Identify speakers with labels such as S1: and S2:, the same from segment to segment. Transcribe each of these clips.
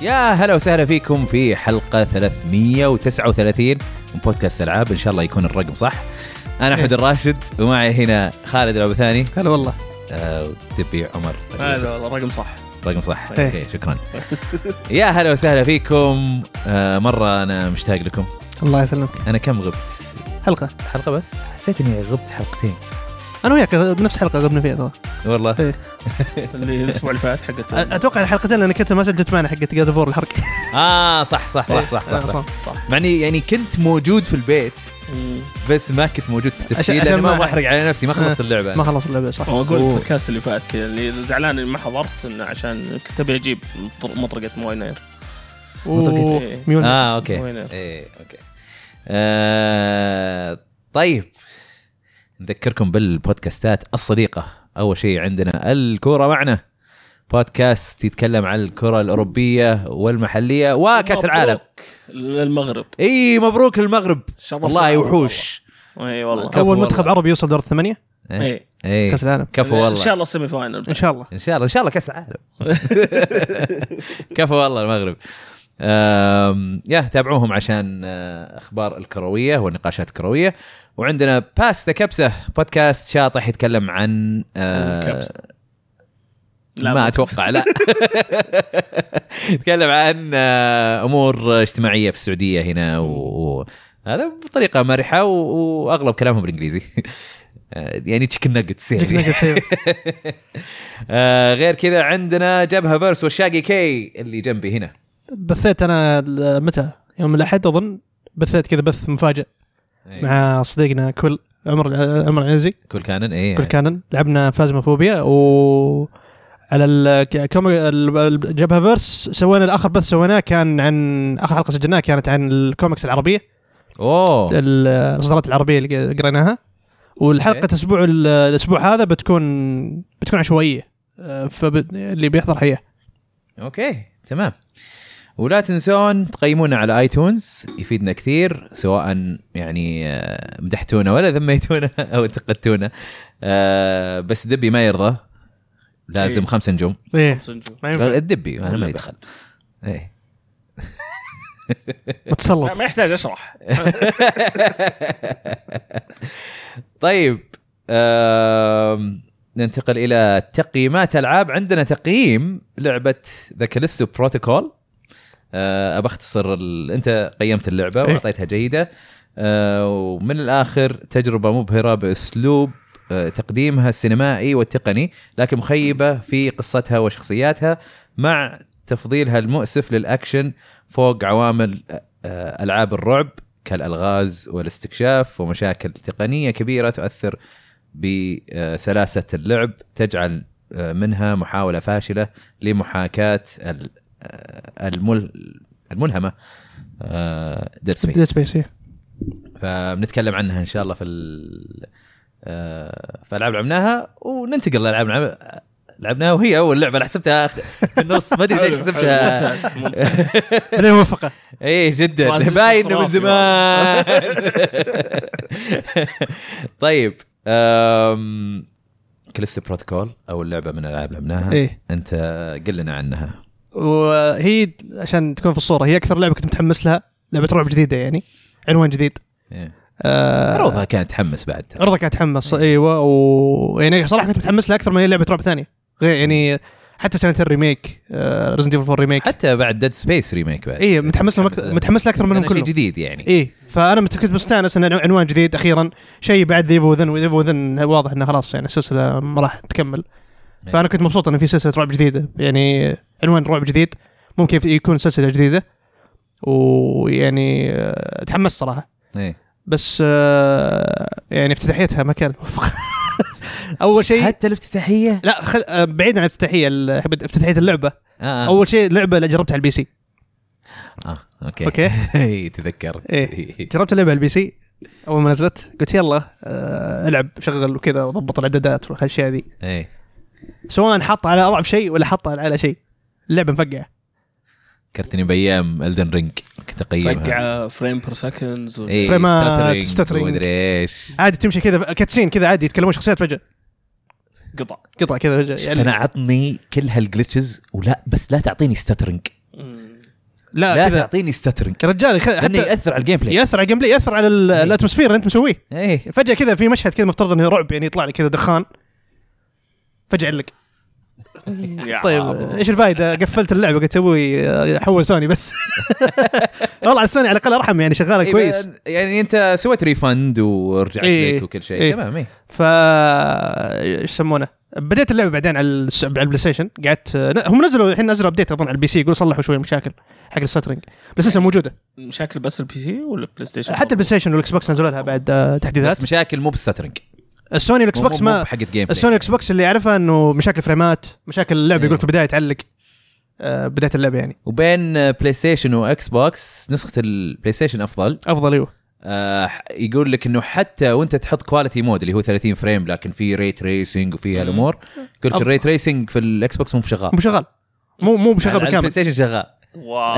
S1: يا هلا وسهلا فيكم في حلقة 339 من بودكاست ألعاب إن شاء الله يكون الرقم صح أنا
S2: إيه.
S1: أحمد الراشد ومعي هنا خالد العبثاني
S2: هلا والله
S1: آه، وتبي عمر
S2: هلا والله رقم صح
S1: رقم صح
S2: إيه.
S1: اوكي شكرا يا هلا وسهلا فيكم آه، مرة أنا مشتاق لكم
S2: الله يسلمك
S1: أنا كم غبت
S2: حلقه
S1: حلقة بس حسيت إني غبت حلقتين
S2: انا وياك بنفس حلقه غبنا فيها ترى
S1: والله
S2: إيه.
S3: اللي الاسبوع اللي فات حقت
S2: أ- اتوقع الحلقتين لان كنت ما سجلت معنا حقت جاد فور الحرق
S1: آه صح صح
S2: إيه.
S1: صح صح صح, صح. مع إني يعني كنت موجود في البيت
S3: مم.
S1: بس ما كنت موجود في التسجيل
S2: عشان-
S1: لأني ما
S2: عشان
S1: ابغى
S2: ما- آه.
S1: احرق على نفسي ما خلصت اللعبة أنا.
S2: ما خلص اللعبه صح
S3: هو اقول
S2: أوه.
S3: البودكاست اللي فات كذا اللي زعلان اني ما حضرت انه عشان كنت ابي اجيب مطر- مطرقه موينير
S2: أوه.
S3: إيه.
S2: ميول
S1: اه اوكي
S3: وينه؟
S1: ايه اوكي آه طيب نذكركم بالبودكاستات الصديقة أول شيء عندنا الكورة معنا بودكاست يتكلم عن الكرة الأوروبية والمحلية وكأس العالم
S3: مبروك للمغرب
S1: اي مبروك للمغرب
S3: شرفت
S1: والله
S3: العالم
S1: وحوش
S3: والله. اي والله
S1: كفو
S2: اول
S1: والله.
S2: منتخب عربي يوصل دور الثمانيه
S1: إيه.
S3: اي
S1: إيه.
S2: كاس العالم
S1: كفو
S3: ان
S1: والله
S3: شاء الله سيمي فاينل
S2: ان شاء الله
S1: ان شاء الله ان شاء الله كاس العالم كفو والله المغرب آم، يا تابعوهم عشان آه، اخبار الكرويه والنقاشات الكرويه وعندنا باس ذا كبسه بودكاست شاطح يتكلم عن آه،
S3: الكبسة. لا،
S1: ما
S3: مو
S1: اتوقع لا يتكلم عن آه، امور اجتماعيه في السعوديه هنا و- و هذا بطريقه مرحه و- واغلب كلامهم بالانجليزي آه، يعني تشيكن ناجتس
S2: جيك
S1: يعني
S2: ناجتس أيوة.
S1: آه، غير كذا عندنا جبهه فيرس والشاقي كي اللي جنبي هنا
S2: بثيت انا ال- متى يوم الاحد اظن بثيت كذا بث مفاجئ
S1: أي.
S2: مع صديقنا كل عمر عمر العزيزي
S1: كل إيه، يعني. كانن اي
S2: كل كانن لعبنا فازما فوبيا و على ال- ك- كم ال- الجبهه فيرس سوينا الاخر بث سويناه كان عن اخر حلقه سجلناها كانت عن الكوميكس العربيه
S1: اوه
S2: ال- الاصدارات العربيه اللي ق- قريناها والحلقه
S1: أوكي.
S2: الاسبوع ال- الاسبوع هذا بتكون بتكون عشوائيه أه، فب... اللي بيحضر حياه
S1: اوكي تمام ولا تنسون تقيمونا على ايتونز يفيدنا كثير سواء يعني آه، مدحتونا ولا ذميتونا او انتقدتونا آه، بس دبي ما يرضى لازم
S3: إيه.
S1: خمس نجوم
S2: ايه
S3: صنجو.
S2: ما ينفع
S1: الدبي انا ما يدخل ايه
S2: متسلط
S3: ما ما يحتاج اشرح
S1: طيب آم، ننتقل الى تقييمات العاب عندنا تقييم لعبه ذا كاليستو بروتوكول ابى اختصر آه، ال... انت قيمت اللعبه
S2: إيه.
S1: واعطيتها جيده آه، ومن الاخر تجربه مبهره باسلوب آه، تقديمها السينمائي والتقني لكن مخيبه في قصتها وشخصياتها مع تفضيلها المؤسف للاكشن فوق عوامل آه، العاب الرعب كالالغاز والاستكشاف ومشاكل تقنيه كبيره تؤثر بسلاسه اللعب تجعل آه، منها محاوله فاشله لمحاكاه ال- آه، المل الملهمه ديد
S2: ديد
S1: سبيس
S2: سبيس
S1: فبنتكلم عنها ان شاء الله في ال آه، في العاب لعبناها وننتقل لالعاب لعب- لعبناها وهي اول لعبه انا حسبتها في النص ما ادري ليش
S3: حلو،
S1: حسبتها
S3: حلو، ممتاز، ممتاز.
S2: هذه موفقه
S1: ايه جدا
S3: ترانزيشن
S1: باين إنه من
S3: خرافي
S1: زمان طيب أم... كليستو بروتوكول اول لعبه من الالعاب لعبناها
S2: ايه
S1: انت قل لنا عنها
S2: وهي عشان تكون في الصوره هي اكثر لعبه كنت متحمس لها لعبه رعب جديده يعني عنوان جديد
S1: إيه.
S2: آه،
S1: عروضها كانت تحمس بعد ترى.
S2: عرضك اتحمس ايوه و يعني صراحه كنت متحمس لها اكثر من اي لعبه رعب ثانيه غير يعني حتى سنه الريميك ريزنت ايفل 4 ريميك
S1: حتى بعد ديد سبيس ريميك بعد
S2: اي متحمس لهم إيه، أكثر- متحمس لها اكثر منهم
S1: لأنه شيء
S2: كلهم إيه.
S1: جديد يعني
S2: اي فانا مت- كنت مستانس ان عنوان جديد اخيرا شيء بعد ذيفو وذن وذيفو وذن واضح انه خلاص يعني السلسله ما راح تكمل فانا كنت مبسوط انه في سلسله رعب جديده يعني عنوان رعب جديد ممكن يكون سلسله جديده ويعني آه، تحمست صراحه
S1: إيه.
S2: بس آه، يعني افتتاحيتها ما كانت موفقه اول شيء
S1: حتى الافتتاحيه
S2: لا خل... آه، بعيد عن الافتتاحيه ال- افتتاحيه اللعبه
S1: آه.
S2: اول شيء لعبه اللي جربتها على البي سي
S1: آه. اوكي
S2: أوكي.
S1: إيه، تذكرت
S2: إيه. جربت اللعبه على البي سي اول ما نزلت قلت يلا آه، العب شغل وكذا وضبط الاعدادات والاشياء ذي
S1: إيه.
S2: سواء حط على اضعف شيء ولا حط على شيء اللعبه مفقعه
S1: ذكرتني بايام الدن رينج كنت اقيمها
S3: فقعه فريم بير سكندز
S1: إيه،
S2: فريمات،
S1: stuttering،
S2: stuttering.
S1: ومدري ايش
S2: عادي تمشي كذا كاتسين كذا عادي يتكلمون شخصيات فجاه
S3: وقطع
S1: يعني
S2: قطع كذا يعني فجاه
S1: شفت انا عطني كل هالجلتشز ولا بس لا تعطيني ستاترنج
S3: مم.
S1: لا
S2: لا كذا
S1: تعطيني ستاترنج
S2: يا رجال يخ-
S1: لانه
S2: حتى
S1: ياثر على الجيم بلاي
S2: ياثر على إيه، الجيم بلاي ياثر على ال-
S1: إيه.
S2: الاتموسفير اللي انت مسويه
S1: ايه
S2: فجاه كذا في مشهد كذا مفترض انه رعب يعني يطلع لك كذا دخان فجاه علق
S3: يا
S2: طيب
S3: عمو.
S2: ايش الفائده قفلت اللعبه قلت ابوي حول سوني بس والله على سوني على الاقل ارحم يعني شغاله
S1: إيه،
S2: كويس
S1: يعني انت سويت ريفند ورجعت
S2: إيه.
S1: لك وكل شيء
S2: إيه.
S1: تمام ايه
S2: ف ايش يسمونه بديت اللعبه بعدين على الس- على البلاي ستيشن قعدت هم نزلوا الحين نزلوا ابديت اظن على البي سي يقولوا صلحوا شويه مشاكل حق السترنج بس
S1: إيه.
S2: لسه موجوده
S3: مشاكل بس البي سي ولا البلاي ستيشن
S2: حتى البلاي ستيشن والاكس بوكس نزلوا لها بعد آه، تحديثات
S1: بس مشاكل مو بالسترنج
S2: السوني الاكس
S1: مو- مو-
S2: بوكس
S1: مو
S2: ما
S1: حقت جيم بلاي
S2: السوني الاكس بوكس اللي اعرفها انه مشاكل فريمات مشاكل اللعبه
S1: إيه.
S2: يقول في البدايه تعلق آه، بدايه اللعبه يعني
S1: وبين بلاي ستيشن واكس بوكس نسخه البلاي ستيشن افضل
S2: افضل ايوه
S1: آه يقول لك انه حتى وانت تحط كواليتي مود اللي هو 30 فريم لكن في ريت ريسنج وفي هالامور يقول لك
S2: أفضل.
S1: الريت ريسنج في الاكس بوكس مو شغال
S2: مو شغال مو مو
S1: على-
S2: شغال
S1: على البلاي
S2: بالكامل
S1: ستيشن شغال
S3: واو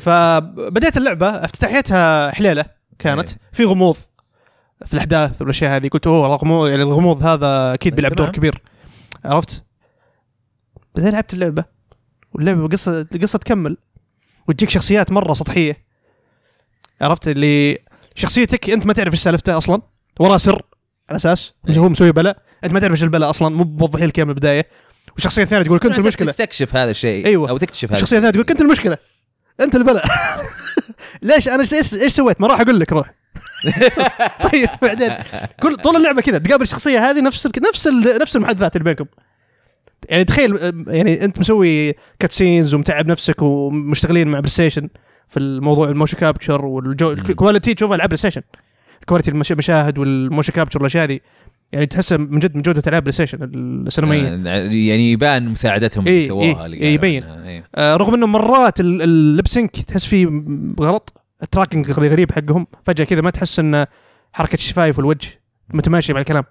S2: فبديت اللعبه افتتاحيتها حليله كانت
S1: إيه.
S2: في غموض في الاحداث والاشياء هذه قلت اوه الغموض يعني الغموض هذا اكيد بيلعب دور
S1: تمام.
S2: كبير عرفت؟ بعدين لعبت اللعبه واللعبه قصه القصه تكمل وتجيك شخصيات مره سطحيه عرفت اللي شخصيتك انت ما تعرف ايش سالفته اصلا وراه سر على اساس
S1: إيه.
S2: هو مسوي بلاء انت ما تعرف ايش البلاء اصلا مو موضحين لك إياه من البدايه والشخصيه الثانيه تقول كنت
S1: على أساس
S2: المشكله
S1: تستكشف هذا الشيء
S2: أيوة.
S1: او تكتشف هذا
S2: الشخصيه
S1: الشيء
S2: الثانيه تقول كنت المشكله انت البلاء ليش انا ايش ايش سويت ما راح اقول لك روح طيب بعدين كل طول اللعبه كذا تقابل الشخصيه هذه نفس ال... نفس ال... نفس المحادثات اللي بينكم يعني تخيل أم، يعني انت مسوي كاتسينز ومتعب نفسك ومشتغلين مع بلاي ستيشن في الموضوع الموشن كابتشر والكواليتي تشوفها العاب بلاي ستيشن كواليتي المش- المشاهد والموشن كابتشر والاشياء هذه يعني تحسها من جد من جوده العاب بلاي ستيشن السينمائيه
S1: آه، يعني يبان مساعدتهم
S2: إيه،
S1: اللي سووها
S2: إيه،
S1: اللي
S2: إيه،
S1: قالوا
S2: يبين.
S1: عنها. إيه.
S2: آه، رغم انه مرات ال- اللبسنك تحس فيه م- غلط التراكنج غري- غريب حقهم فجاه كذا ما تحس ان حركه الشفايف والوجه متماشيه مع الكلام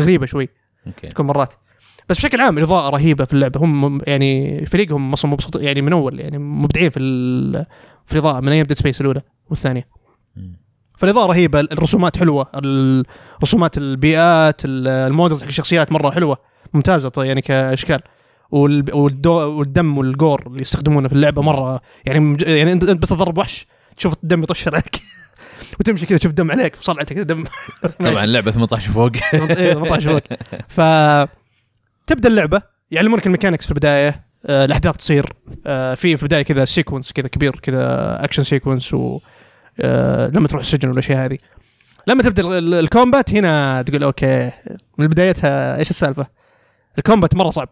S2: غريبه شوي
S1: اوكي
S2: تكون مرات بس بشكل عام الاضاءه رهيبه في اللعبه هم يعني فريقهم اصلا مبسوط يعني من اول يعني مبدعين في ال- في الاضاءه من ايام ديد سبيس الاولى والثانيه
S1: مم.
S2: فالاضاءه رهيبه الرسومات حلوه ال- رسومات البيئات ال- المودلز حق الشخصيات مره حلوه ممتازه طيب يعني كاشكال والب- والدو والدم والجور اللي يستخدمونه في اللعبه مره يعني مج- يعني انت انت بتضرب وحش تشوف الدم يطشر عليك وتمشي كذا تشوف دم عليك بصلعتك كذا دم
S1: طبعا لعبه 18 فوق
S2: إيه، 18 وقت ف تبدا اللعبه يعلمونك الميكانكس في البدايه آه، الاحداث تصير آه، في في البدايه كذا سيكونس كذا كبير كذا اكشن سيكونس و آه، لما تروح السجن والاشياء هذه لما تبدا ال- ال- الكومبات هنا تقول اوكي من بدايتها ايش السالفه؟ الكومبات مره صعب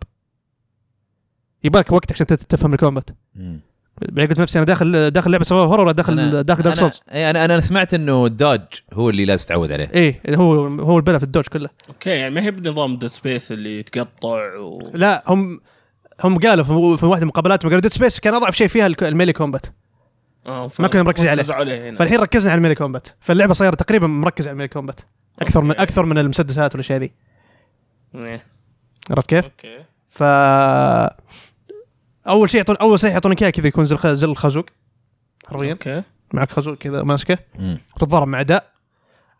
S2: يبالك وقت عشان تت- تفهم الكومبات
S1: مم.
S2: بعدين قلت نفسي انا داخل داخل لعبه سواء هورر ولا داخل داخل دارك
S1: انا
S2: سولز
S1: إيه، انا انا سمعت انه الدوج هو اللي لازم تتعود عليه
S2: ايه هو هو البلا في الدوج كله
S3: اوكي يعني ما هي بنظام ذا سبيس اللي يتقطع و...
S2: لا هم هم قالوا في- في واحده من مقابلاتهم قالوا ديد سبيس كان اضعف شيء فيها الك- الميلي كومبات
S3: آه، ف-
S2: ما كنا مركزين عليه.
S3: ركزوا عليه هنا
S2: فالحين ركزنا على الميلي كومبات فاللعبه صايره تقريبا مركزه على الميلي كومبات اكثر من
S3: أوكي.
S2: اكثر من المسدسات والاشياء ذي
S3: إيه.
S2: عرفت كيف؟
S3: اوكي
S2: ف اول شيء يعطون اول شيء يعطونك اياه كذا يكون زي الخ- زي الخازوق حرفيا
S3: اوكي
S2: معك خازوق كذا ماسكه
S1: مم.
S2: وتتضارب مع اعداء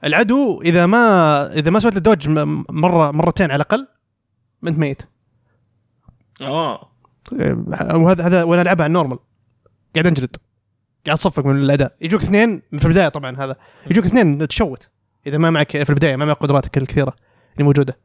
S2: العدو اذا ما اذا ما سويت له دوج م- مره مرتين على الاقل انت ميت
S1: آه.
S3: اه
S2: وهذا هذا وانا العبها على النورمال قاعد انجلد قاعد اتصفق من الاداء يجوك اثنين في البدايه طبعا هذا يجوك اثنين تشوت اذا ما معك في البدايه ما معك قدراتك الكثيره اللي موجوده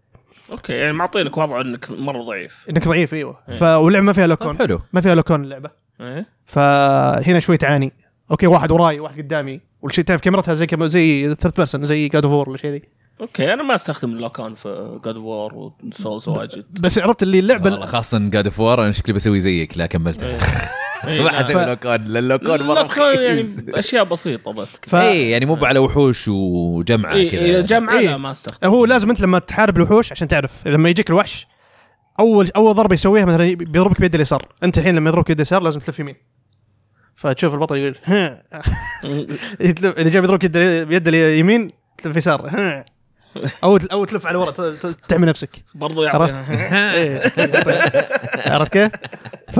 S3: اوكي يعني معطينك وضع انك مره ضعيف
S2: انك ضعيف ايوه
S3: إيه.
S2: ف واللعبه ما فيها لوكون
S1: طب حلو
S2: ما فيها لوكون اللعبه
S3: ايه
S2: إيه. فهنا شوي تعاني اوكي واحد وراي واحد قدامي والشيء تعرف كاميرتها زي كم زي ثيرد بيرسون زي جاد اوف وور ولا شيء ذي
S3: اوكي انا ما استخدم اللوكان في جاد وور وسولز واجد
S2: بس عرفت اللي
S1: والله
S2: اللعبه
S1: خاصه جاد اوف وور انا شكلي بسوي زيك لا كملتها
S3: إيه،
S1: ما
S3: لا.
S1: حسوي لوكون لان لوكون مره
S3: اللوكان يعني
S1: رخيص
S3: اشياء بسيطه بس
S2: ف...
S1: اي يعني مو على وحوش وجمعه
S3: إيه، إيه،
S1: كذا
S3: جمعه
S2: إيه.
S3: لا ما استخدم
S2: هو لازم انت لما تحارب الوحوش عشان تعرف لما يجيك الوحش اول اول ضربه يسويها مثلا بيضربك بيد اليسار انت الحين لما يضربك بيد اليسار لازم تلف يمين فتشوف البطل يقول ها يتلف- اذا جاب يضربك يد- بيد اليمين تلف يسار ها او تل- او تلف على ورا ت- ت- تعمي نفسك
S3: برضو يعطيها
S2: إيه، عرفت كيف؟ ف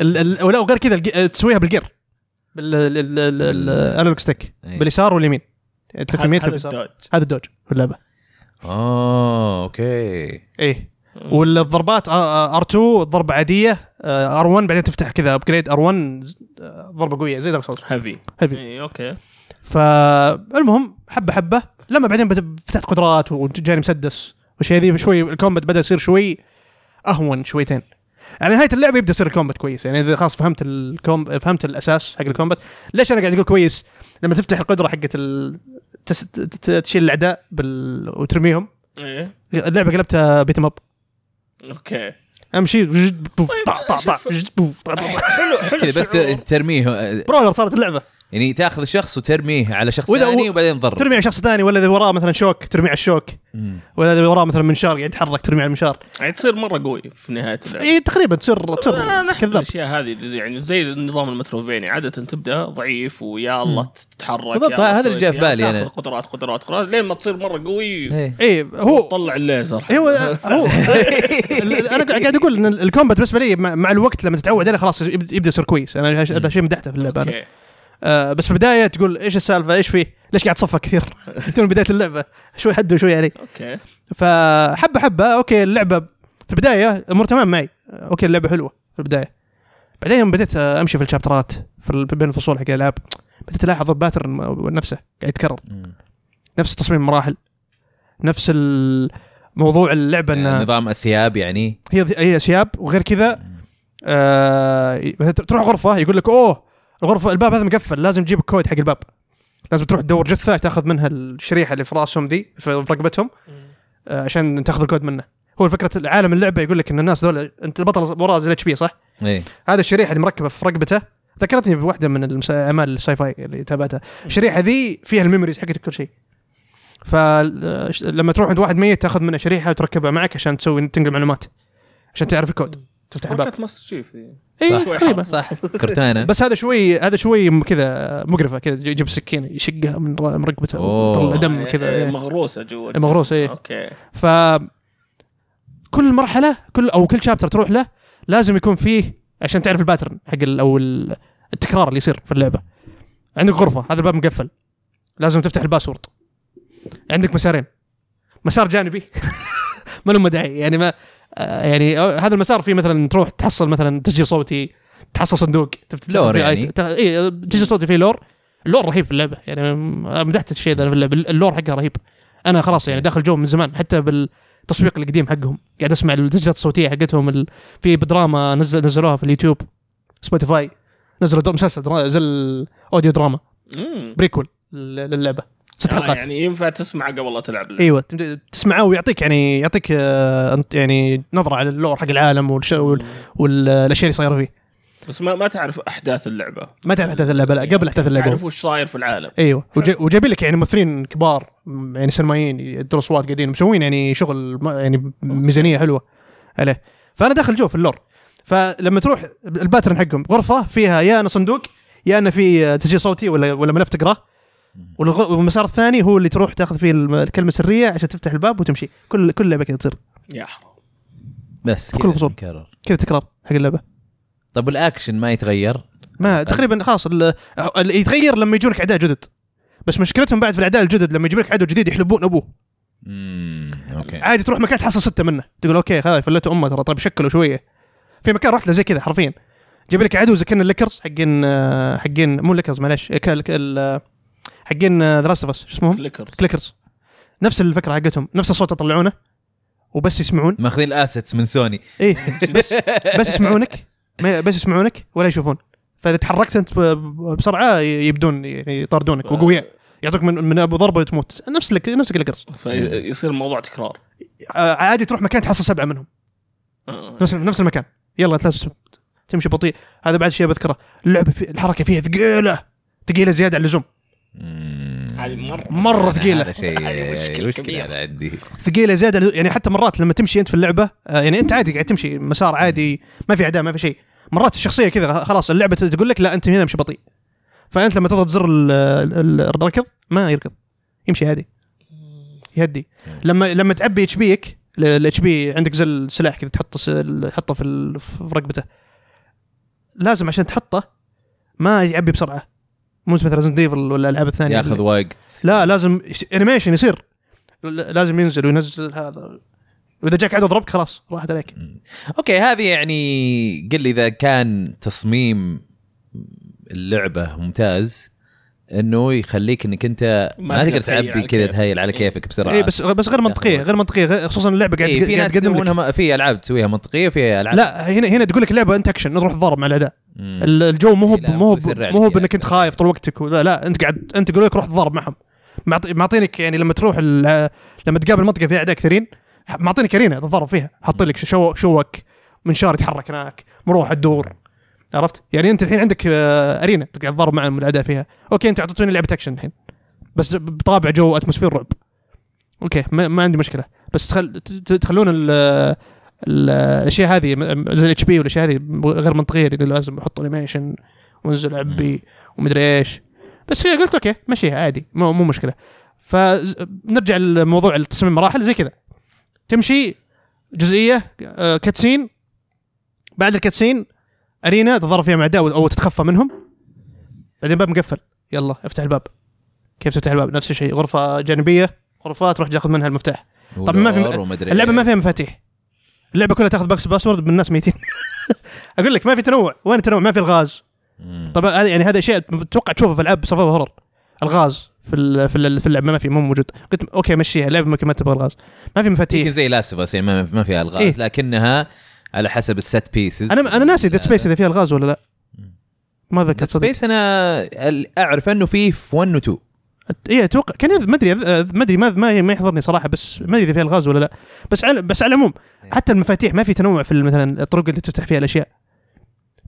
S2: ال- ال- ولا وغير كذا الج- تسويها بالجير بالانالوج ستيك
S1: إيه.
S2: باليسار واليمين يعني تلف يمين تلف
S3: هذا
S2: يسار
S3: الدوج.
S1: آه،
S2: هذا الدوج في اللعبه
S1: اه اوكي
S2: ايه والضربات آه، ار2 ضربه عاديه ار1 آه، بعدين تفتح كذا ابجريد ار1 ضربه قويه زي دارك سولز
S3: هيفي
S2: Heavy.
S3: اي اوكي
S2: فالمهم حبه حبه لما بعدين بت- فتحت قدرات وجاني مسدس والشيء ذي شوي الكومبات بدا يصير شوي اهون شويتين يعني على نهايه اللعبه يبدا يصير الكومبات كويس يعني اذا خلاص فهمت الكوم فهمت الاساس حق الكومبات ليش انا قاعد اقول كويس لما تفتح القدره حقت ال... تس... ت- ت- تشيل الاعداء بال... وترميهم
S3: ايه
S2: اللعبه قلبتها بيتم اب
S3: اوكي
S2: امشي وجد- بوف، طع طع طع
S3: شوف.
S2: وجد- بوف، طع، طع، طع.
S3: حلو حلو
S1: كذا بس
S3: الشعور.
S1: ترميه آه،
S2: برولر صارت اللعبه
S1: يعني تاخذ شخص وترميه على شخص
S2: وإذا
S1: ثاني
S2: هو-
S1: وبعدين تضرب
S2: ترمي على شخص ثاني ولا اذا وراه مثلا شوك ترمي على الشوك
S1: مم.
S2: ولا اذا وراه مثلا منشار قاعد يتحرك ترمي على المنشار
S3: يعني تصير مره قوي في نهايه اللعبه
S2: اي تقريبا تصير
S3: أنا
S2: تصير
S3: نحب
S2: كذاب
S3: الاشياء آه، هذه اللي زي- يعني زي النظام المتروفيني عاده تبدا ضعيف ويا الله تتحرك
S1: بالضبط،
S3: يا الله
S1: هذا
S3: تسوي
S1: اللي جاء في
S3: أشياء،
S1: بالي يعني. أنا.
S3: تاخذ قدرات قدرات قدرات لين ما تصير مره قوي
S1: إيه.
S2: اي هو
S3: تطلع الليزر
S2: إيه، هو هو ال- انا قاعد اقول ان ال- الكومبات بالنسبه لي مع مع الوقت لما تتعود عليه خلاص يب- يبدا يصير كويس انا هش- هذا شيء مدحته في اللعبه انا
S3: اوكي
S2: آه، بس في البدايه تقول ايش السالفه ايش فيه ليش قاعد تصفى كثير من بدايه اللعبه شوي حد وشوي علي
S3: اوكي
S2: فحبه حبه اوكي اللعبه في البدايه الامور تمام معي اوكي اللعبه حلوه في البدايه بعدين يوم بديت امشي في الشابترات في ال- بين الفصول حق الالعاب بديت الاحظ الباترن نفسه قاعد يتكرر
S1: مم.
S2: نفس تصميم المراحل نفس ال- موضوع اللعبه
S1: آه،
S2: ان
S1: نظام اسياب يعني
S2: هي هي اسياب وغير كذا آه مثلا تروح غرفه يقول لك اوه الغرفه الباب هذا مقفل لازم تجيب كود حق الباب لازم تروح تدور جثه تاخذ منها الشريحه اللي في راسهم ذي في رقبتهم آه عشان تاخذ الكود منه هو فكره عالم اللعبه يقول لك ان الناس ذول انت البطل وراه زي اتش بي صح؟
S1: ايه
S2: هذه الشريحه اللي مركبه في رقبته ذكرتني بواحده من المس- اعمال الساي فاي اللي تابعتها الشريحه ذي فيها الميموريز حقت كل شيء فلما تروح عند واحد ميت تاخذ منه شريحه وتركبها معك عشان تسوي تنقل معلومات عشان تعرف الكود تفتح الباب
S3: حركات ماستر شيف إيه.
S2: اي
S1: صح.
S2: تقريبا
S1: صح كرتانا
S2: بس هذا شوي هذا شوي م- كذا مقرفه كذا يجيب سكينه يشقها من ر- من رقبته
S1: أوه.
S2: ويطلع دم
S3: آه،
S2: كذا
S3: إيه،
S2: إيه.
S3: مغروسه جوا
S2: مغروس
S1: إيه.
S2: اي
S3: اوكي
S2: ف كل مرحله كل او كل شابتر تروح له لازم يكون فيه عشان تعرف الباترن حق ال او ال- التكرار اللي يصير في اللعبه عندك غرفه هذا الباب مقفل لازم تفتح الباسورد عندك مسارين مسار جانبي ما له داعي يعني ما آه، يعني آه، هذا المسار فيه مثلا تروح تحصل مثلا تسجيل صوتي تحصل صندوق تفت-
S1: لور
S2: فيه
S1: يعني.
S2: آيت- ت- اي تسجيل صوتي فيه لور اللور رهيب في اللعبه يعني م- مدحت الشيء ذا في اللعبه اللور حقها رهيب انا خلاص يعني داخل جو من زمان حتى بالتسويق القديم حقهم قاعد اسمع التسجيلات الصوتيه حقتهم ال- في دراما نزل نزلوها في اليوتيوب سبوتيفاي نزلوا در- مسلسل درا... زل اوديو دراما
S3: مم.
S2: بريكول لل- للعبه ست
S3: آه،
S2: حلقات
S3: يعني ينفع تسمع قبل لا تلعب اللعبة.
S2: ايوه تد- تسمعه ويعطيك يعني يعطيك آه، أنت- يعني نظره على اللور حق العالم والش... وال- والاشياء اللي صايره فيه
S3: بس ما ما تعرف احداث اللعبه
S2: ما تعرف احداث اللعبه لا إيه. قبل احداث اللعبه
S3: تعرف وش صاير في العالم
S2: ايوه وج- وجايبين لك يعني ممثلين كبار م- يعني سينمائيين يدرسوا اصوات قاعدين مسوين يعني شغل م- يعني ميزانيه حلوه عليه فانا داخل جو في اللور فلما تروح الباترن حقهم غرفه فيها يا انا صندوق يا انا في تسجيل صوتي ولا ولا ملف تقراه والغ- والمسار الثاني هو اللي تروح تاخذ فيه الم- الكلمه السريه عشان تفتح الباب وتمشي كل كل لعبه كذا تصير
S3: يا حرام
S1: بس
S2: كل
S1: كذا
S2: فصول.
S1: مكرر.
S2: كذا تكرار حق اللعبه
S1: طب والاكشن ما يتغير
S2: ما تقريبا خلاص ال- ال- يتغير لما يجونك اعداء جدد بس مشكلتهم بعد في الاعداء الجدد لما يجيب لك عدو جديد يحلبون ابوه
S1: امم اوكي
S2: عادي تروح مكان تحصل سته منه تقول اوكي خلاص فلتوا امه ترى طيب شكله شويه في مكان رحت له زي كذا حرفيا جاب لك عدو زي كان الليكرز حقين آه، حقين مو الليكرز معلش آه، كال- كال- آه، حقين آه، ذا لاست اوف شو اسمهم؟
S3: كليكر
S2: كليكرز نفس الفكره حقتهم نفس الصوت يطلعونه وبس يسمعون
S1: ماخذين الاسيتس من سوني
S2: ايه بس بس يسمعونك ما بس يسمعونك ولا يشوفون فاذا تحركت انت ب- بسرعه يبدون يعني يطاردونك وقوياء يعطوك من من ابو ضربه وتموت نفس الك- نفس الليكرز
S3: فيصير الموضوع تكرار
S2: آه، عادي تروح مكان تحصل سبعه منهم
S3: آه.
S2: نفس نفس المكان يلا تلبس تمشي بطيء هذا بعد شيء بذكره اللعبه في الحركه فيها ثقيله ثقيله زياده عن اللزوم
S1: مم.
S3: هذه مرة-
S2: مرة
S1: أنا
S2: ثقيلة.
S1: هذا شيء
S3: هذه مشكلة كبيرة.
S1: مشكلة أنا عندي
S2: ثقيله زياده عن اللزوم. يعني حتى مرات لما تمشي انت في اللعبه آه، يعني انت عادي قاعد تمشي مسار عادي ما في عداء ما في شيء مرات الشخصيه كذا خلاص اللعبه تقول لك لا انت هنا مش بطيء فانت لما تضغط زر ال- ال- الركض ما يركض يمشي عادي يهدي لما لما تعبي اتش بيك الاتش بي عندك زي السلاح كذا تحطه س- تحطه في ال- في رقبته لازم عشان تحطه ما يعبي بسرعه مو مثل ريزنت ديفل ولا الالعاب الثانيه
S1: ياخذ وقت
S2: لا لازم انيميشن يصير ل- لازم ينزل وينزل هذا واذا جاك عدو ضربك خلاص راحت عليك
S1: اوكي هذه يعني قل لي اذا كان تصميم اللعبه ممتاز انه يخليك انك انت
S3: ما
S1: ما, تقدر
S3: تقدر تهيل على
S1: تعبي كذا
S3: كيفك.
S1: تهيل على
S3: إيه.
S1: كيفك بسرعه
S2: اي بس بس غير منطقيه غير منطقيه غير خصوصا اللعبه قاعد
S1: إيه في
S2: قاعد
S1: ناس
S2: تقدم لك-
S1: يسوونها ما- في العاب تسويها منطقيه في العاب
S2: لا هنا هنا تقول لك اللعبه انت اكشن نروح ضرب مع الاعداء
S1: مم.
S2: ال- الجو مو هو
S1: لا،
S2: مو هو
S1: بيصير رعب
S2: مو هو
S1: يعني.
S2: بانك انت خايف طول وقتك ولا لا انت قاعد انت يقول لك روح تضارب معهم معط- معطينك يعني لما تروح ال- لما تقابل منطقه فيها اعداء كثيرين ح- معطينك ارينا تتضارب فيها حاطين لك شو شوك منشار يتحرك هناك مروحه تدور عرفت يعني انت الحين عندك آه، ارينا تقعد تضارب مع الاعداء فيها اوكي انت اعطيتوني لعبه اكشن الحين بس بطابع جو اتموسفير رعب اوكي ما, ما عندي مشكله بس تخل... ت- ت- تخلون ال... ال- الاشياء هذه م- زي الاتش بي والاشياء هذه غير منطقيه اللي لازم احط انيميشن وانزل عبي ومدري ايش بس هي قلت اوكي مشيها عادي مو, مو مشكله فنرجع لموضوع التصميم مراحل زي كذا تمشي جزئيه آه، كاتسين بعد الكاتسين ارينا تضرب فيها مع اعداء او تتخفى منهم بعدين باب مقفل يلا افتح الباب كيف تفتح الباب نفس الشيء غرفه جانبيه غرفه تروح تاخذ منها المفتاح طب ما في-
S1: ولور ومدري
S2: اللعبه
S1: إيه.
S2: ما فيها مفاتيح اللعبه كلها تاخذ باكس باسورد من الناس ميتين اقول لك ما في تنوع وين التنوع ما في الغاز
S1: مم.
S2: طبعا هذا يعني هذا شيء اتوقع تشوفه في العاب سرفايفل هورر الغاز في ال- في ال- في اللعبه ما في مو موجود قلت اوكي مشيها اللعبه ممكن ما تبغى الغاز ما في
S1: يمكن
S2: مفاتيح
S1: زي لاست اوف يعني ما ما فيها الغاز
S2: إيه.
S1: لكنها على حسب الست بيسز
S2: انا انا ناسي ديد سبيس اذا فيها الغاز ولا لا ما اتذكر
S1: ديد
S2: صدق
S1: سبيس انا ال- اعرف انه فيه في 1 و 2
S2: أت- اي اتوقع كان يذ- ما ادري أذ- ما ادري ما ما ما يحضرني صراحه بس ما ادري اذا فيها الغاز ولا لا بس على بس على العموم حتى المفاتيح ما في تنوع في ال- مثلا الطرق اللي تفتح فيها الاشياء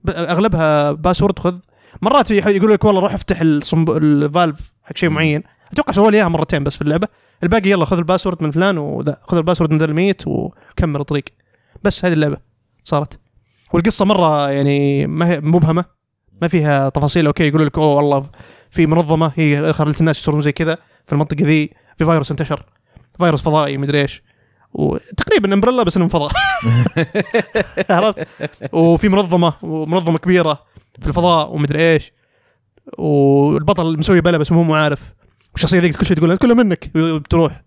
S2: ب- اغلبها باسورد خذ مرات يح- يقول لك والله روح افتح الصنب... الفالف حق شيء معين اتوقع سووا لي اياها مرتين بس في اللعبه الباقي يلا خذ الباسورد من فلان وذا خذ الباسورد من ذا الميت وكمل الطريق بس هذه اللعبه صارت والقصه مره يعني ما هي مبهمه ما فيها تفاصيل اوكي يقولوا لك اوه والله في منظمه هي خلت الناس يصيرون زي كذا في المنطقه ذي في فيروس انتشر فيروس فضائي مدري ايش وتقريبا امبريلا بس انه من فضاء عرفت وفي منظمه ومنظمه كبيره في الفضاء ومدري ايش والبطل مسوي بلا بس مو هو عارف والشخصيه ذيك كل شيء تقول لها كله منك بتروح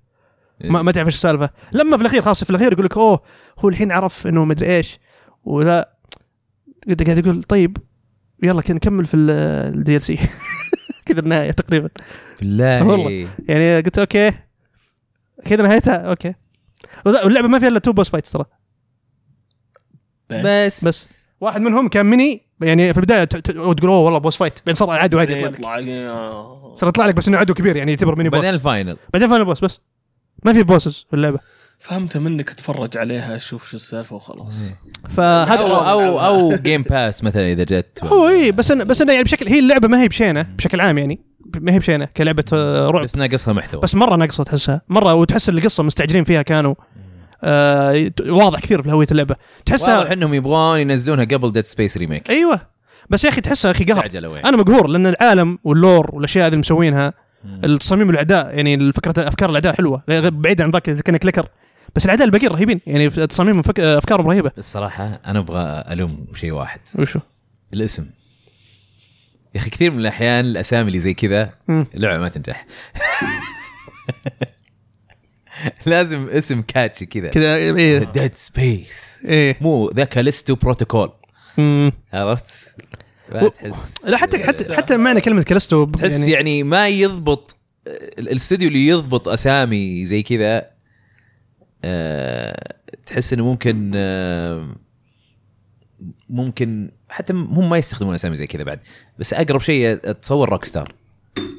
S2: ما, ما تعرف ايش السالفه لما في الاخير خاصه في الاخير يقول لك اوه هو الحين عرف انه مدري ايش ولا قاعد قاعد يقول طيب يلا كن- نكمل في الدي ال سي كذا النهايه تقريبا
S1: بالله
S2: والله. يعني قلت اوكي كذا نهايتها اوكي ولا- واللعبه ما فيها الا تو بوس فايتس ترى
S1: بس
S2: بس. واحد منهم كان ميني يعني في البدايه ت- ت- تقول اوه والله بوس فايت بعدين صار عدو عادي يطلع لك
S3: يطلع آه.
S2: صار يطلع لك بس انه عدو كبير يعني يعتبر ميني بوس
S1: بعدين الفاينل
S2: بعدين فاينل بوس بس ما في بوسز في اللعبه
S3: فهمت منك اتفرج عليها اشوف شو السالفه وخلاص
S2: فهذا
S1: او او او جيم باس مثلا اذا جت
S2: هو اي بس أنا بس أنا يعني بشكل هي اللعبه ما هي بشينه بشكل عام يعني ما هي بشينه كلعبه آه، رعب
S1: بس ناقصها محتوى
S2: بس مره ناقصه تحسها مره وتحس إن القصه مستعجلين فيها كانوا آه يت- واضح كثير في هويه اللعبه
S1: واضح
S2: تحسها
S1: انهم يبغون ينزلونها قبل ديد سبيس ريميك
S2: ايوه بس يا اخي تحسها يا اخي إيه، قهر
S1: استعجلوا يعني.
S2: انا مقهور لان العالم واللور والاشياء هذه اللي مسوينها
S1: مم.
S2: التصاميم الاعداء يعني الفكره افكار الاعداء حلوه غير- غير- بعيد عن ذاك كانك كليكر بس الاعداء الباقيين رهيبين يعني في- تصاميم وفك- افكارهم رهيبه
S1: الصراحه انا ابغى الوم شيء واحد
S2: وشو؟
S1: الاسم يا اخي كثير من الاحيان الاسامي اللي زي كذا
S2: مم.
S1: اللعبه ما تنجح لازم اسم كاتشي كذا
S2: كذا ايه
S1: ديد سبيس
S2: ايه
S1: مو ذا كاليستو بروتوكول
S2: مم.
S1: عرفت؟
S2: و-
S1: ما تحس
S2: لا حتى حتى حتى معنى كلمه كالستو ب-
S1: تحس يعني, يعني ما يضبط ال- الاستوديو اللي يضبط اسامي زي كذا آه، تحس انه ممكن آه، ممكن حتى م- هم ما يستخدمون اسامي زي كذا بعد بس اقرب شيء اتصور روك ستار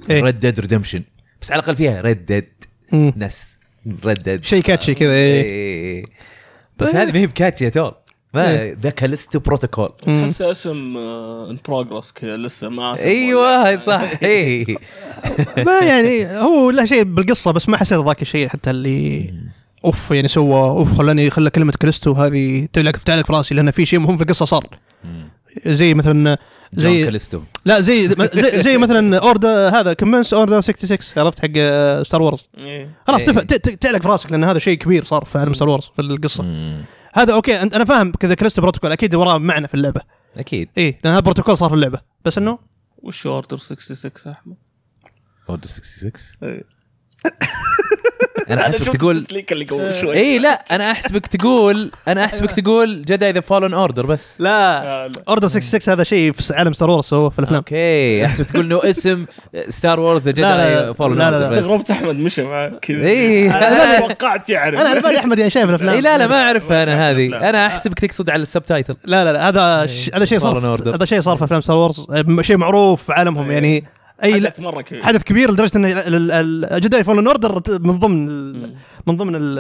S2: إيه.
S1: ريد ديد ريدمشن بس على الاقل فيها ريد ديد
S2: مم.
S1: ناس ريد ديد
S2: شيء كاتشي كذا ايه
S1: إيه، بس هذه ما هي بكاتشي يا تول ما
S2: إيه.
S1: ذا كاليستو بروتوكول
S2: مم.
S3: تحس اسم ان بروجرس كذا لسه ما سووا
S1: ايوه صح اي إيه.
S2: ما يعني هو له شيء بالقصه بس ما حسيت ذاك الشيء حتى اللي اوف يعني سوى اوف خلاني خلى كلمه كالستو هذه تعلق تعلق في راسي لان في شيء مهم في القصه صار زي مثلا
S1: زي
S2: زي
S1: كاليستو
S2: لا زي زي, زي مثلا اوردر هذا كمنس اوردر 66 عرفت حق ستار وورز
S3: إيه.
S2: خلاص
S1: إيه.
S2: تف- ت- ت- تعلق في راسك لان هذا شيء كبير صار في عالم ستار وورز في القصه
S1: مم.
S2: هذا اوكي أنت- انا فاهم كذا كالستو بروتوكول اكيد وراه معنى في اللعبه
S1: اكيد
S2: اي لان إيه، هذا بروتوكول صار في اللعبه بس انه
S3: وش اوردر 66 يا احمد؟
S2: إيه.
S1: اوردر 66 انا
S3: انا
S1: احسبك
S3: شفت
S1: تقول إيه.
S3: التسليك اللي قبل شوي
S1: اي لا انا احسبك تقول انا احسبك
S3: أيوة.
S1: تقول جداي ذا فالون اوردر بس
S2: لا
S3: آه، لا.
S2: اوردر 66 هذا شيء في عالم ستار وورز هو في الافلام
S1: اوكي احسب تقول انه اسم ستار وورز ذا
S2: لا، لا، لا.
S1: جداي فالون
S2: لا، لا، لا.
S1: اوردر
S3: استغربت احمد مشى معاه كذا
S1: إيه.
S3: انا توقعت يعرف
S2: انا على بالي احمد يعني شايف الافلام
S1: اي إيه، لا لا ما اعرفها
S3: ما
S1: انا
S3: أعرف،
S1: هذه
S3: لا.
S1: انا احسبك تقصد على السبتايتل
S2: لا لا لا هذا ش... هذا شيء
S1: إيه. Fallen
S2: صار في-
S1: Order.
S2: هذا شيء صار في افلام ستار وورز شيء معروف في عالمهم يعني
S1: إيه،
S2: اي لا
S3: حدث مره إيه، كبير
S2: حدث كبير لدرجه ان ال- ال- جداي فولن اوردر من ضمن ال- من ضمن ال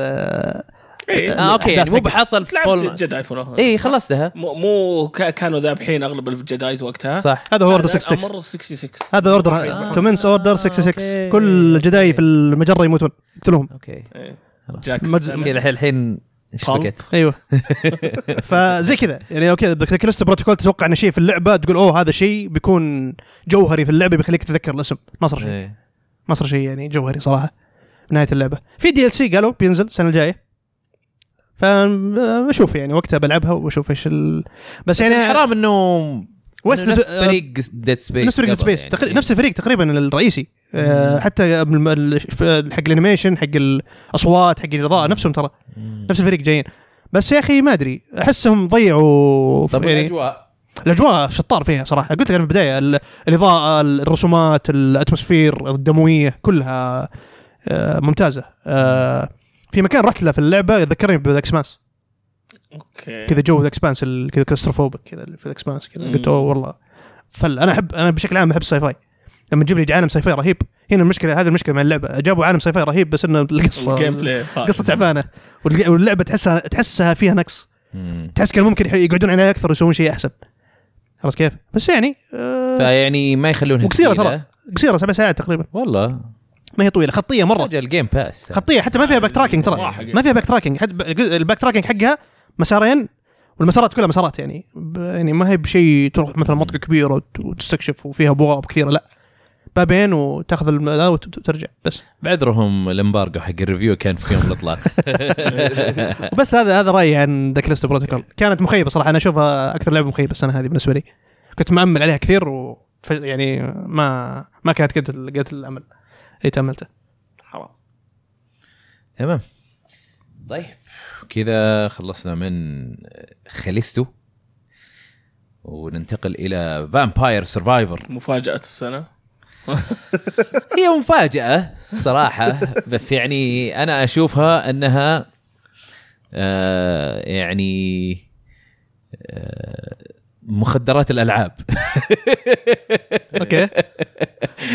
S3: إيه.
S1: آه إيه. اوكي يعني مو
S2: أحداث
S1: بحصل في
S3: لعبت
S1: فالون
S3: جداي فولو
S1: اي خلصتها
S3: مو, مو ك- كانوا ذابحين اغلب الجدايز وقتها
S1: صح
S2: هذا هو اوردر
S3: كان
S2: 66
S3: امر 66
S2: هذا
S3: آه.
S2: اوردر كومنس اوردر 66
S1: أوكي.
S2: كل الجداي في المجره يموتون يقتلهم
S1: اوكي
S3: إيه.
S1: خلاص.
S3: جاك
S2: مج-
S3: سيمنز.
S1: اوكي الحين الحين اشتبكت
S2: ايوه فزي كذا يعني اوكي كريست بروتوكول تتوقع انه شيء في اللعبه تقول اوه هذا شيء بيكون جوهري في اللعبه بيخليك تتذكر الاسم ما صار شيء
S1: إيه.
S2: ما صار شيء يعني جوهري صراحه في نهايه اللعبه في دي ال سي قالوا بينزل السنه الجايه فبشوف يعني وقتها بلعبها واشوف ايش ال... بس
S1: يعني
S2: يعني
S1: حرام انه
S2: West
S1: إنه نفس
S2: Dead-
S1: فريق ديد سبيس
S2: نفس فريق سبيس تقريبا نفس الفريق تقريبا الرئيسي آه،
S1: يعني. مم.
S2: حتى الم- ال- حق الانيميشن حق الاصوات حق الاضاءه نفسهم ترى نفس الفريق جايين بس يا اخي ما ادري احسهم ضيعوا
S1: طب
S2: يعني
S1: الاجواء
S2: الاجواء شطار فيها صراحه قلت لك انا في البدايه ال- الاضاءه الرسومات الاتموسفير الدمويه كلها آه، ممتازه آه، في مكان رحت له في اللعبه ذكرني بالاكسبانس
S3: اوكي
S2: كذا جو الاكسبانس ال- كذا كلاستروفوبك كذا اللي في الاكسبانس كذا
S3: مم.
S2: قلت اوه والله فل انا احب انا بشكل عام احب الساي فاي لما تجيب لي عالم ساي فاي رهيب هنا المشكله هذه المشكله مع اللعبه جابوا عالم ساي فاي رهيب بس انه القصه
S3: الجيم بلاي خايف.
S2: قصه تعبانه والج- واللعبه تحسها تحسها فيها نقص
S1: يعني- مم.
S2: تحس كان ممكن يقعدون عليها اكثر ويسوون شيء احسن عرفت كيف؟ بس يعني آه
S1: فيعني ما يخلونها
S2: وقصيره ترى
S1: ثقيلة.
S2: قصيره سبع ساعات تقريبا
S1: والله
S2: ما هي طويله خطيه مره
S1: رجع الجيم باس
S2: خطيه حتى ما فيها باك تراكنج ترى
S3: واحد.
S2: ما فيها باك تراكنج حتى ب- الباك تراكنج حقها مسارين والمسارات كلها مسارات يعني ب- يعني ما هي بشيء تروح مثلا منطقه كبيره وت- وتستكشف وفيها ابواب كثيره لا بابين وتاخذ الم- ذا وت- وترجع بس
S1: بعذرهم الامبارجو حق الريفيو كان في يوم الاطلاق
S2: وبس هذا هذا رايي عن ذا كريست بروتوكول كانت مخيبه صراحه انا اشوفها اكثر لعبه مخيبه السنه هذه بالنسبه لي كنت مأمل عليها كثير و يعني ما ما كانت قد ال- قد الامل اللي تاملته
S3: حرام
S1: تمام طيب كذا خلصنا من خليستو وننتقل الى فامباير سرفايفر
S3: مفاجاه السنه
S1: هي مفاجأة صراحة بس يعني أنا أشوفها أنها آه يعني آه مخدرات الألعاب
S2: اوكي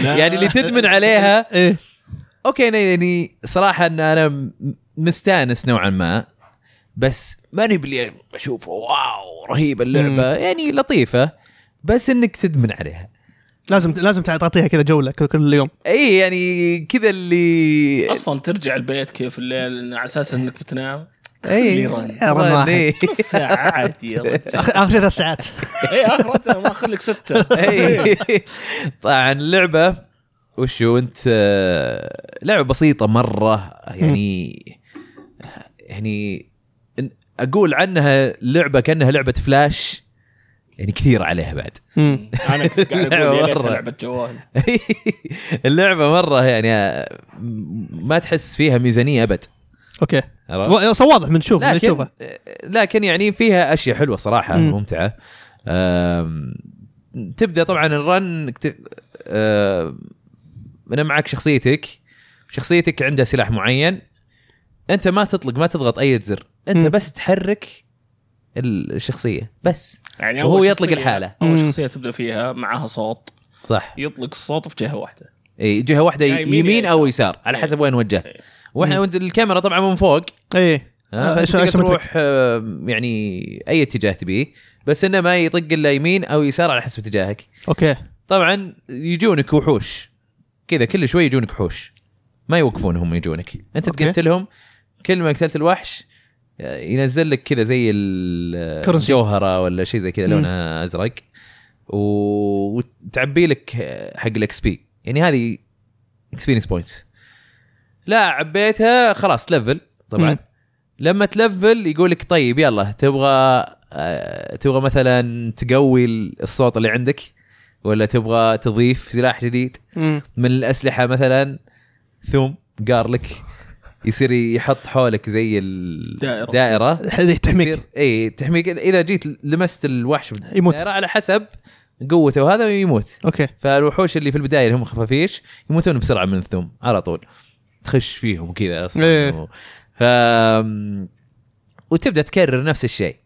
S1: يعني اللي تدمن عليها
S2: ايه
S1: أوكي أنا يعني صراحة أن أنا م- مستانس نوعا ما بس ماني باللي أشوفه واو رهيبة اللعبة يعني لطيفة بس أنك تدمن عليها
S2: لازم لازم تعطيها كذا جوله كل- كل يوم
S1: اي يعني كذا اللي
S3: اصلا ترجع البيت كيف الليل على اساس انك بتنام
S1: اي
S3: ليران.
S2: ليران واحد.
S1: إيه.
S3: ساعات يا إيه، رجل
S2: آخر- اخر ثلاث ساعات
S3: اي اخرتها ما اخليك سته
S1: إيه. إي. طبعا اللعبه وشو انت آه، لعبه بسيطه مره يعني يعني إن- اقول عنها لعبه كانها لعبه فلاش يعني كثير عليها بعد
S2: مم.
S3: انا إيه. كنت قاعد اقول يا ليتها
S1: مرة.
S3: لعبه جوال
S1: اللعبه مره يعني آه، ما تحس فيها ميزانيه ابد
S2: اوكي
S1: عرفت؟
S2: و- صار واضح من شوف من
S1: أه؟ لكن
S2: شوفه
S1: لكن يعني فيها اشياء حلوه صراحه
S2: مم.
S1: ممتعه أم، تبدا طبعا الرن كت- أم، انا معك شخصيتك شخصيتك عندها سلاح معين انت ما تطلق ما تضغط اي زر انت
S2: مم.
S1: بس تحرك الشخصيه بس
S3: يعني
S1: وهو
S3: أول
S1: يطلق
S3: شخصية-
S1: الحالة.
S3: اول
S2: مم.
S3: شخصيه تبدا فيها معاها صوت
S1: صح
S3: يطلق الصوت في جهه واحده
S1: اي جهه واحده
S3: يا يمين يا
S1: يعني يمين او يسار على حسب وين وجهت
S3: إيه.
S1: واحنا وانت- الكاميرا طبعا من فوق
S2: ايه آه،
S1: ها، فانت
S2: اسم-
S1: تقدر
S2: اسم
S1: تروح آه، يعني اي اتجاه تبيه بس انه ما يطق الا يمين او يسار على حسب اتجاهك
S2: اوكي
S1: طبعا يجونك وحوش كذا كل شوي يجونك وحوش ما يوقفون هم يجونك انت
S2: أوكي.
S1: تقتلهم كل ما قتلت الوحش آه، ينزل لك كذا زي ال-
S2: كرنسي.
S1: الجوهره ولا شيء زي كذا
S2: مم.
S1: لونها ازرق و- وتعبي لك آه، حق الاكس بي يعني هذه اكسبيرينس بوينتس لا عبيتها خلاص تلفل طبعا
S2: مم.
S1: لما تلفل يقول لك طيب يلا تبغى آه، تبغى مثلا تقوي الصوت اللي عندك ولا تبغى تضيف سلاح جديد
S2: مم.
S1: من الاسلحه مثلا ثوم جارلك يصير يحط حولك زي الدائره
S3: دائرة.
S1: دائره
S2: تحميك
S1: يصير- اي تحميك اذا جيت لمست الوحش
S2: يموت.
S1: بالدائره على حسب قوته وهذا يموت
S2: اوكي
S1: فالوحوش اللي في البدايه اللي هم خفافيش يموتون بسرعه من الثوم على طول تخش فيهم كذا اصلا
S2: إيه.
S1: و... ف... وتبدا تكرر نفس الشيء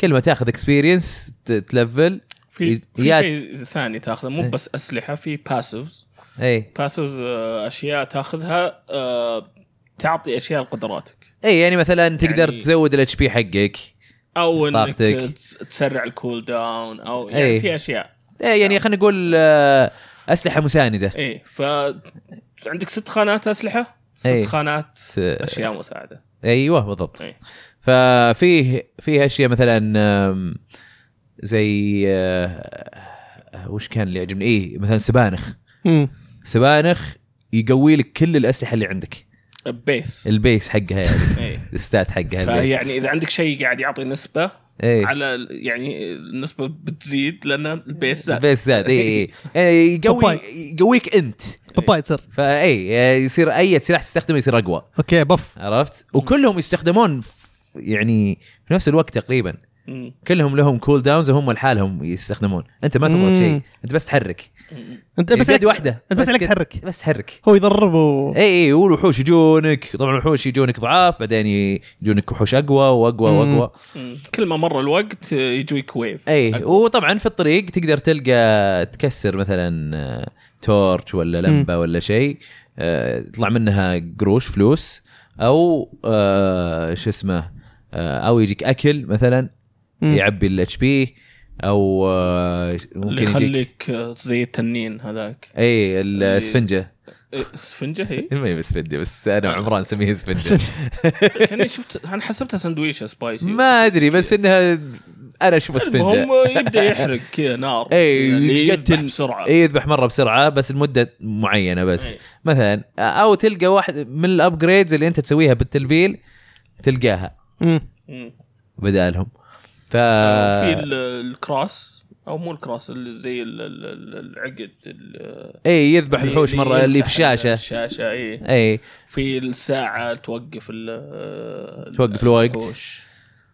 S1: كل ما تاخذ اكسبيرينس تلفل
S3: في, في
S1: إيه. يا-
S3: شيء ثاني تاخذه مو
S1: إيه.
S3: بس اسلحه في باسفز
S1: اي
S3: باسفز اشياء تاخذها آه، تعطي اشياء لقدراتك
S1: اي يعني مثلا تقدر تزود الاتش بي حقك
S3: او انك
S1: طاقتك.
S3: تس- تسرع الكول داون او
S1: إيه.
S3: يعني في اشياء
S1: اي يعني خلينا نقول آه، اسلحه مسانده
S3: ايه ف عندك ست خانات اسلحه
S1: إيه.
S3: ست خانات
S1: آه،
S3: اشياء مساعده
S1: ايوه بالضبط
S3: إيه.
S1: ففيه فيه اشياء مثلا آم، زي آه، وش كان اللي يعجبني ايه مثلا سبانخ
S2: مم.
S1: سبانخ يقوي لك كل الاسلحه اللي عندك
S3: بيس
S1: البيس حقها يعني
S3: ايه
S1: الستات حقها البيس.
S3: فيعني اذا يعني عندك شيء قاعد يعطي نسبه
S1: ايه
S3: على ال- يعني النسبه بتزيد لان البيس زاد
S1: البيس إيه، زاد اي اي يقوي
S2: باباي.
S1: يقويك انت
S2: باباي تصير
S1: فاي إيه، يصير اي سلاح تستخدمه يصير اقوى
S2: اوكي بف
S1: عرفت وكلهم يستخدمون ف- يعني في نفس الوقت تقريبا
S3: مم.
S1: كلهم لهم كول داونز وهم لحالهم يستخدمون انت ما تضغط
S2: مم.
S1: شيء انت بس تحرك
S3: مم.
S2: انت بس
S1: يد
S2: عليك-
S1: واحده
S2: انت بس عليك
S1: كده-
S2: تحرك
S1: بس تحرك
S2: هو يضرب و
S1: اي اي والوحوش يجونك طبعا الوحوش يجونك ضعاف بعدين ي- يجونك وحوش اقوى واقوى
S2: مم.
S1: واقوى
S3: مم. كل ما مر الوقت يجيك ويف
S1: اي وطبعا إيه، في الطريق تقدر تلقى تكسر مثلا آه، تورش ولا لمبه ولا شيء آه، يطلع منها قروش فلوس او آه، شو اسمه آه، او يجيك اكل مثلا
S2: مم.
S1: يعبي الاتش بي او آه،
S3: اللي
S1: ممكن يجيك إيه،
S3: يخليك زي التنين هذاك
S1: اي الاسفنجه
S3: إيه، اسفنجه هي
S1: المهم اسفنجه بس
S3: آه.
S1: انا وعمران نسميه اسفنجه
S3: كاني شفت انا حسبتها سندويشه سبايسي
S1: ما ادري بس انها انا اشوف اسفنجه
S3: المهم يبدا يحرق كذا نار
S1: اي
S3: يعني يذبح
S1: إيه، يقتل
S3: بسرعه
S1: اي إيه، يذبح مره بسرعه بس لمده معينه بس
S3: إي.
S1: مثلا او تلقى واحد من الابجريدز اللي انت تسويها بالتلفيل تلقاها
S2: مم.
S3: مم.
S1: بدالهم ف آه.
S3: في ال- الكراس او مو الكراس اللي زي ال- ال- ال- العقد ال-
S1: اي يذبح
S3: اللي-
S1: الوحوش مره اللي في
S3: يمسح
S1: الشاشه
S3: الشاشه اي
S1: اي
S3: في الساعه توقف ال
S1: توقف الوقت.
S3: الوحوش.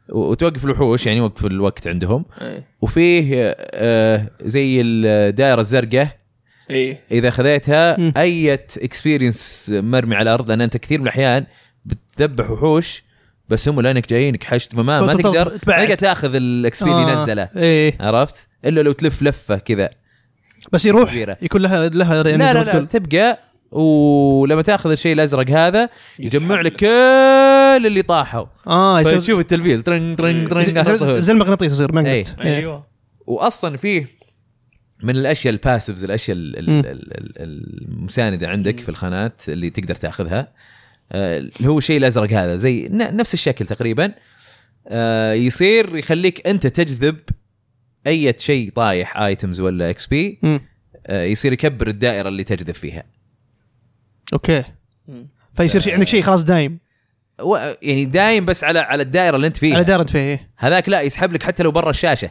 S1: وتوقف الوحوش يعني وقف الوقت عندهم
S3: اي
S1: وفيه آه، زي الدائره الزرقاء
S3: اي
S1: اذا خذيتها
S2: مم.
S1: اي اكسبيرينس مرمي على الارض لان انت كثير من الاحيان بتذبح وحوش بس هم لانك جايينك حشد فما ما
S2: فتطل-
S1: تقدر ما
S2: تبعد.
S1: تقدر تاخذ الاكس بي اللي
S2: آه،
S1: نزله
S2: ايه
S1: عرفت؟ الا لو تلف لفه كذا
S2: بس يروح
S1: كبيرة.
S2: يكون لها لها يعني
S1: لا
S2: زي
S1: لا
S2: ما
S1: لا
S2: تقول.
S1: تبقى ولما تاخذ الشيء الازرق هذا يجمع
S3: يسحب
S1: لك كل اللي طاحوا
S2: اه يصير-
S1: فتشوف التلفيل ترنج ترنج ترنج
S2: إيه، زي-
S1: على
S2: زي-
S1: طول.
S2: زي المغناطيس يصير
S1: إيه.
S2: ماجنت إيه.
S3: ايوه
S1: واصلا فيه من الاشياء الباسفز الاشياء ال- ال-
S2: مم.
S1: ال- ال- المسانده عندك في الخانات اللي تقدر تاخذها آه، اللي هو الشيء الازرق هذا زي ن- نفس الشكل تقريبا آه، يصير يخليك انت تجذب اي شيء طايح ايتمز ولا اكس بي
S2: مم.
S1: يصير يكبر الدائره اللي تجذب فيها
S2: اوكي
S3: مم.
S2: فيصير شيء عندك شيء خلاص دايم
S1: و- يعني دايم بس على على الدائره اللي انت
S2: على
S1: فيها
S2: دار انت فيه إيه.
S1: هذاك لا يسحب لك حتى لو برا الشاشه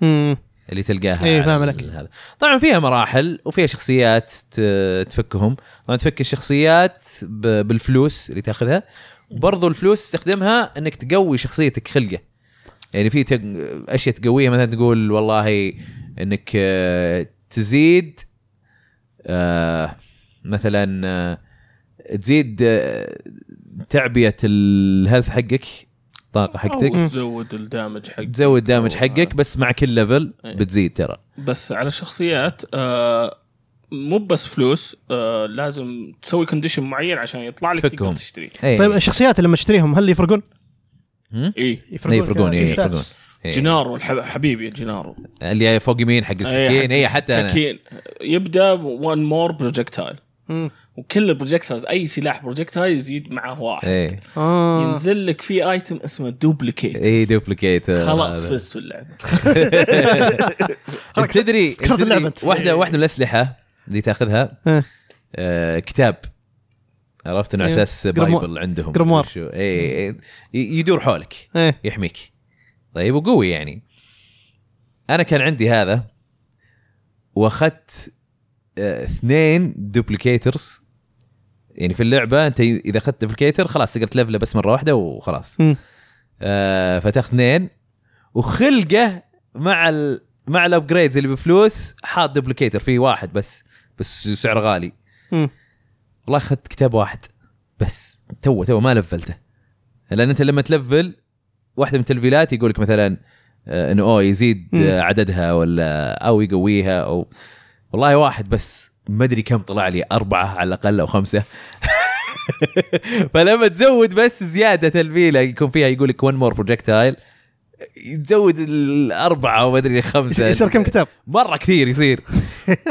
S2: مم.
S1: اللي تلقاها
S2: إيه،
S1: على
S2: فاهم
S1: ال-
S2: عليك.
S1: هذا طبعا فيها مراحل وفيها شخصيات ت- تفكهم طبعا تفك الشخصيات ب- بالفلوس اللي تاخذها وبرضو الفلوس تستخدمها انك تقوي شخصيتك خلقه يعني في تق... اشياء تقويها مثلا تقول والله انك آه، تزيد آه، مثلا آه، تزيد آه، تعبيه الهيلث حقك طاقه
S3: أو
S1: حقتك
S3: تزود الدامج حقك
S1: تزود دامج
S3: أو-
S1: حقك بس مع كل ليفل
S3: إيه.
S1: بتزيد ترى
S3: بس على الشخصيات آه مو بس فلوس آه لازم تسوي كونديشن معين عشان يطلع لك
S1: تفكهم.
S3: تقدر تشتريه
S1: إيه.
S2: طيب الشخصيات لما تشتريهم هل يفرقون؟
S1: هم؟
S3: اي
S1: إيه، يفرقون
S2: كذا
S1: إيه،
S2: بالستات.
S1: يفرقون إيه.
S3: جنارو الحب- حبيبي جنارو إيه،
S1: اللي فوق يمين إيه، حق السكين اي حتى انا
S3: سكين يبدا وان مور بروجكتايل
S2: مم.
S3: وكل البروجكتايلز اي سلاح بروجكتايل يزيد معه واحد
S1: اي
S2: اه
S3: ينزل لك في ايتم اسمه دوبليكيت
S1: اي إيه، دوبليكيت
S3: خلاص فزت في اللعبه
S1: خلاص تدري
S2: كسرت
S1: تدري
S2: اللعبة أنت.
S1: واحده واحده من الاسلحه اللي تاخذها
S2: إيه.
S1: آه، كتاب عرفت انه على
S2: إيه.
S1: اساس
S2: جرموار.
S1: بايبل عندهم
S2: جرموار.
S1: شو- اي إي، يدور حولك
S2: ايه
S1: يحميك طيب وقوي يعني انا كان عندي هذا واخذت آه، اثنين دوبليكيترز يعني في اللعبه انت اذا اخذت ديفلكيتر خلاص تقدر تلفله بس مره واحده وخلاص
S2: مم.
S1: آه فتاخذ اثنين وخلقه مع ال مع الابجريدز اللي بفلوس حاط ديبليكيتر في واحد بس بس سعر غالي
S2: مم.
S1: والله اخذت كتاب واحد بس تو تو ما لفلته لان انت لما تلفل واحده من التلفيلات يقول لك مثلا آه، انه اوه يزيد
S2: مم.
S1: آه، عددها ولا او يقويها او والله واحد بس ما ادري كم طلع لي اربعه على الاقل او خمسه فلما تزود بس زياده تلفيله يكون فيها يقول لك ون مور بروجكتايل تزود الاربعه وما ادري خمسه
S2: يصير كم كتاب؟
S1: مره كثير يصير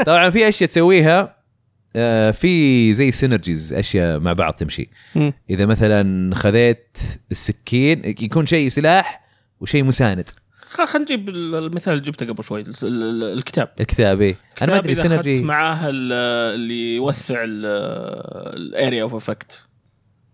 S1: طبعا في اشياء تسويها آه، في زي سينرجيز اشياء مع بعض تمشي
S2: مم.
S1: اذا مثلا خذيت السكين يكون شيء سلاح وشيء مساند
S3: خل خلينا نجيب ال- المثال اللي جبته قبل شوي الس- ال- ال- الكتاب
S1: الكتاب ايه انا ما ادري
S3: الكتاب إذا أخذت
S1: سينرجي
S3: معاه ال- اللي يوسع الاريا اوف افكت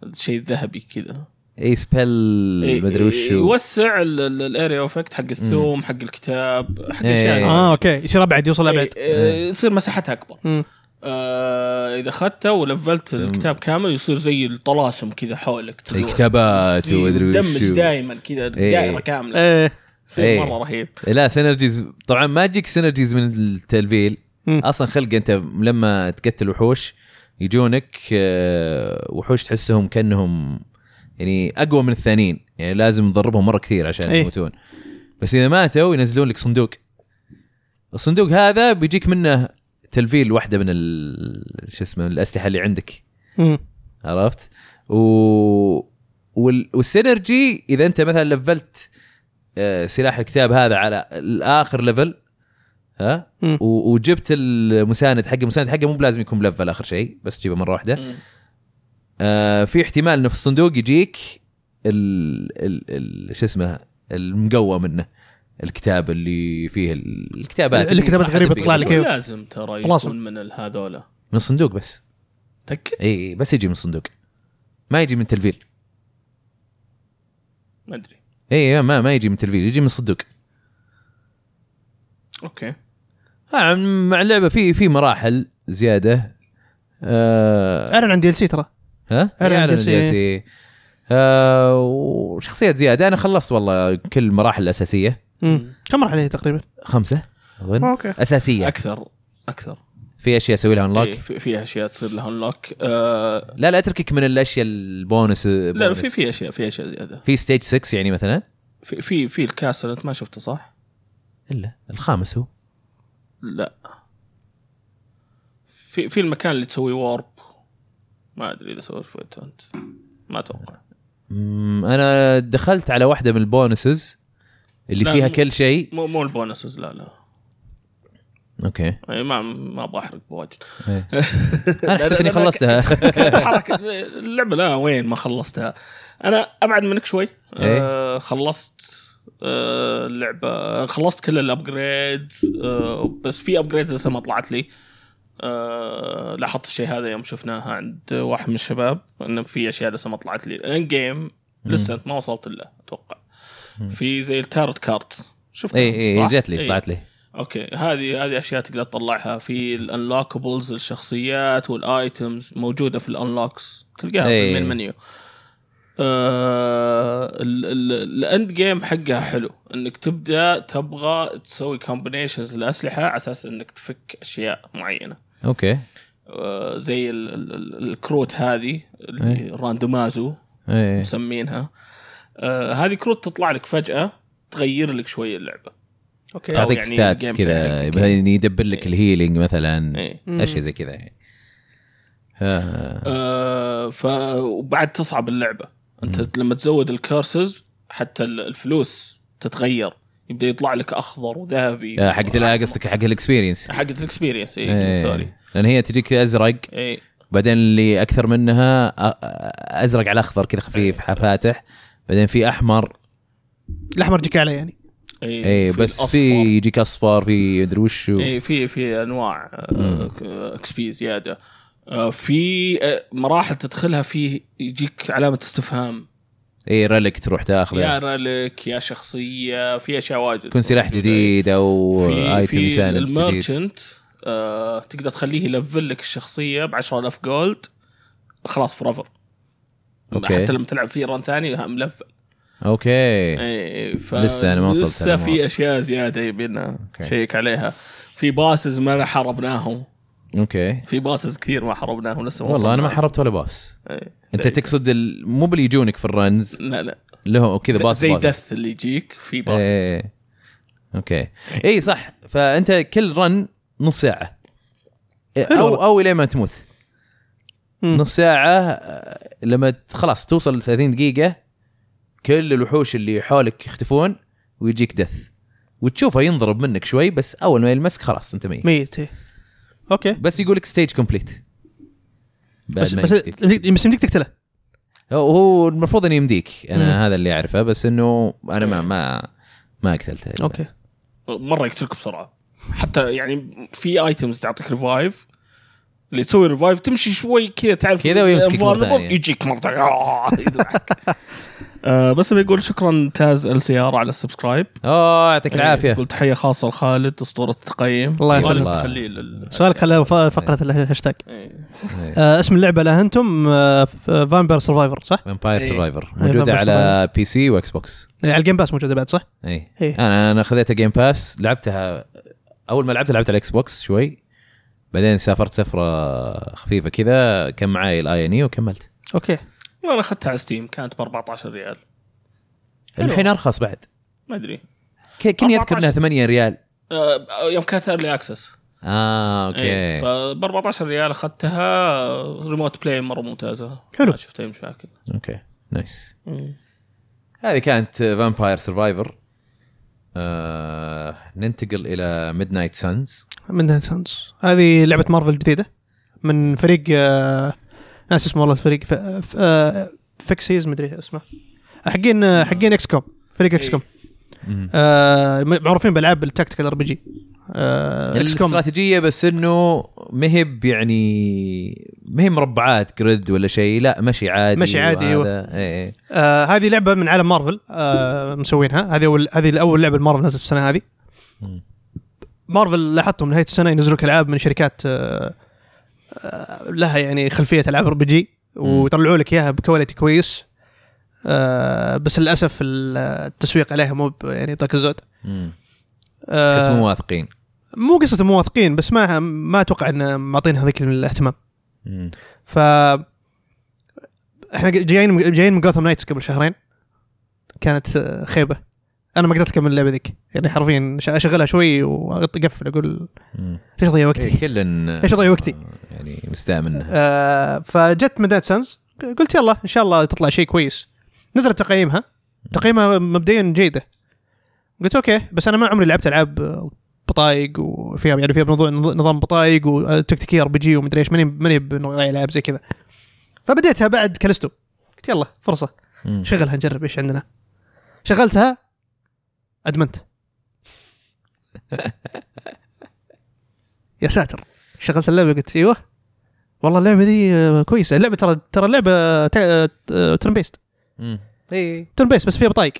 S3: الشيء الذهبي كذا
S1: اي
S3: إيه،
S1: سبل إيه، ما ادري وش هو.
S3: يوسع الاريا اوف افكت حق الثوم حق الكتاب حق
S1: إيه.
S3: الاشياء
S2: اه اوكي يصير ابعد يوصل ابعد
S3: إيه، يصير مساحتها اكبر
S2: مم.
S3: آه اذا اخذته ولفلت الكتاب كامل يصير زي الطلاسم كذا حولك تدور.
S1: الكتابات وما ادري وش
S3: دمج
S1: هو.
S3: دائما كذا
S1: إيه.
S3: دائره كامله
S2: ايه
S1: إيه.
S3: يصير مره رهيب
S1: لا سينرجيز طبعا ما تجيك سينرجيز من التلفيل
S2: مم.
S1: اصلا خلق انت لما تقتل وحوش يجونك آه، وحوش تحسهم كانهم يعني اقوى من الثانيين يعني لازم تضربهم مره كثير عشان
S2: إيه.
S1: يموتون بس اذا ماتوا ينزلون لك صندوق الصندوق هذا بيجيك منه تلفيل واحده من ال- شو اسمه من الاسلحه اللي عندك
S2: مم.
S1: عرفت و... وال... والسينرجي اذا انت مثلا لفلت آه، سلاح الكتاب هذا على الاخر ليفل ها
S2: مم.
S1: و... وجبت المساند حقه المساند حقه مو بلازم يكون ملفل اخر شيء بس تجيبه مره واحده
S3: مم.
S1: آه في احتمال انه في الصندوق يجيك ال... ال... ال... شو اسمه المقوى منه الكتاب اللي فيه ال- الكتابات اللي
S2: الكتابات
S1: راح
S2: غريبة
S1: تدبق
S2: تطلع لك.
S1: شوي.
S2: كيف؟
S3: مو لازم ترى
S2: طلاسم.
S3: يكون من ال- هذولا
S1: من الصندوق بس
S3: تك
S1: اي إي، بس يجي من الصندوق ما يجي من تلفيل
S3: ما ادري
S1: اي ما ما يجي من تلفيل يجي من الصندوق
S3: اوكي
S1: آه، مع اللعبه في في مراحل زياده آه
S2: اعلن عن دي ال سي ترى
S1: ها
S2: أعلن
S1: يعلن
S2: DLC.
S1: DLC. آه وشخصيات زياده انا خلصت والله كل المراحل الاساسيه
S2: مم. كم مرحله هي تقريبا؟
S1: خمسه اظن
S2: اوكي
S1: اساسيه
S3: اكثر اكثر
S1: في اشياء اسوي لها انلوك
S3: إيه في في اشياء تصير لها انلوك آه
S1: لا لا اتركك من الاشياء البونس
S3: لا لا، في في اشياء في اشياء زياده
S1: في ستيج 6 يعني مثلا
S3: في في في الكاس اللي انت ما شفته صح؟
S1: الا الخامس هو
S3: لا في في المكان اللي تسوي وارب ما ادري اذا سويت فيته انت ما اتوقع
S1: مم، انا دخلت على واحده من البونسز اللي
S3: لا،
S1: فيها
S3: مو-
S1: كل شيء
S3: مو مو البونسز لا لا
S1: اوكي
S3: يعني ما ما ابغى احرق بواجد
S1: إيه. انا حسيت اني خلصتها
S3: حركه اللعبه لا وين ما خلصتها انا ابعد منك شوي
S1: إيه.
S3: آه خلصت آه اللعبه آه، خلصت كل الابجريدز آه بس في ابجريدز لسه ما طلعت لي آه لاحظت الشيء هذا يوم شفناها عند واحد من الشباب انه في اشياء لسه ما طلعت لي الان جيم لسه ما وصلت له اتوقع في زي التارت كارت إيه. شفت
S1: اي اي جت إيه، لي طلعت لي
S3: اوكي هذه هذه اشياء تقدر تطلعها في الانلوكبلز الشخصيات والايتمز موجوده في الانلوكس تلقاها
S1: إيه.
S3: في المين منيو آه ال- ال- الاند جيم حقها حلو انك تبدا تبغى تسوي كومبينيشنز للاسلحه على اساس انك تفك اشياء معينه
S1: اوكي
S3: آه زي ال- ال- ال- الكروت هذه اللي راندومازو
S1: ايه
S3: مسمينها آه هذه كروت تطلع لك فجاه تغير لك شويه اللعبه
S2: اوكي
S3: طيب.
S1: تعطيك
S3: يعني
S1: ستاتس
S3: الجيم
S1: كذا
S3: بلاي.
S1: مثلا يدبر لك
S3: إيه.
S1: الهيلينج مثلا
S3: إيه.
S1: اشياء زي كذا يعني. آه.
S3: آه، ف وبعد تصعب اللعبه انت مم. لما تزود الكورسز حتى ال- الفلوس تتغير يبدا يطلع لك اخضر وذهبي
S1: آه، حقت لا قصدك حق الاكسبيرينس
S3: حقت الاكسبيرينس اي
S1: إيه.
S3: سوري إيه،
S1: لان هي تجيك ازرق
S3: اي
S1: بعدين اللي اكثر منها أ- أ- ازرق على اخضر
S3: إيه.
S1: كذا خفيف فاتح بعدين في احمر
S2: الاحمر جيك عليه يعني
S3: إيه،
S1: اي إيه، بس في يجيك اصفر في ادري وش هو.
S3: اي إيه، في في آه، انواع اكس بي زياده آه، في آه، مراحل تدخلها فيه يجيك علامه استفهام
S1: اي ريلك إيه، تروح
S3: يا
S1: تاخذه
S3: رلك يا شخصيه في اشياء واجد إيه.
S1: يكون سلاح جديد او
S3: في
S1: ايتم
S3: في
S1: يساند جديد
S3: الميرشنت آه تقدر تخليه يلفل لك الشخصيه ب 10000 جولد خلاص فور ايفر
S1: أوكي.
S3: حتى لما تلعب فيه ران ثاني ملفل
S1: اوكي
S3: ايه ف...
S1: لسه أنا ما وصلت
S3: لسه
S1: أنا مرة.
S3: في اشياء زياده يبينا
S1: أوكي.
S3: نشيك عليها في باسز ما حاربناهم
S1: اوكي
S3: في باسز كثير ما حاربناهم لسه
S1: والله انا ما
S3: وصلنا.
S1: حربت ولا باس
S3: إيه.
S1: انت تقصد ال- مو باللي يجونك في الرنز
S3: لا لا
S1: لهم كذا
S3: زي-
S1: باس
S3: زي
S1: باس.
S3: دث اللي يجيك في باسز
S1: إيه. اوكي اي صح فانت كل رن نص ساعه إيه،
S2: حلو.
S1: او او الى ما تموت
S2: مم.
S1: نص ساعه آه، لما ت- خلاص توصل 30 دقيقه كل الوحوش اللي حولك يختفون ويجيك دث وتشوفه ينضرب منك شوي بس اول ما يلمسك خلاص انت ميت
S2: ميت إيه. اوكي
S1: بس يقول لك ستيج كومبليت
S2: بس بس بس يمديك تقتله
S1: إيه. هو- هو المفروض انه يمديك انا
S2: مم.
S1: هذا اللي اعرفه بس انه انا
S3: إيه.
S1: ما ما ما قتلته إلا.
S2: اوكي
S3: مره يقتلك بسرعه حتى يعني في ايتمز تعطيك ريفايف اللي تسوي ريفايف تمشي شوي كذا تعرف
S1: كذا ويمسكك مرة
S3: vulnerable،
S1: ثانية.
S3: يجيك مره ثانيه آه، يذبحك. آه بس بيقول شكرا تاز ال سي ار على السبسكرايب يعني
S1: اوه
S3: إيه،
S1: يعطيك العافيه
S3: قلت تحيه خاصه لخالد اسطوره التقييم يعني
S2: الله
S1: يخليك.
S3: خالد
S1: الله.
S3: خليه لل
S2: سؤالك خلاه ف- فقره الهاشتاج
S3: إيه.
S1: إيه.
S2: آه اسم اللعبه لها انتم آه فامبير سرفايفر صح؟
S1: فامباير
S3: إيه.
S1: سرفايفر موجوده
S2: Vampire
S1: على بي سي واكس بوكس
S2: يعني على الجيم باس موجوده بعد صح؟
S1: اي
S2: إيه.
S1: انا انا خذيتها جيم باس لعبتها اول ما لعبت لعبت على الاكس بوكس شوي بعدين سافرت سفره خفيفه كذا كان معي الاي ان اي E وكملت
S2: اوكي
S3: انا اخذتها على ستيم كانت ب 14 ريال حلو.
S1: الحين ارخص بعد
S3: ما ادري
S1: ك- كني اذكر انها
S3: 14.
S1: 8 ريال
S3: آه يوم كانت ايرلي اكسس
S1: اه
S3: إيه،
S1: اوكي
S3: فب 14 ريال آه، اخذتها ريموت بلاي مره ممتازه
S2: حلو.
S3: ما شفت اي مشاكل
S1: اوكي نايس هذه كانت فامباير سرفايفر آه، ننتقل الى ميد نايت سانز
S2: من سانس هذه لعبه مارفل جديده من فريق آه ناس اسمه والله الفريق ف... ف... آه فيكسيز مدري اسمه حقين آه، حقين اكس كوم فريق اكس
S3: إيه.
S2: كوم آه معروفين بالعاب التكتيكال ار بي جي آه، اكس كوم
S1: الاستراتيجيه بس انه مهب يعني مهم مربعات جريد ولا شيء لا مشي عادي
S2: مشي عادي، أيوة.
S1: وهذا- إيه، اي اي
S2: آه هذه لعبه من عالم مارفل آه مسوينها هذه اول هذه اول لعبه مارفل نزلت السنه هذه
S1: مم.
S2: مارفل لاحظتهم نهايه السنه ينزلوا لك العاب من شركات آه آه لها يعني خلفيه العاب ار بي جي ويطلعوا لك اياها بكواليتي كويس آه بس للاسف التسويق عليها مو ب- يعني طاق الزود
S1: مم.
S2: آه،
S1: تحس مو واثقين
S2: مو قصه مواثقين بس ما ما اتوقع ان معطينها ذيك الاهتمام
S1: مم.
S2: ف احنا جايين جايين من جوثام نايتس قبل شهرين كانت آه، خيبه انا ما قدرت اكمل اللعبه ذيك يعني حرفيا ش- اشغلها شوي واقفل اقول
S1: مم.
S2: ليش اضيع
S1: إيه،
S2: وقتي؟
S1: كل
S2: ليش أضيع وقتي؟
S1: يعني مستاء منها
S2: آه فجت من داد سانز قلت يلا ان شاء الله تطلع شيء كويس نزلت تقييمها تقييمها مبدئيا جيده قلت اوكي بس انا ما عمري لعبت العاب آه، بطايق وفيها يعني فيها نظ- نظ- نظام بطايق وتكتيكيه ار بي جي ومدري ايش ماني ماني بنوعي العاب زي كذا فبديتها بعد كالستو قلت يلا فرصه
S1: مم.
S2: شغلها نجرب ايش عندنا شغلتها ادمنت يا ساتر شغلت اللعبه قلت ايوه والله اللعبه دي آه، كويسه اللعبه ترى ترى آه، اللعبه ترن بيست
S1: مم. اي
S2: ترن بيست بس فيها بطايق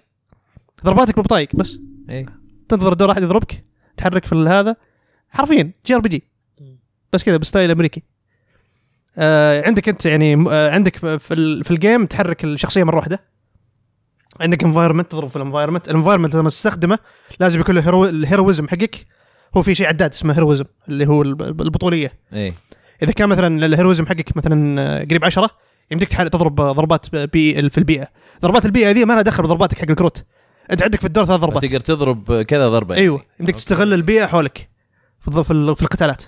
S2: ضرباتك ببطايق بس
S1: اي
S2: تنتظر دور احد يضربك تحرك في هذا حرفيا جي ار بي جي بس كذا بستايل امريكي آه عندك انت يعني م- آه عندك في, ال- في الجيم تحرك الشخصيه مره واحده عندك انفايرمنت تضرب في الانفايرمنت الانفايرمنت لما تستخدمه لازم يكون له هيرو- الهيرويزم حقك هو في شيء عداد اسمه هيرويزم اللي هو الب- البطوليه
S1: اي
S2: اذا كان مثلا الهيرويزم حقك مثلا آه، قريب عشرة يمديك تح- تضرب آه، ضربات بي في البيئه ضربات البيئه هذه ما لها دخل بضرباتك حق الكروت انت عندك في الدور ثلاث ضربات
S1: تقدر تضرب كذا ضربه يعني.
S2: ايوه يمديك تستغل البيئه حولك في في في القتالات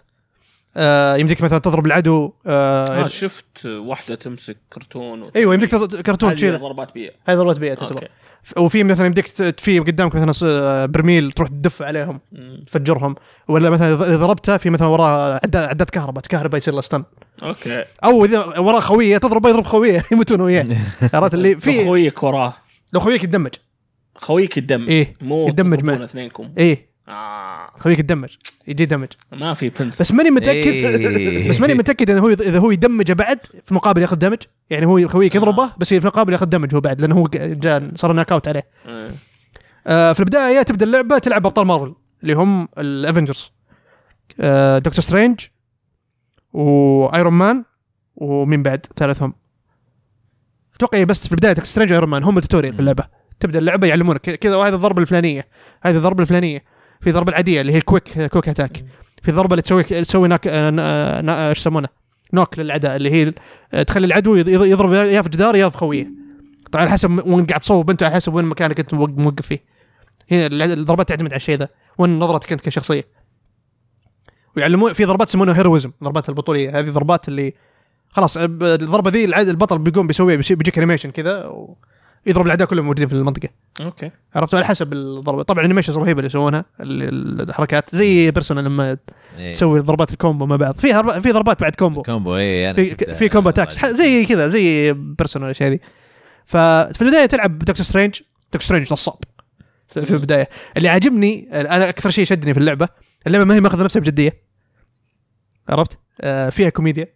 S2: آه يمديك مثلا تضرب العدو آه
S3: آه شفت واحده تمسك كرتون وت-
S2: ايوه يمديك تض- كرتون
S3: هذه
S2: تشيله
S3: ضربات بيئة
S2: هاي ضربات بيئه تعتبر
S3: اوكي
S2: ف- وفي مثلا يمديك ت- في قدامك مثلا ص- آه، برميل تروح تدفع عليهم
S3: مم.
S2: تفجرهم ولا مثلا اذا إذا ضربته في مثلا وراه عداد عداد كهرباء كهرباء يصير له stun.
S3: اوكي
S2: او اذا وراه خويه تضربه يضرب خويه يموتون وياه عرفت اللي
S3: في
S2: في
S3: خويك وراه
S2: لو خويك يتدمج
S3: خويك الدم
S2: إيه،
S3: مو
S2: يتدمج
S3: تضربون
S2: معه.
S3: اثنينكم
S2: ايه
S3: آه.
S2: خويك يتدمج يجي دمج
S3: ما في بنسل
S2: بس ماني متاكد
S1: إيه.
S2: بس ماني متاكد انه هو يض- اذا هو يدمجه بعد في مقابل ياخذ دمج يعني هو خويك يضربه بس في مقابل ياخذ دمج هو بعد لانه هو جاء صار ناك اوت عليه
S3: إيه.
S2: آه في البدايه تبدا اللعبه تلعب ابطال مارفل اللي هم آه، الافنجرز دكتور سترينج وايرون مان ومين بعد ثالثهم اتوقع هي بس في البدايه سترينج ايرون مان هم التوتوريال في اللعبه تبدا اللعبه يعلمونك كذا وهذه الضربه الفلانيه هذه الضربه الفلانيه في ضربه العاديه اللي هي الكويك كويك اتاك في الضربه اللي تسوي تسوي ناك آه، نا- آه، نا- آه، ايش يسمونه نوك للعداء اللي هي آه، تخلي العدو يض- يض- يضرب يا في جدار يا في خويه طبعا على حسب وين قاعد تصوب انت على حسب وين مكانك انت موق- موقف فيه هي الع- الضربات تعتمد على الشيء ذا وين نظرتك انت كشخصيه ويعلمون في ضربات يسمونها هيرويزم ضربات البطوليه هذه ضربات اللي خلاص ب- الضربه ذي العاد- البطل بيقوم بيسويها بيسي- بيجيك انيميشن كذا ويضرب الاعداء كلهم موجودين في المنطقه
S3: اوكي
S2: عرفت على حسب الضربه طبعا انيميشنز رهيبه اللي يسوونها ال- الحركات زي بيرسونا لما
S1: إيه.
S2: تسوي ضربات الكومبو مع بعض في هرب- في ضربات بعد كومبو
S1: كومبو إيه، اي انا
S2: في
S1: شفتها.
S2: في
S3: يعني،
S2: كومبو تاكس ح- زي كذا زي بيرسونال الاشياء ذي ففي البدايه تلعب دكتور سترينج دكتور سترينج نصاب في البدايه اللي عاجبني انا اكثر شيء شدني في اللعبه اللعبه ما هي ماخذه نفسها بجديه عرفت آه فيها كوميديا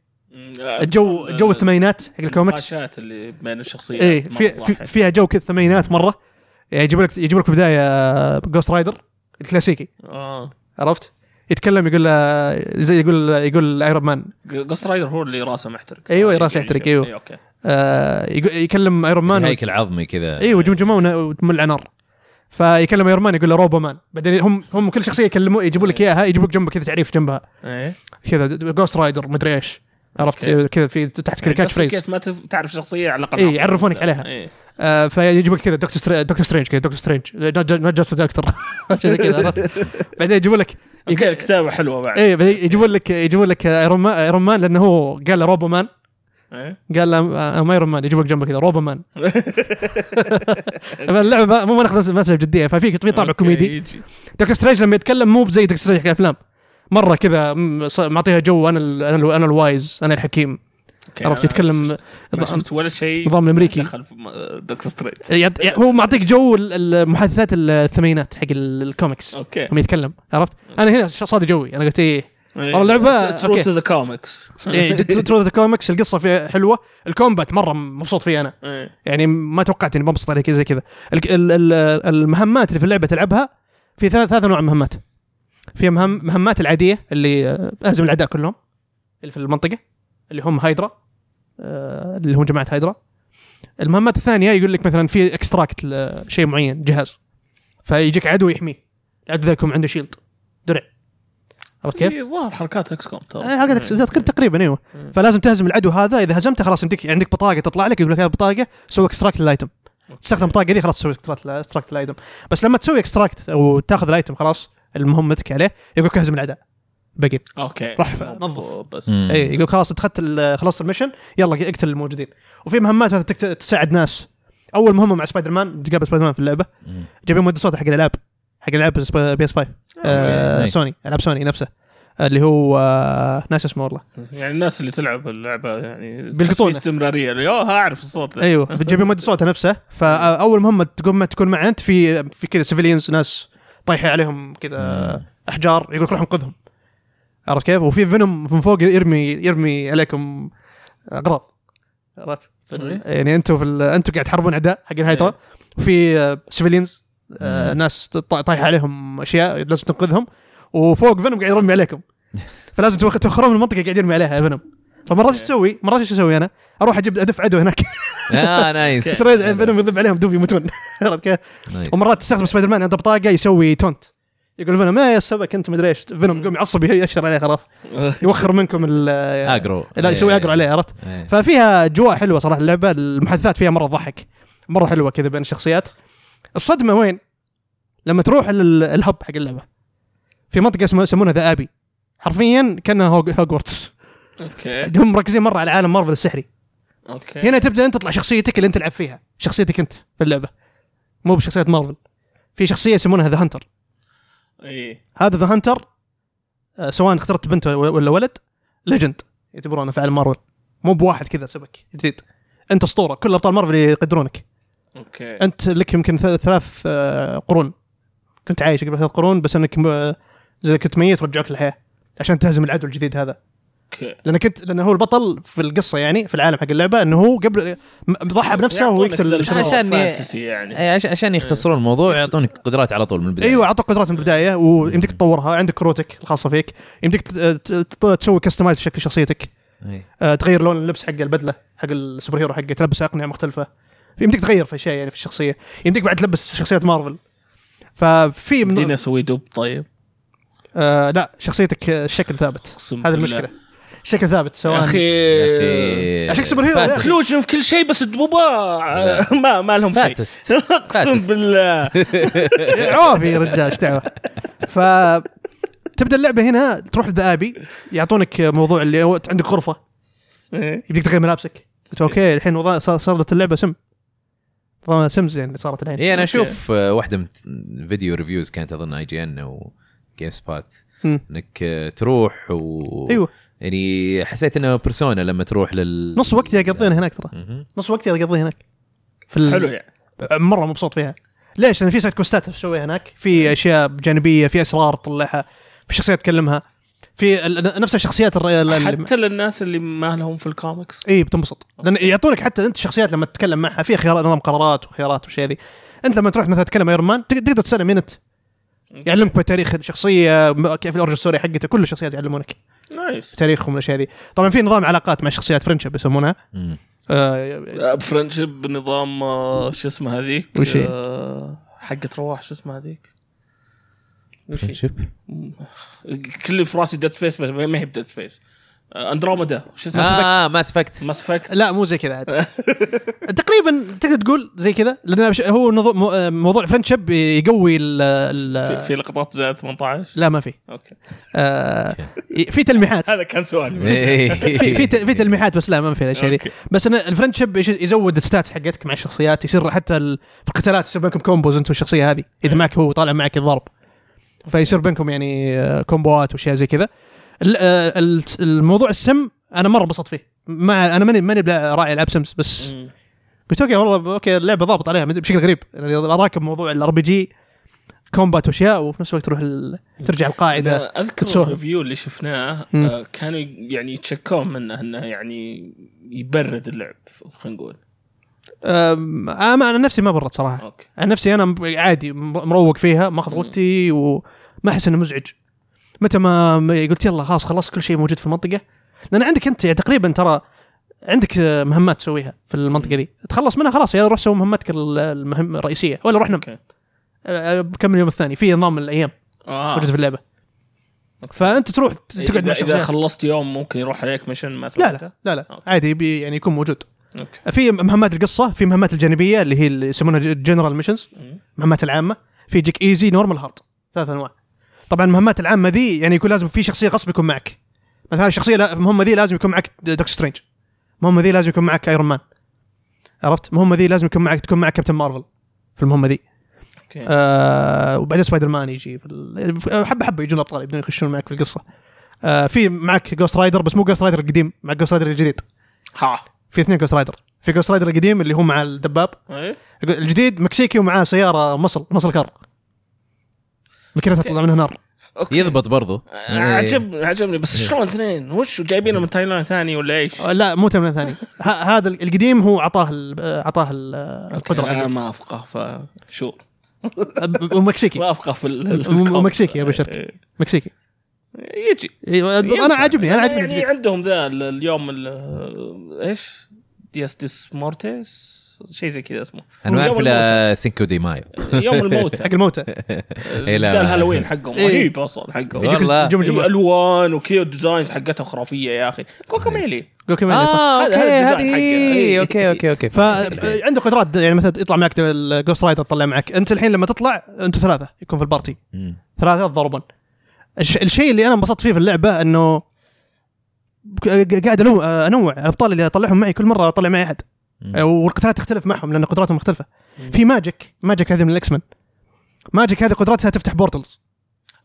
S2: الجو جو الثمانينات حق الكوميكس
S3: النقاشات اللي بين الشخصيات
S2: اي
S3: مرة
S2: في في
S3: واحد.
S2: فيها جو كذا الثمانينات مره يعني يجيب لك يجيب لك في البدايه جوست رايدر الكلاسيكي
S3: اه
S2: عرفت يتكلم يقول له زي يقول يقول ايرون مان
S3: جوست رايدر هو اللي راسه محترق إيه،
S2: أيوة،
S3: صح؟
S2: راسه
S3: يجري
S2: يحترق،
S3: شيء.
S2: أيوة.
S3: إي، اوكي
S2: آه يق- يكلم ايرون مان و-
S1: هيكل عظمي كذا
S2: ايوه جمجمه وتمل على نار فيكلم ايرون مان يقول له روبو مان بعدين هم هم كل شخصيه يكلموا يجيبوا
S3: إيه.
S2: لك اياها يجيبوا لك جنبها كذا تعريف جنبها
S3: ايه
S2: كذا جوست رايدر مدري ايش عرفت
S3: أوكي. يعني
S2: كذا في تحت كذا كاتش فريز
S3: كيس ما تف- تعرف شخصيه على إيه. الاقل
S2: إي،
S3: أعطيك
S2: يعرفونك
S3: كذا.
S2: عليها.
S3: إي.
S2: آه فيجيبوا لك كذا دكتور ستري... دكتور سترينج كذا دكتور سترينج نوت جاست دكتور شيء زي كذا عرفت؟ بعدين يجيبوا لك
S3: اوكي الكتابه حلوه بعد
S2: اي بعدين يجيبوا لك يجيبوا لك ايرون مان ايرون مان لانه هو قال له روبو مان
S3: إيه.
S2: قال له آه، ما ايرون مان يجيبوا لك جنبه كذا روبو مان اللعبه مو ماخذ نفسها بجديه ففي في طابع
S3: أوكي،
S2: كوميدي
S3: يجي.
S2: دكتور سترينج لما يتكلم مو زي دكتور سترينج حق الافلام مره كذا م- ص- معطيها جو انا ال انا ال انا الوايز انا الحكيم
S3: أوكي،
S2: عرفت
S3: أنا
S2: يتكلم
S3: ما شفت ولا شيء
S2: نظام الامريكي
S3: دخل في دكتور ستريت
S2: يعط- يع- هو معطيك جو ال- المحادثات الثمانينات حق ال- الكوميكس
S3: اوكي
S2: لما يتكلم عرفت انا هنا ش- صادق جوي انا قلت ايه
S3: إيه.
S2: والله اللعبة-
S3: ترو
S2: أوكي.
S3: تو ذا كوميكس
S2: ترو ذا كوميكس القصه فيها حلوه الكومبات مره مبسوط فيه انا يعني ما توقعت اني بنبسط عليه كذا زي كذا ال- ال- ال- المهمات اللي في اللعبه تلعبها في ثلاث ثلاث انواع مهمات في مهم مهمات العاديه اللي آه، اهزم الاعداء كلهم اللي في المنطقه اللي هم هايدرا آه، اللي هم جماعه هايدرا المهمات الثانيه يقول لك مثلا في اكستراكت لشيء معين جهاز فيجيك عدو يحميه العدو ذا يكون عنده شيلد درع عرفت كيف؟
S3: كيف؟ إيه، ظاهر حركات اكس كوم ترى
S2: إيه، حلقتك تقريبا تقريبا ايوه
S3: مم.
S2: فلازم تهزم العدو هذا اذا هزمته خلاص يمديك يعني عندك بطاقه تطلع لك يقول لك هذه بطاقه سوي اكستراكت للايتم تستخدم البطاقه دي خلاص تسوي اكستراكت للايتم بس لما تسوي اكستراكت او تاخذ الايتم خلاص المهمتك عليه يقول لك اهزم الاعداء باقي
S3: اوكي
S2: راح ف-
S3: نظف بس
S1: مم.
S2: اي إيه، يقول خلاص اتخذت ال- خلصت المشن يلا اقتل الموجودين وفي مهمات مثلا تكت- تساعد ناس اول مهمه مع سبايدر مان تقابل سبايدر مان في اللعبه
S1: مم.
S2: جايبين مؤدي صوت حق الالعاب حق العاب بي اس 5 آه،
S1: أوكي.
S2: سوني العاب سوني نفسها اللي هو آه، ناس اسمه والله
S3: يعني الناس اللي تلعب اللعبه يعني
S2: بيلقطونه.
S3: تحس في استمراريه اللي اوه اعرف الصوت ذا
S2: ايوه بتجيب مد صوتها نفسه فاول مهمه تقوم تكون مع انت في في كذا سيفيلينز ناس طايحه عليهم كذا
S1: مم.
S2: احجار يقول لك روح انقذهم عرفت كيف؟ وفي فينوم من فوق يرمي يرمي عليكم اغراض عرفت؟
S3: فينوم؟
S2: يعني انتم في ال- انتم قاعد تحاربون اعداء حقين هايدرا وفي سيفيلينز آه، ناس طا- طايحه عليهم اشياء لازم تنقذهم وفوق فينوم قاعد يرمي عليكم فلازم توخ- توخرون من المنطقه قاعد يرمي عليها فينوم فمرات ايش تسوي؟ مرات ايش اسوي انا؟ اروح اجيب ادف عدو هناك
S1: اه نايس
S2: سريد بينهم يضرب عليهم دوب يموتون عرفت كيف؟
S1: نايس.
S2: ومرات تستخدم سبايدر مان عنده بطاقه يسوي تونت يقول فينوم ما يسبك انت مدري ايش فينوم يقوم يعصب يشر عليه خلاص يوخر منكم ال
S1: اجرو
S2: لا يسوي اقرا عليه عرفت؟
S1: عليه
S2: ففيها اجواء حلوه صراحه اللعبه المحادثات فيها مره ضحك مره حلوه كذا بين الشخصيات الصدمه وين؟ لما تروح لل- الهب حق اللعبه في منطقه اسمها يسمونها ذا ابي حرفيا كانها هوج- هوجورتس
S3: اوكي
S2: هم مركزين مره على عالم مارفل السحري
S3: اوكي
S2: هنا تبدا انت تطلع شخصيتك اللي انت تلعب فيها شخصيتك انت في اللعبه مو بشخصيه مارفل في شخصيه يسمونها ذا هانتر
S3: اي
S2: هذا ذا هانتر سواء اخترت بنت و- ولا ولد ليجند يعتبرونه في عالم مارفل مو بواحد كذا سبك جديد انت اسطوره كل ابطال مارفل يقدرونك
S3: اوكي
S2: انت لك يمكن ث- ثلاث آه، قرون كنت عايش قبل ثلاث قرون بس انك م- آه، زي كنت ميت رجعوك للحياه عشان تهزم العدو الجديد هذا
S3: اوكي
S2: لان كنت لان هو البطل في القصه يعني في العالم حق اللعبه انه هو قبل م- ضحى بنفسه وهو
S3: يعطونك
S2: يقتل
S3: ذا
S2: الشباب.
S1: عشان ي-
S3: فانتسي يعني
S1: إيه، عشان عشان يختصرون الموضوع يعطونك قدرات على طول من البدايه
S2: ايوه اعطوك قدرات من البدايه ويمديك تطورها عندك كروتك الخاصه فيك يمديك ت- ت- ت- تسوي كستمايز شكل شخصيتك
S1: إيه.
S2: آه، تغير لون اللبس حق البدله حق السوبر هيرو حقه تلبس اقنعه مختلفه يمديك تغير في اشياء يعني في الشخصيه يمديك بعد تلبس شخصيات مارفل ففي
S3: يمديني
S2: من
S3: اسوي دوب طيب
S2: آه لا شخصيتك آه، الشكل ثابت
S3: اقسم
S2: هذه
S3: بالله.
S2: المشكله الشكل ثابت
S3: يا
S2: سواء
S3: إيه. اخي
S2: عشان سوبر هيرو،
S1: فاتست.
S2: يا
S3: كلوشن في كل شيء بس الدبوبه ما ما لهم شيء
S1: فاتست
S3: اقسم
S1: فاتست.
S3: بالله
S2: عوافي يا رجال ايش دعوه ف تبدا اللعبه هنا تروح لذا ابي يعطونك موضوع اللي هو عندك غرفه يبديك تغير ملابسك قلت اوكي الحين وضع صار- صارت اللعبه سم طبعا سمز يعني صارت الحين
S1: اي انا
S3: أوكي.
S1: اشوف آه، واحده من فيديو ريفيوز كانت اظن اي جي ان او جيم سبوت
S2: مم.
S1: انك آه، تروح و
S2: ايوه
S1: يعني حسيت انه بيرسونا لما تروح لل
S2: نص وقتي اقضيه هناك ترى
S1: مهم.
S2: نص وقتي اقضيه هناك في ال...
S3: حلو يعني
S2: مره مبسوط فيها ليش؟ لان في سايد كوستات اسويها هناك
S3: إيه.
S2: في اشياء جانبيه في اسرار تطلعها في شخصيات تكلمها في ال... نفس الشخصيات الر...
S3: حتى للناس اللي ما لهم في الكوميكس
S2: اي إيه، بتنبسط لان يعطونك حتى انت الشخصيات لما تتكلم معها في خيارات نظام قرارات وخيارات وشي ذي انت لما تروح مثلا تتكلم ايرون مان تق- تقدر تسال مينت يعلمك بتاريخ الشخصيه م- كيف الاورجن ستوري حقته كل الشخصيات يعلمونك
S3: نايس
S2: تاريخهم والاشياء ذي طبعا في نظام علاقات مع شخصيات فرنشب يسمونها
S1: مم.
S2: آه
S3: فرنشيب بنظام آه، شو اسمه هذيك
S2: وش هي؟
S3: آه، حقة رواح شو اسمه هذيك
S1: شوف.
S3: كل اللي في راسي ديد سبيس بس ما هي بديد سبيس اندروميدا آه، شو اسمه
S1: اه ماس افكت
S3: ماس افكت
S2: لا مو زي كذا عاد تقريبا تقدر تقول زي كذا لان بش- هو نظو- مو- آه، موضوع فرنشب يقوي ال
S3: في,
S2: ال-
S3: في لقطات زائد 18
S2: لا ما في
S3: اوكي
S2: آه في تلميحات
S3: هذا كان سؤالي
S2: في في- في
S1: إيه.
S2: ت- في تلميحات بس لا ما في الاشياء ذي
S3: أوكي.
S2: بس ان الفرنشيب يش- يزود الستاتس حقتك مع الشخصيات يصير حتى ال- في القتالات يصير بينكم كومبوز انت والشخصيه هذه اذا معك هو طالع معك الضرب فيصير بينكم يعني آه، كومبوات وشيء زي كذا ال- آه، ال- الموضوع السم انا مره انبسطت فيه ما انا ماني ماني بلا- راعي العاب سمس بس
S3: مم.
S2: قلت اوكي والله اوكي اللعبه ضابط عليها مدري- بشكل غريب يعني راكب موضوع الار بي جي كومبات واشياء وفي نفس الوقت تروح ال- ترجع القاعده
S3: أنا اذكر
S2: تتسوهل.
S3: الريفيو اللي شفناه
S2: مم.
S3: آه، كانوا يعني يتشكون منه انه يعني يبرد اللعب خلينا نقول
S2: أم، آه، ما- انا نفسي ما برت صراحه
S3: اوكي
S2: عن نفسي انا عادي مروق فيها ماخذ وقتي وما احس انه مزعج متى ما ما قلت يلا خلاص خلصت كل شيء موجود في المنطقه لان عندك انت يعني تقريبا ترى عندك آه، مهمات تسويها في المنطقه دي تخلص منها خلاص يلا روح سوي مهمتك ال- المهم الرئيسيه ولا روح نم
S3: اوكي
S2: آه، كمل اليوم الثاني في نظام الايام
S3: اه
S2: موجود في اللعبه فانت تروح ت- تقعد
S3: اذا,
S2: مع
S3: إذا
S2: الشخصيات
S3: خلصت يوم ممكن يروح عليك ميشن ما
S2: لا
S3: سويته
S2: لا لا لا
S3: أوكي.
S2: عادي يبي- يعني يكون موجود
S3: اوكي
S2: في مهمات القصه في مهمات الجانبيه اللي هي اللي يسمونها جنرال ميشنز
S3: مم.
S2: المهمات العامه في يجيك ايزي نورمال هارد ثلاث انواع طبعا المهمات العامه ذي يعني يكون لازم في شخصيه غصب يكون معك مثلا الشخصيه لا- المهمه ذي لازم يكون معك دكتور سترينج المهمه ذي لازم يكون معك ايرون مان عرفت المهمه ذي لازم يكون معك تكون معك كابتن مارفل في المهمه ذي
S3: اوكي
S2: آه وبعدين سبايدر مان يجي في ال- في- حبه حبه يجون الابطال يبدون يخشون معك في القصه آه في معك جوست رايدر بس مو جوست رايدر القديم مع جوست رايدر الجديد
S3: ها
S2: في اثنين جوست رايدر في جوست رايدر القديم اللي هو مع الدباب
S3: ايه
S2: الجديد مكسيكي ومعاه سياره مصل مصل كار مكنتها تطلع منها نار
S3: اوكي
S1: يضبط برضو
S2: إيه.
S1: إيه.
S3: آه، عجب عجبني بس شلون اثنين وش جايبينه من تايلاند ثاني ولا ايش؟
S2: آه، لا مو تمرين ثاني ه- هذا ال- القديم هو اعطاه ال- آه، اعطاه ال- آه، القدره
S3: انا
S2: حقه.
S3: ما افقه فشو
S2: آه، ومكسيكي
S3: ما افقه في ال- ال-
S2: م-
S3: الكوم.
S2: مكسيكي يا أبو شركة.
S3: إيه.
S2: مكسيكي
S3: يجي
S2: إي، آه، انا
S3: ينفع.
S2: عاجبني انا عاجبني
S3: يعني
S2: الجديد.
S3: عندهم ذا ال- اليوم ال- ايش؟ دياس ديس مورتيس شيء زي كذا اسمه
S1: انا ما اعرف
S3: يوم
S1: الا سينكو دي مايو
S3: الموتى. يوم الموتى
S2: حق الموتى
S1: إيه، لا.
S3: ده الهالوين حقهم
S2: إيه.
S3: رهيب اصلا حقهم
S1: يجيك والله.
S2: يجيك
S3: إيه،
S2: الجمجمه
S3: الوان وكيو ديزاينز حقتها خرافيه يا اخي كوكاميلي
S2: جوكيميلي صح
S1: اه
S3: هذا-
S1: اوكي
S3: هذا
S1: هذه
S3: الديزاين حقه. إيه.
S1: اوكي اوكي اوكي إيه.
S2: فعنده قدرات يعني مثلا يطلع معك الجوست رايدر تطلع معك انت الحين لما تطلع انتوا ثلاثه يكون في البارتي
S1: مم.
S2: ثلاثة ضربا الش... الشيء اللي انا انبسطت فيه في اللعبه انه ق- قاعد ألو- انوع الابطال اللي اطلعهم معي كل مره اطلع معي احد
S1: مم.
S2: والقتالات تختلف معهم لان قدراتهم مختلفه
S3: مم.
S2: في ماجيك ماجيك هذه من الاكس مان ماجيك هذه قدراتها تفتح بورتلز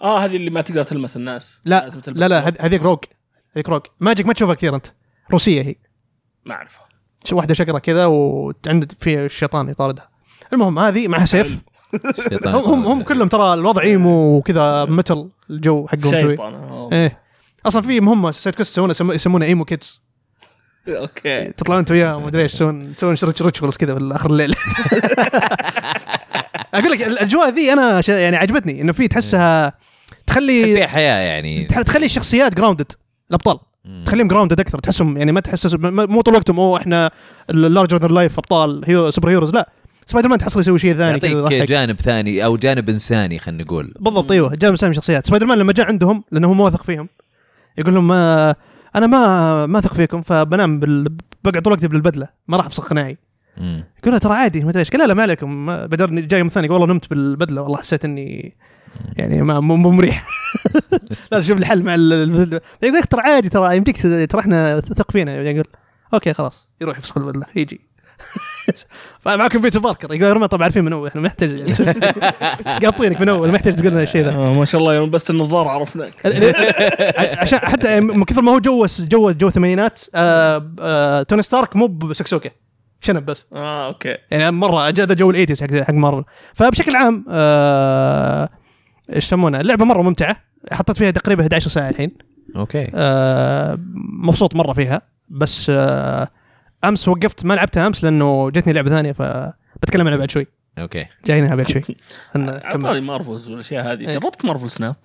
S3: اه هذه اللي ما تقدر تلمس الناس
S2: لا
S3: لازم تلمس
S2: لا لا
S3: الناس.
S2: هذ- هذيك روك هذيك روك ماجيك ما تشوفها كثير انت روسيه هي
S3: ما اعرفها
S2: ش- واحده شقره كذا وعند في الشيطان يطاردها المهم هذه معها سيف
S1: شيطان.
S2: هم هم, هم كلهم ترى الوضع ايمو وكذا متل الجو حقهم شوي
S3: شيطان آه.
S1: إيه.
S2: ايه اصلا في مهمه سايد كوست يسوونها يسمو- يسمونها ايمو كيدز
S3: اوكي
S2: تطلعون انت وياه ما ادري ايش تسوون تسوون شرج ريتشولز كذا في اخر الليل اقول لك الاجواء ذي انا ش- يعني عجبتني انه في تحسها
S1: تحس
S2: تخلي
S1: فيها حياه يعني
S2: تح- تخلي الشخصيات جراوندد الابطال
S1: مم.
S2: تخليهم جراوندد اكثر تحسهم يعني ما تحسس م- م- مو طول وقتهم اوه احنا اللارجر ذان لايف ابطال هيرو سوبر هيروز لا سبايدر مان تحصل يسوي شيء ثاني كذا
S1: يعطيك
S2: يضحك.
S1: جانب ثاني او جانب انساني خلينا نقول
S2: بالضبط ايوه جاب سامي شخصيات سبايدر مان لما جاء عندهم لانه هو ما واثق فيهم يقول لهم ما انا ما ما اثق فيكم فبنام بال... بقعد طول وقتي بالبدله ما راح افصل قناعي
S1: مم.
S2: يقول له ترى عادي ما ادري ايش قال لا لا ما عليكم ما- بعدين جاي يوم ثاني يقول والله نمت بالبدله والله حسيت اني يعني ما مو مو مريح لازم اشوف الحل مع ال- البدله يقول لك ترى عادي ترى يمديك ت- ترى احنا ثق فينا يعني يقول اوكي خلاص يروح يفسخ البدله يجي معكم بيتر باركر يقول ارمى طبعا عارفين من اول احنا محتاج قاطينك من اول محتاج تقول لنا الشيء ذا
S3: آه، ما شاء الله يوم بس النظاره عرفناك
S2: عشان حتى يعني من كثر ما هو جو جو جو ثمانينات آه، آه، توني ستارك مو بسكسوكه شنب بس
S3: اه اوكي
S2: يعني مره جاء ذا جو الايتيز حق حق مارفل فبشكل عام آه، ايش يسمونها اللعبه مره ممتعه حطيت فيها تقريبا 11 ساعه الحين
S1: اوكي
S2: آه، مبسوط مره فيها بس آه، امس وقفت ما لعبتها امس لانه جتني لعبه ثانيه فبتكلم عنها بعد شوي
S1: اوكي
S2: جايينها بعد شوي خلنا نكمل.
S3: اعطاني مارفلز والاشياء هذه
S2: إيه.
S3: جربت مارفل سناب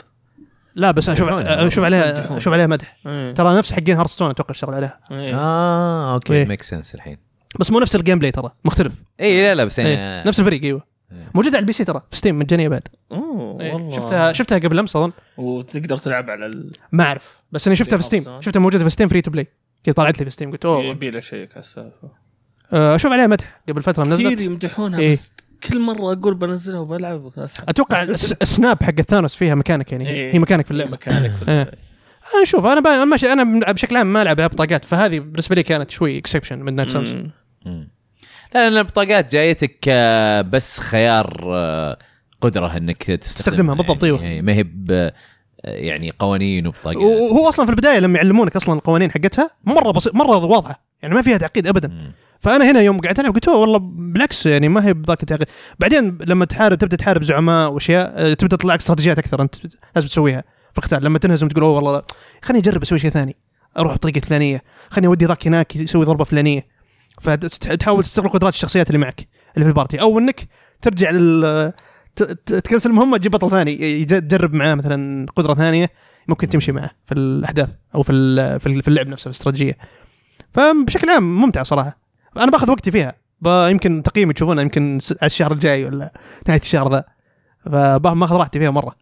S2: لا بس اشوف اشوف عليها اشوف عليها مدح
S3: إيه.
S2: ترى نفس حقين هارستون اتوقع اشتغل عليها
S3: إيه.
S1: اه اوكي
S2: إيه.
S1: ميك سنس الحين
S2: بس مو نفس الجيم بلاي ترى مختلف
S1: اي لا لا بس
S2: إيه.
S1: يعني
S2: نفس الفريق ايوه
S1: إيه.
S2: موجوده على البي سي ترى في ستيم مجانيه بعد
S3: اوه
S2: إيه.
S3: والله
S2: شفتها شفتها قبل امس اظن
S3: وتقدر تلعب على ال...
S2: ما اعرف بس انا شفتها في
S3: في
S2: ستيم
S3: خمسة.
S2: شفتها موجوده في ستيم فري تو بلاي كذا طلعت لي في ستيم قلت اوه
S3: يبي له شيء السالفه
S2: آه، اشوف عليها مدح قبل فتره
S3: كثير
S2: منزلت
S3: يمدحونها
S2: إيه.
S3: بس كل مره اقول بنزلها وبلعب اسحب
S2: اتوقع الس- السناب حق ثانوس فيها مكانك يعني
S3: إيه.
S2: هي مكانك في اللعبه
S3: مكانك في
S2: إيه. آه، شوف انا بقى ماشي انا من- بشكل عام ما العب العاب طاقات فهذه بالنسبه لي كانت شوي اكسبشن من نايت سانس
S3: مم.
S1: مم. لا لان البطاقات جايتك آه، بس خيار آه، قدره انك
S2: تستخدمها،
S1: تستخدمها
S2: بالضبط،
S1: يعني.
S2: أيوه.
S1: يعني ما هي ب- آه، يعني قوانين وبطاقات
S2: وهو اصلا في البدايه لما يعلمونك اصلا القوانين حقتها مره بسيط مره واضحه يعني ما فيها تعقيد ابدا
S1: مم.
S2: فانا هنا يوم قعدت العب قلت "أوه، والله بالعكس يعني ما هي بذاك التعقيد بعدين لما تحارب تبدا تحارب زعماء واشياء آه، تبدا تطلع لك استراتيجيات اكثر انت لازم تسويها في القتال لما تنهزم تقول اوه والله لا، خليني اجرب اسوي شيء ثاني اروح بطريقه فلانيه خليني اودي ذاك هناك يسوي ضربه فلانيه فتحاول تستغل قدرات الشخصيات اللي معك اللي في البارتي او انك ترجع لل ت- ت- تكنسل مهمه تجيب بطل ثاني يج- تجرب معاه مثلا قدره ثانيه ممكن تمشي معه في الاحداث او في ال- في ال- في اللعب نفسه في الاستراتيجيه فبشكل عام ممتع صراحه انا باخذ وقتي فيها ب- يمكن تقييمي تشوفونه يمكن س- على الشهر الجاي ولا نهايه الشهر ذا فباخذ راحتي فيها مره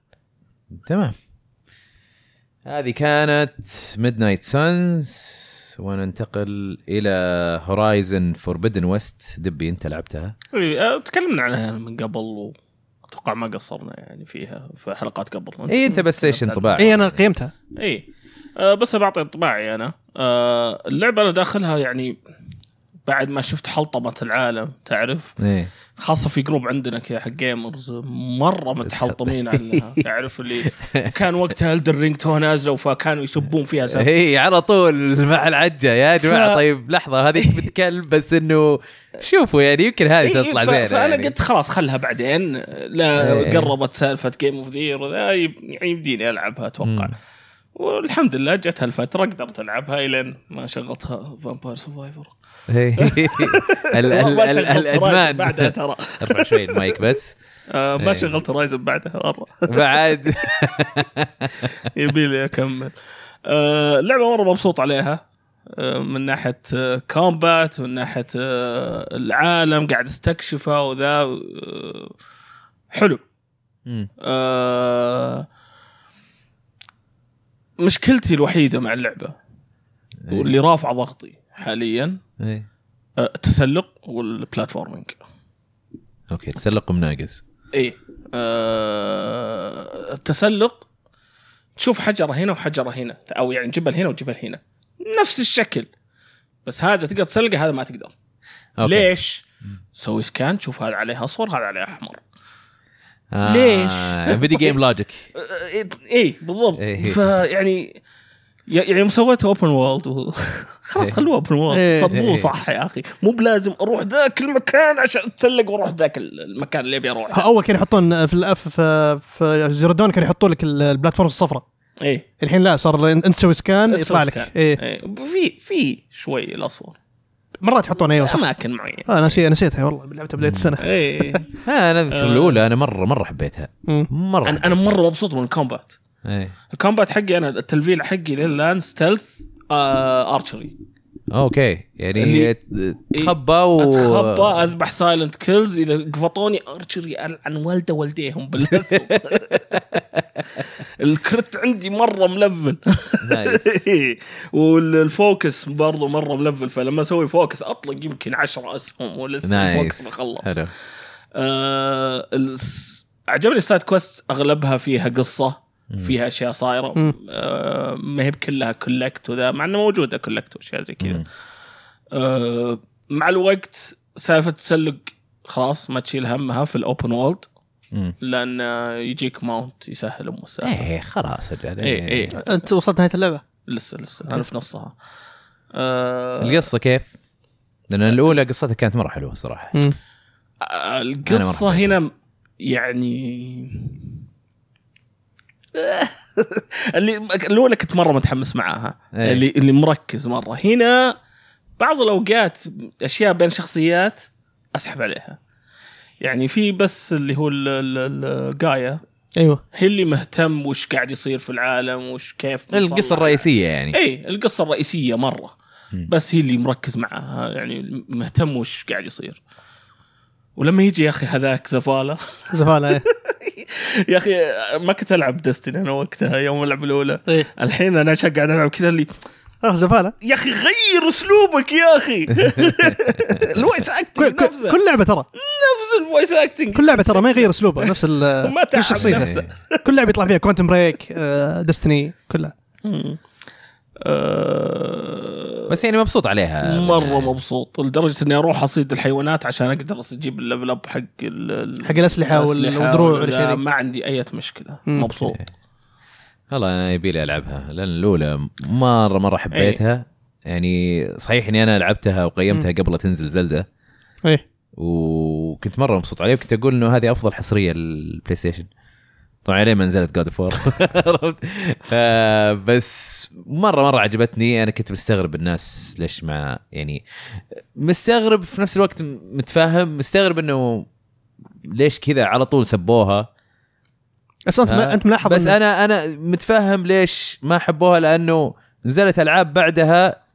S1: تمام هذه كانت ميد نايت سانز وننتقل الى هورايزن فوربدن ويست دبي انت لعبتها
S3: إيه، آه، تكلمنا عنها من قبل واتوقع ما قصرنا يعني فيها في حلقات قبل
S2: إيه،
S1: اي انت بس ايش انطباعك؟
S2: اي انا إيه، قيمتها
S3: اي آه بس بعطي انطباعي انا آه اللعبه انا داخلها يعني بعد ما شفت حلطمه العالم تعرف
S1: ايه
S3: خاصه في جروب عندنا كذا حق جيمرز مره متحلطمين عنها تعرف اللي كان وقتها الدر رينج تو نازله فكانوا يسبون فيها سب
S1: هي إيه، على طول مع العجه يا جماعه طيب لحظه هذه بتكلم بس انه شوفوا يعني يمكن هذه
S3: إيه، إيه،
S1: تطلع
S3: ف-
S1: زينه
S3: فانا
S1: يعني.
S3: قلت خلاص خلها بعدين لا
S1: إيه.
S3: قربت سالفه جيم اوف ذير يعني يمديني العبها اتوقع
S1: مم.
S3: والحمد لله جت هالفتره قدرت العبها الين ما شغلتها فامباير سرفايفر
S1: إيه. ال- ال- ال- الادمان
S3: بعدها ترى
S1: ارفع شوي المايك بس
S3: آه،
S1: إيه.
S3: ما شغلت رايزن بعدها مره
S1: بعد
S3: يبي لي اكمل آه، لعبه مره مبسوط عليها آه، من ناحيه آه، كومبات ومن ناحيه آه، العالم قاعد استكشفه وذا آه، حلو
S1: مم.
S3: آه، مشكلتي الوحيده مع اللعبه
S1: إيه.
S3: واللي رافعه ضغطي حاليا
S1: إيه.
S3: آه، التسلق والبلاتفورمينج
S1: اوكي تسلق مناقز
S3: ايه آه التسلق تشوف حجره هنا وحجره هنا او يعني جبل هنا وجبل هنا نفس الشكل بس هذا تقدر تسلقه هذا ما تقدر أوكي. ليش؟ سوي سكان تشوف هذا عليه اصفر هذا عليه احمر
S1: آه.
S3: ليش؟
S1: فيديو جيم لوجيك
S3: آه، ايه بالضبط
S1: إيه.
S3: فيعني يعني يوم سويته اوبن وولد و... خلاص
S1: إيه.
S3: خلوه اوبن
S2: إيه.
S3: وولد
S1: إيه.
S3: صموه صح يا اخي مو بلازم اروح ذاك المكان عشان اتسلق واروح ذاك المكان اللي ابي اروحه
S2: اول كانوا يحطون في ال- في في- في زردون كانوا يحطوا لك ال- البلاتفورم الصفراء
S3: ايه
S2: الحين لا صار انت تسوي سكان يطلع لك
S3: ايه
S2: ايه
S3: في في شوي الاصفر
S2: مرات يحطون ايوه صح
S3: اماكن معينه
S2: آه نسيت نسيتها والله لعبتها بدايه السنه
S3: ايه
S1: آه انا اذكر الاولى انا مره مره حبيتها
S2: مم.
S1: مره
S3: انا انا مره مبسوط من الكومبات
S1: إيه.
S3: الكومبات حقي انا التلفيل حقي للان ستيلث آه ارشري
S1: اوكي يعني
S3: اللي- إيه.
S1: تخبى و
S3: اتخبى اذبح سايلنت كيلز اذا قفطوني ارشري عن والده والديهم بالاسم الكرت عندي مره ملفل
S1: نايس
S3: إيه. والفوكس برضو مره ملفل فلما اسوي فوكس اطلق يمكن 10 اسهم ولسه الفوكس
S1: نايس
S3: ما خلص
S1: حلو
S3: آه الس- عجبني السايد كويست اغلبها فيها قصه
S1: مم.
S3: فيها اشياء صايره
S2: مم.
S3: آه ما هي بكلها كولكت وذا مع انه موجوده كولكت واشياء زي كذا
S1: مم.
S3: آه، مع الوقت سالفه تسلق خلاص ما تشيل همها في الاوبن وولد
S1: مم.
S3: لان آه، يجيك ماونت يسهل المساحه
S1: ايه خلاص يعني اجل
S3: إيه، إيه.
S2: انت وصلت نهايه اللعبه
S3: لسه لسه انا في نصها آه،
S1: القصه كيف؟ لان الاولى قصتها كانت مره حلوه صراحه
S3: آه،
S1: أنا
S3: القصه
S1: مرة
S3: هنا يعني اللي الاولى كنت مره متحمس معاها
S1: إيه.
S3: اللي اللي مركز مره هنا بعض الاوقات اشياء بين شخصيات اسحب عليها يعني في بس اللي هو ال- ال- ال- جايا
S2: ايوه
S3: هي اللي مهتم وش قاعد يصير في العالم وش كيف
S1: القصه
S3: نصلح.
S1: الرئيسيه يعني
S3: اي القصه الرئيسيه مره
S1: مم.
S3: بس هي اللي مركز معها يعني مهتم وش قاعد يصير ولما يجي يا اخي هذاك زفاله
S2: زفاله إيه.
S3: يا اخي ما كنت العب دستني انا وقتها يوم العب الاولى
S2: ايه
S3: الحين انا شا- قاعد العب كذا اللي
S2: اه زفاله
S3: يا اخي غير اسلوبك يا اخي الفويس
S2: كل,
S3: اكتنج
S2: كل,
S3: نفسه
S2: كل لعبه ترى
S3: نفس الفويس اكتنج
S2: كل لعبه ترى ما يغير اسلوبها نفس ال
S3: وما تعب
S2: نفس شخصيته.
S1: إيه.
S3: نفسه
S2: كل لعبه يطلع فيها كوانتم بريك ديستني كلها
S3: مم. آه،
S1: بس يعني مبسوط عليها
S3: مره مبسوط لدرجه اني اروح اصيد الحيوانات عشان اقدر اجيب الليفل اب حق ال- ال-
S2: حق الأسلحة وال- والدروع
S3: ولا-
S2: والأشياء دي.
S3: ما عندي اي مشكله
S2: مم.
S3: مبسوط
S1: والله انا يبي لي العبها لان الاولى مره مره
S3: إيه.
S1: حبيتها يعني صحيح اني انا لعبتها وقيمتها قبل لا تنزل زلده
S2: ايه
S1: وكنت مره مبسوط عليه وكنت اقول انه هذه افضل حصريه للبلاي ستيشن طبعا عليه ما نزلت جود اوف عرفت آه، بس مره مره عجبتني انا كنت مستغرب الناس ليش ما يعني مستغرب في نفس الوقت متفاهم مستغرب انه ليش كذا على طول سبوها
S2: بس انت ما
S1: آه،
S2: انت ملاحظ
S1: بس
S2: إن-
S1: انا انا متفهم ليش ما حبوها لانه نزلت العاب بعدها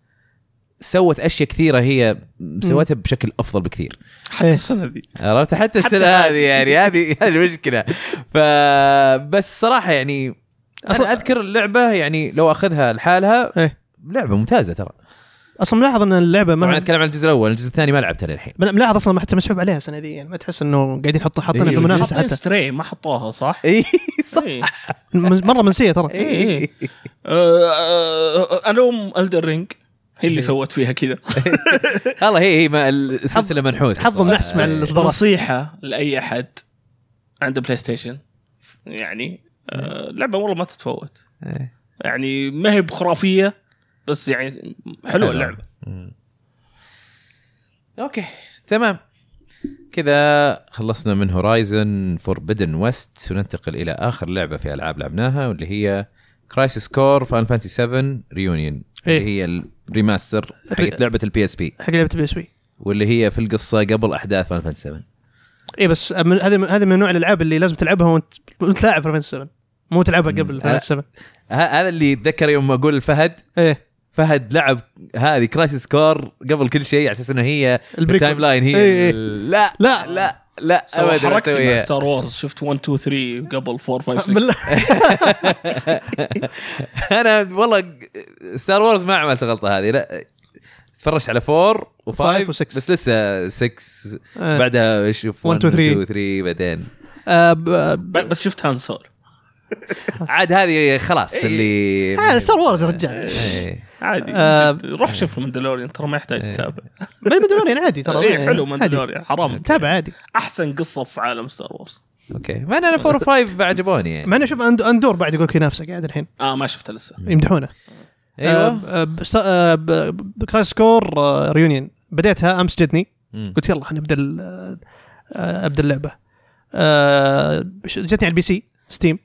S1: سوت اشياء كثيره هي سوتها بشكل افضل بكثير
S2: إيه.
S3: حتى السنه ذي
S1: عرفت حتى السنه
S3: هذه.
S1: هذه يعني هذه هذه المشكله فبس صراحه يعني انا
S2: أصلاً-
S1: اذكر اللعبه يعني لو اخذها لحالها
S2: إيه.
S1: لعبه ممتازه ترى
S2: اصلا ملاحظ ان اللعبه
S1: طبعا
S2: ما
S1: اتكلم عن الجزء الاول الجزء الثاني ما لعبته للحين
S2: من- ملاحظ اصلا ما حتى مسحوب عليها السنه ذي يعني ما تحس انه قاعدين يحطوا حاطينها في
S1: إيه،
S2: المنافسه
S3: حاطين
S2: حتى
S3: ستري ما حطوها صح؟
S1: اي صح
S3: إيه.
S2: م- مره منسيه ترى
S3: إيه. آه، آه، الوم الدر رينج هي
S2: إيه.
S3: اللي سوت فيها كذا
S1: والله هي هي ما- آه. السلسله منحوسه
S2: حظهم
S1: صراحة.
S2: نحس مع ال- الإصدارات.
S3: نصيحه لاي احد عنده بلاي ستيشن يعني آه، لعبه والله ما تتفوت
S1: إيه.
S3: يعني ما هي بخرافيه بس يعني حلوه اللعبه
S1: مم. اوكي تمام كذا خلصنا من هورايزن فوربدن ويست وننتقل الى اخر لعبه في العاب لعبناها واللي هي كرايسيس كور فان فانتسي 7 ريونيون
S2: إيه.
S1: اللي هي الريماستر
S2: الري-
S1: حقت لعبه البي اس بي
S2: حق لعبه بي اس بي
S1: واللي هي في القصه قبل احداث فان فانتسي 7
S2: اي إيه، بس من- هذه من- هذه من نوع الالعاب اللي لازم تلعبها وانت وانت لاعب فاينل 7 مو تلعبها
S1: مم.
S2: قبل فاينل 7
S1: ه- هذا اللي يتذكر يوم ما اقول لفهد
S2: ايه
S1: فهد لعب هذه كرايسيس كور قبل كل شيء على اساس انه هي
S2: البريكول.
S1: التايم لاين هي
S2: إيه، إيه.
S1: ال- لا
S2: لا.
S1: لا لا
S3: سو
S1: أبداً ما
S3: أيوة، حركتي
S1: أسويها.
S3: مع ستار وورز شفت 1 2 3 قبل 4 5 6
S2: آه، بالله
S1: انا والله ستار وورز ما عملت الغلطه هذه لا تفرجت على 4 و5
S2: Five و six.
S1: بس لسه 6
S2: إيه.
S1: بعدها اشوف
S2: One,
S1: 1
S2: two,
S1: 2
S2: three.
S1: 3 بعدين
S2: آه، ب- آه،
S3: ب- بس شفت هان سول
S1: عاد هذه خلاص اللي
S2: آه، ستار وورز يا رجال
S1: إيه.
S3: عادي
S2: آه،
S3: جد. روح شوف المندلوريان ترى ما يحتاج تتابع
S2: ما مندلوريان عادي ترى
S1: إيه،
S3: ايه حلو
S2: عادي.
S3: مندلوريان حرام
S2: تابع عادي
S3: احسن قصه في عالم ستار وورز
S1: اوكي مع ان انا 4 و5 عجبوني يعني
S2: مع انه شوف أند- اندور بعد يقول لك ينافسه قاعد الحين
S3: اه ما شفتها لسه
S1: إيه،
S2: يمدحونه آه،
S1: ايوه
S2: كلاس سكور ريونيون آه، بديتها امس جتني
S1: مم.
S2: قلت يلا خليني ابدا ال- آه، آه، ابدا اللعبه آه، ش- جتني على البي سي ستيم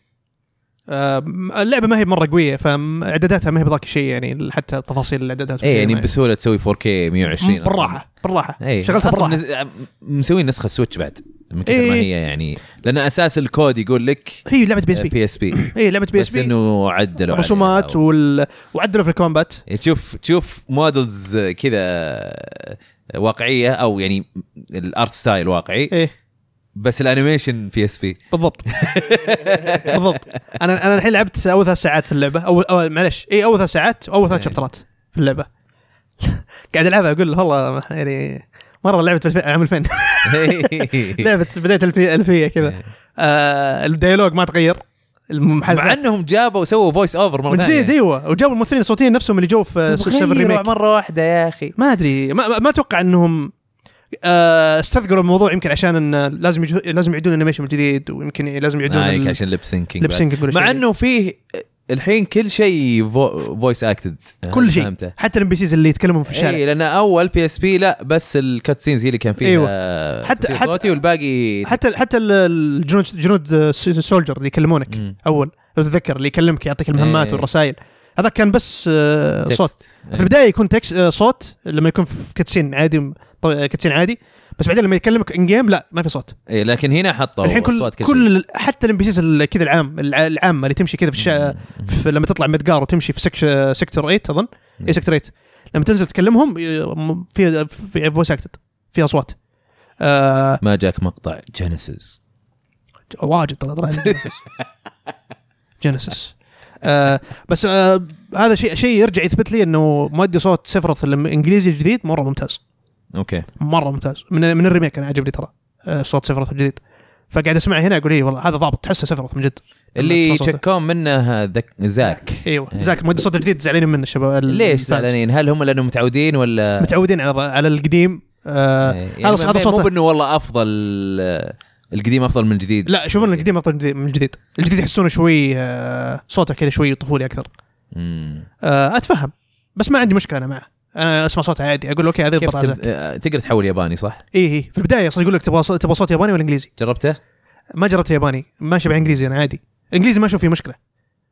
S2: آم، اللعبه ما هي مره قويه فاعداداتها ما هي بذاك الشيء يعني حتى تفاصيل الاعدادات
S1: اي يعني
S2: والكلام
S1: بسهوله تسوي 4K 120 أصلاً. إيه.
S2: بالراحه بالراحه
S1: اي
S2: شغلتها
S1: اصلا
S2: بالراحه
S1: نز... مسوين نسخه سويتش بعد من كثر ما
S2: إيه.
S1: هي يعني لان اساس الكود يقول لك آه،
S2: هي لعبه بي اس بي
S1: بي اس بي
S2: هي لعبه بي اس
S1: بس
S2: بي
S1: انه عدلوا عليها
S2: رسومات
S1: و...
S2: وال... وعدلوا في الكومبات
S1: يعني تشوف تشوف مودلز كذا واقعيه او يعني الارت ستايل واقعي
S2: ايه
S1: بس الانيميشن بي اس بي
S2: بالضبط بالضبط انا انا الحين لعبت اول ثلاث ساعات في اللعبه اول, أول معلش اي اول ثلاث ساعات واول ثلاث
S1: إيه.
S2: شابترات في اللعبه قاعد العبها اقول والله يعني مره لعبه الف... عام 2000
S1: إيه.
S2: لعبه بدايه الفيه الفيه كذا آه الديالوج ما تغير
S1: مع يعني.
S2: المحادثات
S1: انهم جابوا سووا فويس اوفر مره
S2: من جديد ايوه وجابوا الممثلين الصوتيين نفسهم اللي جو
S1: طيب،
S2: في سوشيال الريميك
S1: مره واحده يا اخي
S2: ما ادري ما, ما- ما اتوقع انهم آه، استثقلوا الموضوع يمكن عشان ان لازم يجو... لازم يعيدون الانيميشن من جديد ويمكن لازم يعيدون
S1: عليك
S2: ال-
S1: آه، إيه، عشان لب سينكينج
S2: لب سينك وكل
S1: مع
S2: شيء.
S1: انه فيه الحين كل شيء فويس اكتد
S2: كل شيء حتى الام بي سيز اللي يتكلمون في الشارع
S1: اي لان اول بي اس بي لا بس الكات سينز هي اللي كان فيها أيوة.
S2: حتى- حتى-
S1: صوتي والباقي
S2: حتى حتى ال- الجنود جنود الس- السولجر اللي يكلمونك
S1: مم.
S2: اول لو تتذكر اللي يكلمك يعطيك المهمات
S1: إيه.
S2: والرسائل هذا كان بس آه،
S1: تكست.
S2: صوت في
S1: إيه.
S2: البدايه يكون تكس آه، صوت لما يكون في كاتسين عادي طو- آه، كاتسين عادي بس بعدين لما يكلمك ان جيم لا ما في صوت
S1: اي إيه، لكن هنا حطوا
S2: الحين كل
S1: صوت
S2: كل,
S1: كل, شيء.
S2: ال- حتى الام بي سيز كذا العام الع- العامه اللي تمشي كذا في, الشا... في لما تطلع مدقار وتمشي في سكش... سكتور 8 اظن اي سكتور 8 إيه، لما تنزل تكلمهم ي- في في فويس اكتد في اصوات آه...
S1: ما جاك مقطع جينيسيس
S2: واجد طلع طلع جينيسيس جينيسيس آه بس آه هذا شيء شيء يرجع يثبت لي انه مؤدي صوت سيفرث الانجليزي الجديد مره ممتاز
S1: اوكي
S2: مره ممتاز من من الريميك انا عجبني ترى آه صوت سيفرث الجديد فقاعد اسمعه هنا اقول اي والله هذا ضابط تحسه سيفرث من جد
S1: اللي
S2: لما تسمع صوته.
S1: تشكون منه ذك... زاك
S2: ايوه
S1: إيه.
S2: زاك مؤدي صوت الجديد زعلانين منه الشباب ال-
S1: ليش
S2: الفانز.
S1: زعلانين؟ هل هم لانهم متعودين ولا
S2: متعودين على على القديم آه
S1: إيه. يعني
S2: هذا هذا
S1: مو- مو
S2: صوته
S1: بانه والله افضل آه، القديم افضل من الجديد
S2: لا شوفون القديم أفضل من الجديد الجديد يحسونه شوي آه صوته كذا شوي طفولي اكثر
S1: مم.
S2: آه، اتفهم بس ما عندي مشكله انا معه انا اسمع صوته عادي اقول اوكي هذه
S1: كيف
S2: البطاقه
S1: تب...
S2: تب...
S1: آه، تقدر تحول ياباني صح؟
S2: اي اي إيه. في البدايه اصلا يقول لك تبغى صوت- تبغى صوت ياباني ولا انجليزي
S1: جربته؟
S2: ما جربت ياباني ما شبع انجليزي انا عادي انجليزي ما اشوف فيه مشكله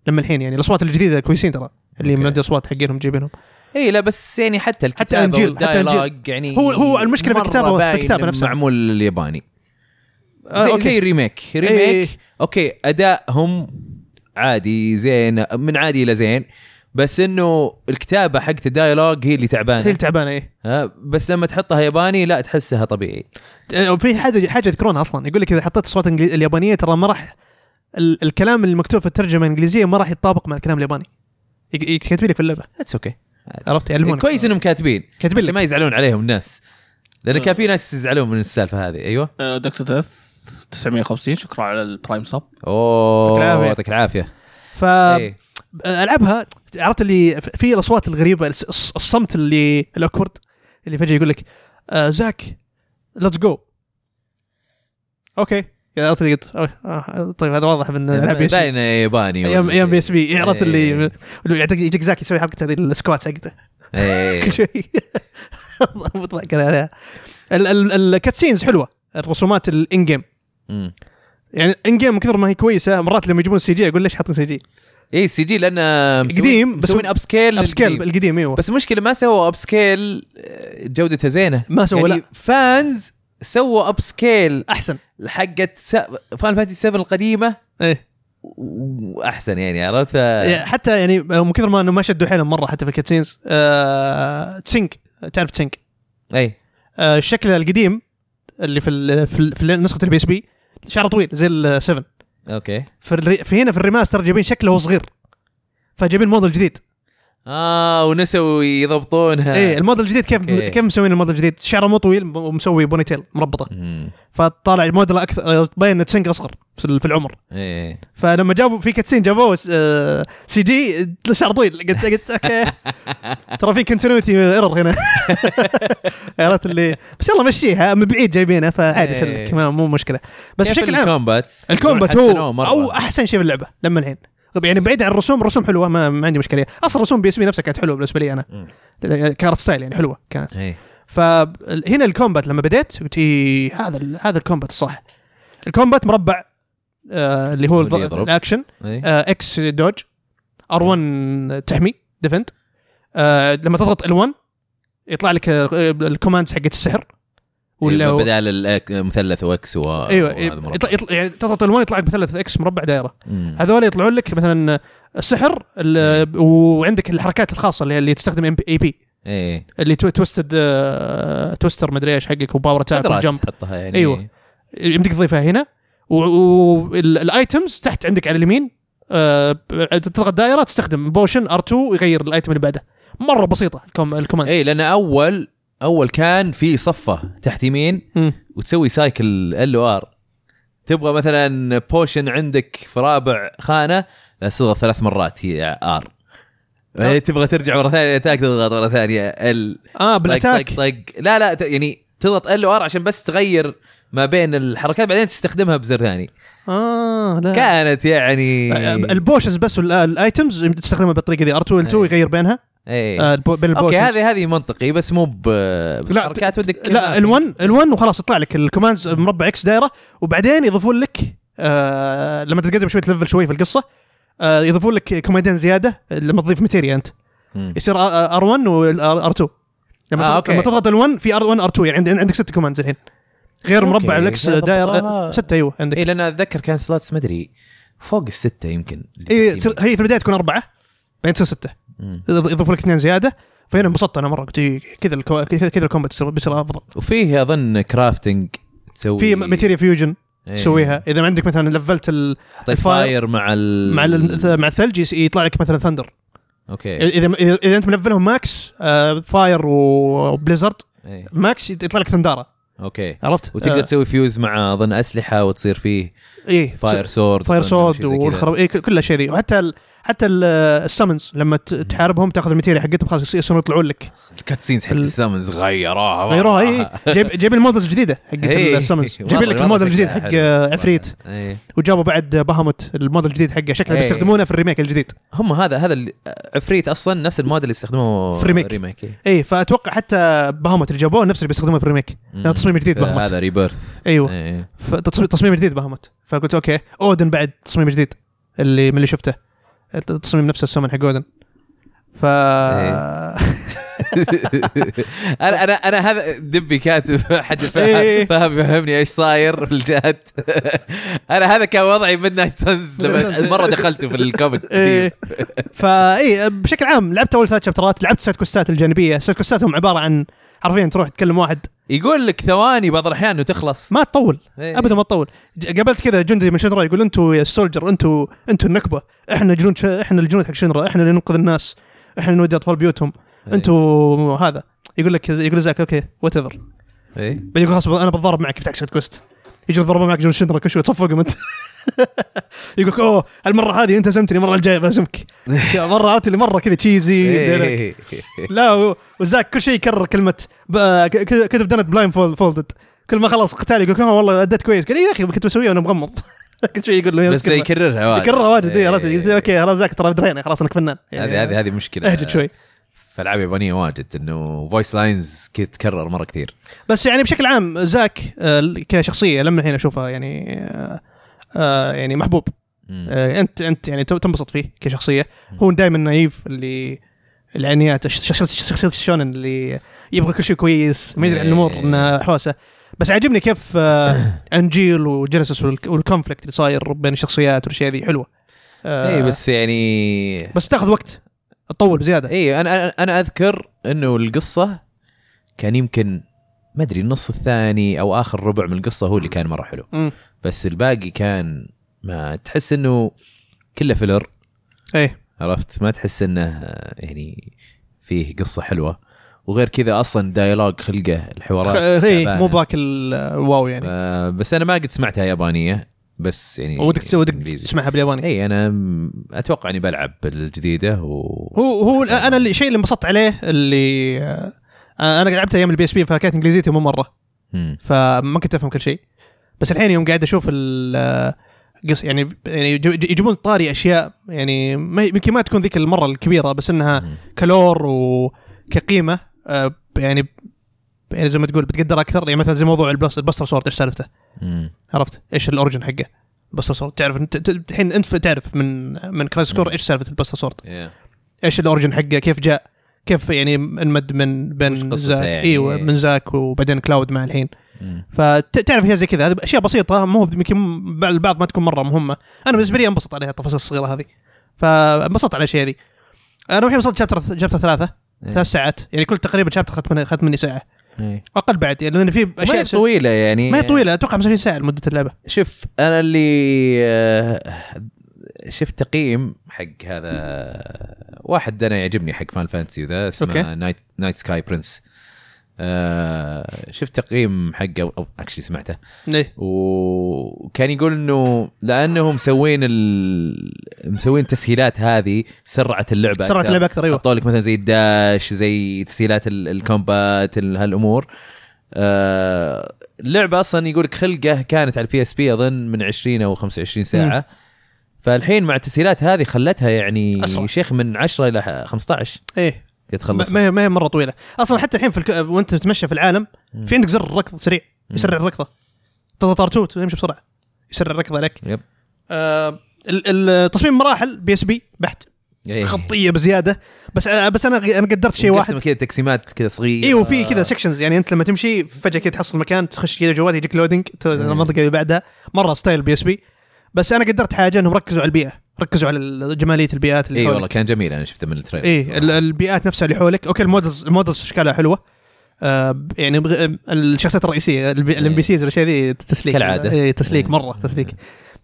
S2: لما الحين يعني الاصوات الجديده كويسين ترى اللي
S1: أوكي.
S2: من اصوات حقينهم جايبينهم
S1: اي لا بس يعني حتى الكتابه
S2: أنجيل- حتى أنجيل.
S1: والديالوج يعني
S2: هو- هو المشكلة في
S1: مرة
S2: الكتابة-
S1: باين
S2: بالكتابة
S1: إنه
S2: نفسها.
S1: معمول الياباني
S2: آه،
S1: زي,
S2: أوكي.
S1: زي ريميك
S2: إيه.
S1: ريميك اوكي ادائهم عادي زين من عادي الى زين بس انه الكتابه حقت الديالوج هي اللي
S2: هي
S1: تعبانه
S2: التعبانه ايه
S1: ها بس لما تحطها ياباني لا تحسها طبيعي
S2: آه، في حاجه حاجه يذكرونها اصلا يقول لك اذا حطيت الصوت الإنجلي- اليابانيه ترى ما راح ال- الكلام المكتوب في الترجمه الانجليزيه ما راح يتطابق مع الكلام الياباني يك- يكتب لك في اللعبه
S1: اتس اوكي
S2: عرفت يعلمونك
S1: إيه، كويس انهم كاتبين
S2: كاتبين
S1: عشان
S2: لك
S1: ما يزعلون عليهم الناس لان
S3: آه.
S1: كان في ناس يزعلون من السالفه هذه ايوه
S3: آه، دكتور ديث 950 شكرا على البرايم سب
S1: اوه
S2: يعطيك العافية. آه،
S1: يعطيك العافيه
S2: ف
S1: إيه.
S2: العبها عرفت اللي في الاصوات الغريبه الس- الس- الصمت اللي الاكورد اللي فجاه يقول لك آه زاك ليتس جو اوكي يا عرفت اللي قلت أوه، آه، طيب هذا واضح من العاب بي اس بي
S1: باين ياباني
S2: ايام ايام بي اس بي عرفت
S1: إيه.
S2: اللي اللي يعطيك يجيك زاك يسوي حركه هذه السكوات حقته
S1: إيه.
S2: كل شوي مطلع كذا عليها ال- ال- الكاتسينز حلوه الرسومات الان جيم
S1: مم.
S2: يعني ان جيم كثر ما هي كويسه مرات لما يجيبون سي جي اقول ليش حاطين سي جي؟
S1: اي السي إيه، جي لانه
S2: قديم، بس
S1: بس مسوين اب سكيل
S2: اب سكيل القديم ايوه
S1: بس المشكله ما سووا اب سكيل جودتها زينه
S2: ما سووا
S1: يعني
S2: لا.
S1: فانز سووا اب سكيل
S2: احسن
S1: حقت فان فانتسي 7 القديمه
S2: ايه
S1: واحسن يعني عرفت ف... اي
S2: يعني حتى يعني من كثر ما انه ما شدوا حيلهم مره حتى في الكاتسينز آه تسينك تعرف تسينك
S1: إيه.
S2: آه الشكل القديم اللي في ال في, ال في نسخه البي اس بي شعره طويل زي ال7
S1: اوكي
S2: في, الري- في هنا في الريماستر جايبين شكله هو صغير فجايبين موديل جديد
S1: اه ونسوا يضبطونها
S2: ايه الموديل الجديد كيف
S1: آه. أوكي.
S2: كيف مسوين الموديل الجديد شعره مو طويل م- ومسوي بونيتيل مربطه
S1: مم.
S2: فطالع موديل اكثر آه، تبين إن تسينك اصغر في ال- في العمر
S1: ايه
S2: فلما جابوا في كاتسين جابوه آه، سي جي آه، شعر طويل قلت قلت اوكي ترى في كونتينيوتي ايرور هنا عرفت اللي بس يلا مشيها من بعيد جايبينها فعادي
S1: إيه.
S2: يسلك ما مو مشكله بس
S1: كيف
S2: بشكل عام
S1: الكومبات
S2: الكومبات
S1: حسنوه
S2: هو
S1: مرة.
S2: او احسن شيء في اللعبه لما الحين طب يعني بعيد عن الرسوم الرسوم حلوه ما, ما عندي مشكله اصلا الرسوم بي اس بي نفسها كانت حلوه بالنسبه لي انا
S1: مم.
S2: كارت ستايل يعني حلوه كانت
S1: ايه
S2: إيه، فهنا الكومبات لما بديت قلت إيه هذا ال- هذا الكومبات الصح الكومبات مربع آه اللي هو
S1: واللي
S2: الض-
S1: يضرب.
S2: الاكشن
S1: إيه.
S2: آه اكس دوج ار 1 تحمي ديفند آه لما تضغط ال1 يطلع لك آه، الكوماندز حقت السحر ولا
S1: إيه، بدال الأك- مثلث واكس و
S2: ايوه
S1: وهذا مربع.
S2: يطلع يطلع يعني تضغط ال1 يطلع لك مثلث اكس مربع دائره
S1: مم.
S2: هذول يطلعون لك مثلا السحر ال- وعندك الحركات الخاصه اللي, اللي تستخدم اي بي
S1: ايه
S2: اللي تو- توستد آه، توستر مدري ايش حقك وباور اتاك
S1: قدرات
S2: وجمب
S1: تحطها يعني
S2: أيوة. يمديك تضيفها هنا والايتمز تحت عندك على اليمين آه، ب- تضغط دائره تستخدم بوشن ار2 يغير الايتم اللي بعده مره بسيطه الكوم الكوماند
S1: اي لان اول اول كان في صفه تحت يمين
S2: مم.
S1: وتسوي سايكل ال ار تبغى مثلا بوشن عندك في رابع خانه لا تضغط ثلاث مرات هي ار
S2: طب.
S1: تبغى ترجع مره ثانيه تاك تضغط مره ثانيه ال
S2: اه
S1: طق
S2: بالاتاك
S1: طق طق. لا لا ت- يعني تضغط ال ار عشان بس تغير ما بين الحركات بعدين تستخدمها بزر ثاني
S2: اه لا
S1: كانت يعني
S2: آه، البوشنز بس والايتمز تستخدمها بالطريقه دي ار2 ال2
S1: أي.
S2: يغير بينها
S1: ايه.
S2: آه، البو- بين
S1: اوكي
S2: البوشنز
S1: هذه هذه منطقي بس مو ب بحركات ودك
S2: لا ال1 ال1 وخلاص يطلع لك الكوماندز مربع اكس دايره وبعدين يضيفون لك آه لما تتقدم شويه ليفل شوي في القصه آه يضيفون لك كوماندين زياده لما تضيف ماتيريا انت
S1: مم.
S2: يصير ار1 وار2 لما
S1: آه،
S2: تضغط
S1: أوكي.
S2: لما تضغط ال1 في ار1 ار2 يعني عند- عندك ست كوماندز الحين غير
S1: أوكي، إيه،
S2: مربع الاكس
S1: إذا
S2: دايره
S1: ضبطها-
S2: سته ايوه عندك
S1: اي لان اتذكر كان سلاتس ما ادري فوق السته يمكن
S2: اي تصير- هي في البدايه تكون اربعه بعدين تصير سته
S1: مم.
S2: يض- يضيف لك اثنين زياده فهنا انبسطت انا مره قلت إيه، كذا الكو- كذا كذا الكومبات بيصير- بيصير افضل
S1: وفيه اظن كرافتنج تسوي
S2: في ماتيريا فيوجن
S1: إيه.
S2: تسويها اذا عندك مثلا لفلت ال-
S1: طيب
S2: الفاير
S1: فاير مع ال
S2: مع ال- إيه. مع الثلج يس- يطلع لك مثلا ثندر
S1: اوكي
S2: اذا اذا إذا انت ملفلهم ماكس آه، فاير و- وبليزرد
S1: إيه.
S2: ماكس يت- يطلع لك ثنداره
S1: اوكي
S2: عرفت؟ آه،
S1: وتقدر تسوي فيوز مع اظن اسلحه وتصير فيه
S2: ايه
S1: فاير سورد
S2: فاير
S1: أظن، أو
S2: سورد
S1: شيء زي كذا.
S2: والخراب اي كل شيء ذي وحتى ال... حتى السمنز لما ت- تحاربهم تاخذ الماتيريا حقتهم خلاص يصيرون يطلعون لك
S1: الكاتسينز حقت
S2: ال-
S1: السامنز غيروها آه.
S2: غيروها إيه. اي جايب جايب المودلز الجديده حقت
S1: إيه.
S2: السمنز
S1: والله-
S2: جايب لك
S1: والله
S2: الموديل الجديد
S1: فكرة
S2: حق
S1: حلوة
S2: آه،
S1: صراحة.
S2: عفريت
S1: إيه.
S2: وجابوا بعد باهموت الموديل الجديد حقه شكله
S1: إيه.
S2: بيستخدمونه في الريميك الجديد
S1: هم هذا هذا ال- عفريت اصلا نفس الموديل اللي إيه. استخدموه
S2: في الريميك.
S1: ريميك
S2: اي فاتوقع حتى باهموت اللي جابوه نفس اللي بيستخدمونه في الريميك لأنه تصميم جديد باهموت
S1: هذا ريبيرث
S2: ايوه
S1: ايوه
S2: فتصميم تصميم جديد باهموت فقلت اوكي اودن بعد تصميم جديد اللي من اللي شفته التصميم نفسه السمن حق اودن ف
S1: انا انا انا هذا دبي كاتب حد
S2: إيه.
S1: فاهم فاهم- فهمني ايش صاير في الجهات انا هذا كان وضعي ميد نايت سانز لما مره دخلته في الكومنت
S2: إيه. فاي بشكل عام لعبت اول ثلاث شابترات لعبت سايد كوستات الجانبيه سايد كوستات هم عباره عن حرفيا تروح تكلم واحد
S1: يقول لك ثواني بعض الاحيان وتخلص
S2: ما تطول
S1: إيه.
S2: ابدا ما تطول ج- قابلت كذا جندي من شنرا يقول انتوا يا السولجر انتوا انتوا النكبه احنا جنود ش... احنا الجنود حق شنرا احنا اللي ننقذ الناس احنا اللي نودي اطفال بيوتهم
S1: إيه.
S2: انتوا هذا يقول لك يقول زاك اوكي وات ايفر
S1: إيه.
S2: بعدين يقول خلاص انا بتضارب معك افتح سايد كويست يجي يتضاربون معك جنود شنرا كل شوي تصفقهم انت يقول لك اوه المره هذه انت هزمتني المره الجايه بهزمك يا مره عرفت اللي مره كذا تشيزي
S1: إيه.
S2: لا و- وزاك كل شيء يكرر كلمه ب- ك- ك- كتب دنت بلاين فولدد كل ما خلص قتال يقول "آه، والله اديت كويس قال "إيه يا اخي كنت بسويها وانا مغمض كل شيء يقول له
S1: بس يكررها واجد
S2: يكررها واجد إيه، خلاص
S1: إيه.
S2: اوكي خلاص زاك ترى درينا خلاص انك فنان يعني
S1: هذه هذه هذه مشكله
S2: اهجد شوي
S1: في العاب يابانيه واجد انه فويس لاينز تتكرر مره كثير
S2: بس يعني بشكل عام زاك آه، كشخصيه لما الحين اشوفها يعني آه، آه، يعني محبوب
S1: مم.
S2: آه، انت انت يعني تو- تنبسط فيه كشخصيه هو دائما نايف اللي العنيات الش- شخصيه شخصيه الشونن اللي يبغى كل شيء كويس ما يدري عن الامور
S1: إيه.
S2: انها حوسه بس عاجبني كيف آه، انجيل وجينيسيس والك- والكونفليكت اللي صاير بين الشخصيات والاشياء ذي حلوه آه،
S1: اي إيه، بس يعني
S2: بس بتاخذ وقت تطول بزياده
S1: اي انا إيه، أنا- انا اذكر انه القصه كان يمكن ما ادري النص الثاني او اخر ربع من القصه هو اللي كان مره حلو
S2: مم.
S1: بس الباقي كان ما تحس انه كله فيلر
S2: ايه
S1: عرفت ما تحس انه آه، يعني فيه قصه حلوه وغير كذا اصلا دايلوج خلقه الحوارات
S2: خ- إيه،
S1: تعبانة.
S2: مو باك ال- الواو يعني
S1: آه، بس انا ما قد سمعتها يابانيه بس يعني
S2: ودك تسوي- ودك
S1: إنجليزي. إيه،
S2: تسمعها بالياباني
S1: اي انا م- اتوقع اني بلعب الجديده و
S2: هو هو انا اللي- الشيء اللي انبسطت عليه اللي آه، انا لعبتها ايام البي اس بي فكانت انجليزيتي مو مره
S1: مم.
S2: فما كنت افهم كل شيء بس الحين يوم قاعد اشوف ال قص يعني يعني يج- يجيبون طاري اشياء يعني ما هي- يمكن ما تكون ذيك المره الكبيره بس انها
S1: مم.
S2: كلور وكقيمه آه، يعني يعني زي ما تقول بتقدر اكثر يعني مثلا زي موضوع البلس- البستر سورد ايش سالفته
S1: مم.
S2: عرفت ايش الاوريجن حقه باستر سورد تعرف أنت- ت- الحين انت تعرف من من كرايس كور ايش سالفه الباستر سورد
S1: إيه.
S2: ايش الاورigin حقه كيف جاء كيف يعني انمد من
S1: وش
S2: بين
S1: قصته
S2: زاك
S1: يعني؟
S2: ايوه من زاك وبعدين كلاود مع الحين
S1: مم.
S2: فتعرف اشياء زي كذا هذه اشياء بسيطه مو يمكن البعض ما تكون مره مهمه انا بالنسبه لي انبسط عليها التفاصيل الصغيره هذه فانبسطت على الاشياء ذي انا الحين وصلت شابتر شابتر ثلاثه
S1: إيه.
S2: ثلاث ساعات يعني كل تقريبا شابتر اخذت مني اخذت مني ساعه
S1: إيه.
S2: اقل بعد يعني لان في
S1: ما هي
S2: اشياء
S1: طويله يعني
S2: ما هي طويله اتوقع 25 ساعه لمده اللعبه
S1: شوف انا اللي آه، شفت تقييم حق هذا واحد انا يعجبني حق فان فانتسي وذا اسمه
S2: أوكي.
S1: نايت نايت سكاي برنس آه، شفت تقييم حقه او- او اكشلي سمعته إيه.
S2: ايه
S1: وكان يقول انه لانهم مسوين ال... مسوين تسهيلات هذه سرعت اللعبه
S2: سرعه
S1: أكثر.
S2: اللعبه اكثر ايوه
S1: حطوا لك مثلا زي الداش زي تسهيلات ال- الكومبات ال- هالامور آه، اللعبه اصلا يقول لك خلقه كانت على البي اس بي اظن من 20 او 25 ساعه فالحين مع التسهيلات هذه خلتها يعني
S2: أسرع.
S1: شيخ من 10 الى ح- 15
S2: ايه ما
S1: تخلص
S2: ما هي ما هي مره طويله اصلا حتى الحين في الك... وانت تتمشى في العالم
S1: مم.
S2: في عندك زر ركض سريع يسرع الركضه تضغط ار2 تمشي بسرعه يسرع الركضه عليك
S1: يب
S2: آه ال- ال- تصميم مراحل بي اس بي بحت
S1: إيه.
S2: خطيه بزياده بس آه بس انا انا قدرت شيء
S1: مقسم
S2: واحد
S1: كذا تقسيمات كذا إيه، صغيره
S2: ايوه في كذا سكشنز يعني انت لما تمشي فجاه كذا تحصل مكان تخش كذا جوال يجيك لودنج
S1: إيه.
S2: المنطقه اللي بعدها مره ستايل بي اس بي بس انا قدرت حاجه انهم ركزوا على البيئه ركزوا على جماليه البيئات اللي
S1: اي
S2: حولك.
S1: والله كان جميل انا شفته من التريلر
S2: ايه
S1: الصراحة.
S2: ال- البيئات نفسها اللي حولك اوكي المودلز المودلز اشكالها حلوه آه ب- يعني بغ... آم، الشخصيات الرئيسيه الام بي سيز والاشياء ذي تسليك
S1: إيه. كالعادة.
S2: ايه تسليك
S1: إيه.
S2: مره تسليك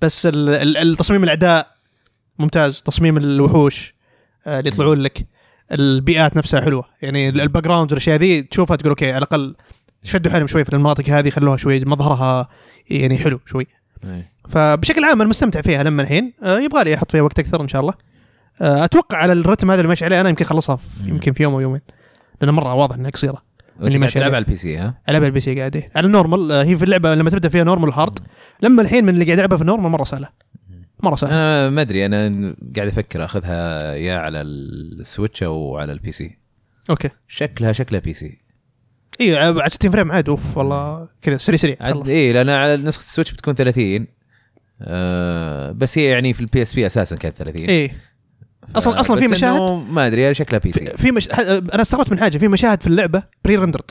S2: بس ال... ال- ال- تصميم الاعداء ممتاز تصميم الوحوش آه اللي
S1: إيه.
S2: يطلعون لك البيئات نفسها حلوه يعني ال- الباك جراوند والاشياء ذي تشوفها تقول اوكي على الاقل شدوا حيلهم شوي في المناطق هذه خلوها شوي مظهرها يعني حلو شوي
S1: إيه.
S2: فبشكل عام انا مستمتع فيها لما الحين آه، يبغى لي احط فيها وقت اكثر ان شاء الله آه، اتوقع على الرتم هذا اللي ماشي عليه انا يمكن اخلصها في-
S1: مم.
S2: يمكن في يوم او يومين لان مره واضح انها قصيره اللي
S1: وأنت قاعد
S2: ماشي
S1: تلعب
S2: عليه.
S1: على البي سي ها
S2: العبها البي سي قاعد إيه. على النورمال آه، هي في اللعبه لما تبدا فيها نورمال هارد لما الحين من اللي قاعد يلعبها في النورمال مره سهله مره سهله
S1: انا ما ادري انا قاعد افكر اخذها يا على السويتش او على البي سي
S2: اوكي
S1: شكلها شكلها بي سي
S2: ايوه على 60 فريم عاد اوف والله كذا سريع سريع
S1: عاد
S2: تخلص.
S1: اي لان على نسخه السويتش بتكون 30 آه بس هي يعني في البي اس بي اساسا كانت 30
S2: ايه اصلا اصلا في
S1: إيه. آه، بس
S2: مشاهد إيه.
S1: إنه ما ادري شكلها بي سي
S2: في- في مش... ح- انا استغربت من حاجه في مشاهد في اللعبه بري رندرد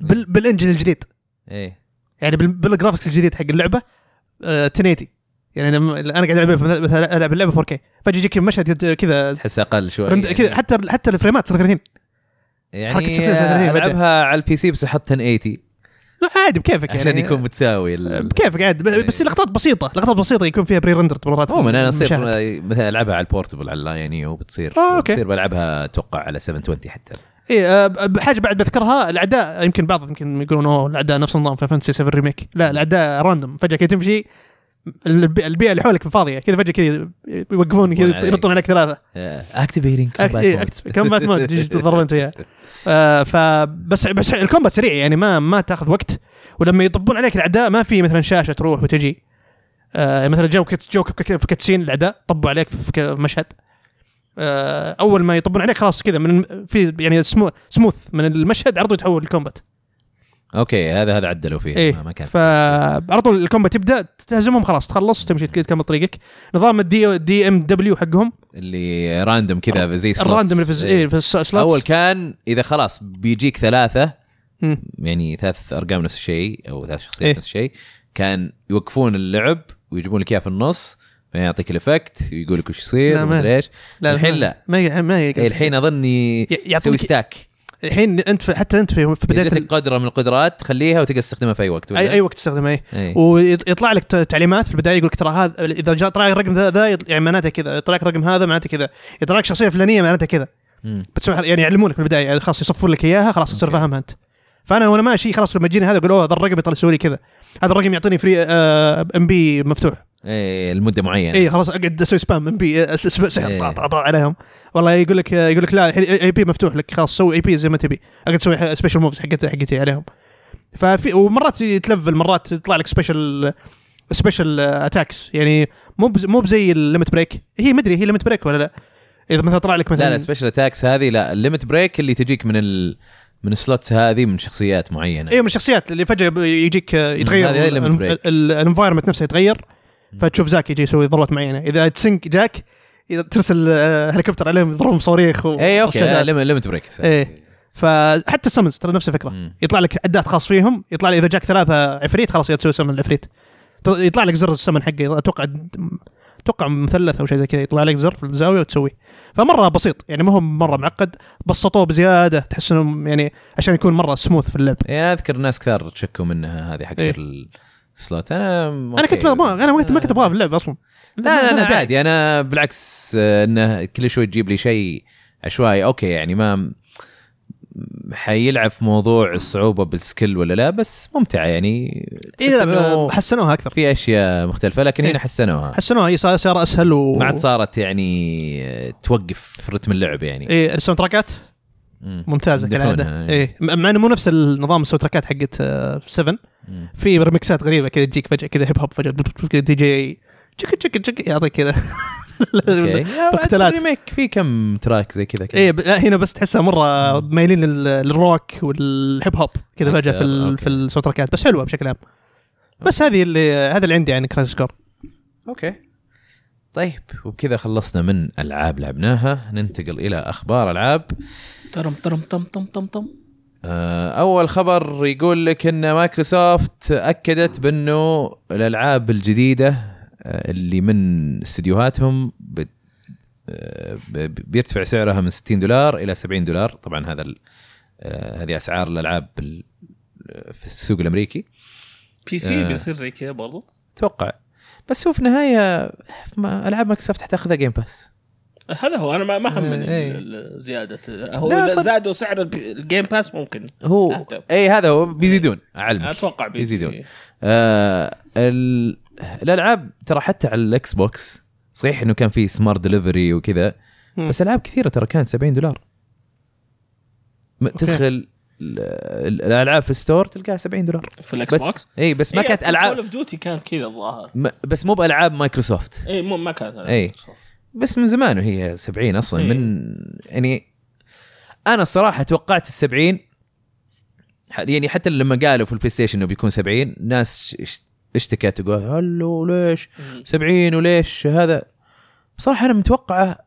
S2: بال... بالانجن الجديد
S1: ايه
S2: يعني بال- بالجرافكس الجديد حق اللعبه آه 1080 يعني لما- انا قاعد العب مثلا العب اللعبه 4K فجاه يجيك مشهد يد- كذا
S1: تحس اقل شوي
S2: رند-
S1: يعني-
S2: كذا حتى حتى الفريمات صار 30
S1: يعني
S2: حركة شخصية صارت 30 فجأة.
S1: العبها على البي سي بس احط 1080
S2: لا، عادي بكيفك يعني
S1: عشان يكون متساوي
S2: آه،
S1: ال-
S2: بكيفك عادي ب- بس لقطات بسيطه لقطات بسيطه يكون فيها بري رندرد مرات
S1: عموما انا اصير
S2: مشاهد.
S1: مثلا العبها على البورتبل على اللاين يو بتصير
S2: آه، أوكي.
S1: بتصير بلعبها اتوقع على 720 حتى
S2: اي آه، ب- حاجه بعد بذكرها الاعداء يمكن بعض يمكن يقولون اوه الاعداء نفس نظام في فانتسي 7 ريميك لا الاعداء راندوم فجاه كذا تمشي الب- البيئه اللي حولك فاضيه كذا فجاه كذا يوقفون
S1: يطلون
S2: كذا
S1: عليك.
S2: ينطون عليك ثلاثه
S1: اكتيفيتنج
S2: إيه، كومبات مود تجي تضرب انت وياه آه، فبس بس الكومبات سريع يعني ما ما تاخذ وقت ولما يطبون عليك الاعداء ما في مثلا شاشه تروح وتجي آه، مثلا جو كت جو كت- في كتسين الاعداء طبوا عليك في ك- مشهد آه، اول ما يطبون عليك خلاص كذا من في يعني سمو سموث من المشهد عرضه يتحول للكومبات
S1: اوكي هذا هذا عدلوا فيه
S2: ايه
S1: إيه، ما- ما كان
S2: فعلى طول الكومبات يبدا تهزمهم خلاص تخلص تمشي تكمل طريقك نظام الدي دي ام دبليو حقهم
S1: اللي راندوم كذا زي slots.
S2: الراندوم اللي في الز-
S1: إيه.
S2: إيه، في السلوتس
S1: اول كان اذا خلاص بيجيك ثلاثه
S2: مم.
S1: يعني ثلاث ارقام نفس الشيء او ثلاث شخصيات
S2: إيه.
S1: نفس الشيء كان يوقفون اللعب ويجيبون لك اياه في النص بعدين يعطيك الافكت ويقول لك وش يصير
S2: لا، ما-
S1: ومدري ايش الحين
S2: ما-
S1: لا.
S2: ما ما يقدر.
S1: إيه، الحين اظني
S2: ي-
S1: تسوي
S2: يعطيك
S1: ستاك
S2: الحين انت في حتى انت في في بدايه ال-
S1: بدايتك قدره من القدرات تخليها وتقدر تستخدمها في اي وقت ولا؟
S2: اي اي وقت تستخدمه اي
S1: إيه.
S2: ويطلع لك ت- تعليمات في البدايه يقول لك ترى هذا اذا جاء طلع الرقم ذا ذا يط- يعني معناته كذا يطلع لك رقم هذا معناته كذا يطلع لك شخصيه فلانيه معناته كذا
S1: مم.
S2: بتسوي حر- يعني يعلمونك من البدايه يعني خلاص يصفون لك اياها خلاص تصير فاهمها انت فانا وانا ماشي خلاص لما يجيني هذا اقول اوه هذا الرقم يطلع يسوي لي كذا هذا الرقم يعطيني فري ام بي مفتوح
S1: اي لمده معينه
S2: اي إيه، خلاص اقعد اسوي سبام ام بي
S1: يعني. إيه.
S2: سحب طع- طع- طع عليهم والله يقول لك يقول لك لا اي بي مفتوح لك خلاص سوي اي بي زي ما تبي اقعد اسوي سبيشال موفز حقتي حقتي عليهم ففي ومرات تلفل مرات يطلع لك سبيشال سبيشال اتاكس يعني مو بز- مو بزي الليمت بريك هي مدري هي ليمت بريك ولا لا اذا مثلا طلع لك مثلا
S1: لا لا سبيشل اتاكس هذه لا الليمت بريك اللي تجيك من ال... من السلوتس هذه من شخصيات معينه
S2: أيوه. إيه، ايوه من الشخصيات اللي فجاه يجيك يتغير
S1: هذه هي limit break.
S2: الانفايرمنت نفسه يتغير فتشوف زاك يجي يسوي ضربات معينه اذا تسنك جاك اذا ترسل آه، هليكوبتر عليهم يضربهم صواريخ و...
S1: اي اوكي
S2: رشادات.
S1: ليمت بريك
S2: ايه فحتى السمنز ترى نفس الفكره يطلع لك عداد خاص فيهم يطلع لي اذا جاك ثلاثه عفريت خلاص يا تسوي سمن العفريت ت- يطلع لك زر السمن حقه اتوقع اتوقع مثلث او شيء زي كذا يطلع لك زر في الزاويه وتسوي فمره بسيط يعني ما هو مره معقد بسطوه بزياده تحس انهم يعني عشان يكون مره سموث في اللعب
S1: يعني اذكر ناس كثار تشكوا منها هذه حقت
S2: إيه.
S1: السلوت انا
S2: انا كنت ما ما- انا ما كنت ما كنت ابغاه في اللعب اصلا
S1: لا لا
S2: ما-
S1: انا
S2: ما-
S1: عادي انا بالعكس آه، انه كل شوي تجيب لي شيء عشوائي اوكي يعني ما حيلعب في موضوع الصعوبه بالسكيل ولا لا بس ممتعه يعني تحس
S2: إيه،
S1: إنه
S2: حسنوها اكثر
S1: في اشياء مختلفه لكن هنا
S2: إيه.
S1: حسنوها
S2: حسنوها هي صار صار اسهل و
S1: ما عاد صارت يعني آه، توقف رتم اللعب يعني
S2: ايه الساوند تراكات
S1: مم.
S2: ممتازه
S1: يمدحونها،
S2: كالعاده
S1: إيه.
S2: ايه م- مع انه مو نفس النظام الساوند تراكات حقت 7
S1: مم.
S2: في ريمكسات غريبه كذا تجيك فجاه كذا هيب هوب فجاه بل- بل- كذا دي جي تشك تشك تشك يعطيك كذا
S1: اوكي
S2: اقتلات.
S1: الريميك في كم تراك زي كذا كذا
S2: ايه ب- لا، هنا بس تحسها مره مايلين لل- للروك والهيب هوب كذا فجاه في ال-
S1: أوكي.
S2: في الساوند تراكات بس حلوه بشكل عام بس هذه اللي هذا اللي عندي عن كراش كور
S1: اوكي طيب وبكذا خلصنا من العاب لعبناها ننتقل الى اخبار العاب
S3: ترم ترم تم تم تم تم
S1: آه، اول خبر يقول لك ان مايكروسوفت اكدت بانه الالعاب الجديده آه، اللي من استديوهاتهم بت- آه، ب- بيرتفع سعرها من 60 دولار الى 70 دولار طبعا هذا ال- آه، هذه اسعار الالعاب بال- آه، في السوق الامريكي
S3: بي سي
S1: آه.
S3: بيصير زي كذا برضو
S1: اتوقع بس هو في النهايه ما- العاب مايكروسوفت حتاخذها جيم باس
S3: هذا هو انا ما ما همني
S1: إيه.
S3: ال- ال- زياده هو
S1: لا،
S3: اذا
S1: صدق.
S3: زادوا سعر الب- الجيم باس ممكن
S1: هو
S3: أهدأ.
S1: اي هذا هو بيزيدون اعلمك
S3: اتوقع بي-
S1: يزيدون. آه ال- الالعاب ترى حتى على الاكس بوكس صحيح انه كان في سمارت دليفري وكذا
S2: مم.
S1: بس العاب كثيره ترى كانت 70 دولار م- تدخل ال- ال- الالعاب في ستور تلقاها 70 دولار
S3: في الاكس
S1: بس
S3: بوكس إيه،
S1: اي بس ما كانت
S3: كول
S1: العاب
S3: اوف ديوتي كانت كذا الظاهر
S1: م- بس مو بالعاب مايكروسوفت
S3: اي مو ما كانت على
S1: إيه.
S3: Xbox.
S1: بس من زمان وهي 70 اصلا
S3: إيه.
S1: من يعني انا الصراحه توقعت ال 70 ح- يعني حتى لما قالوا في البلاي ستيشن انه بيكون 70 ناس اش- اشتكت وقالت هلو ليش 70 وليش هذا بصراحه انا متوقعه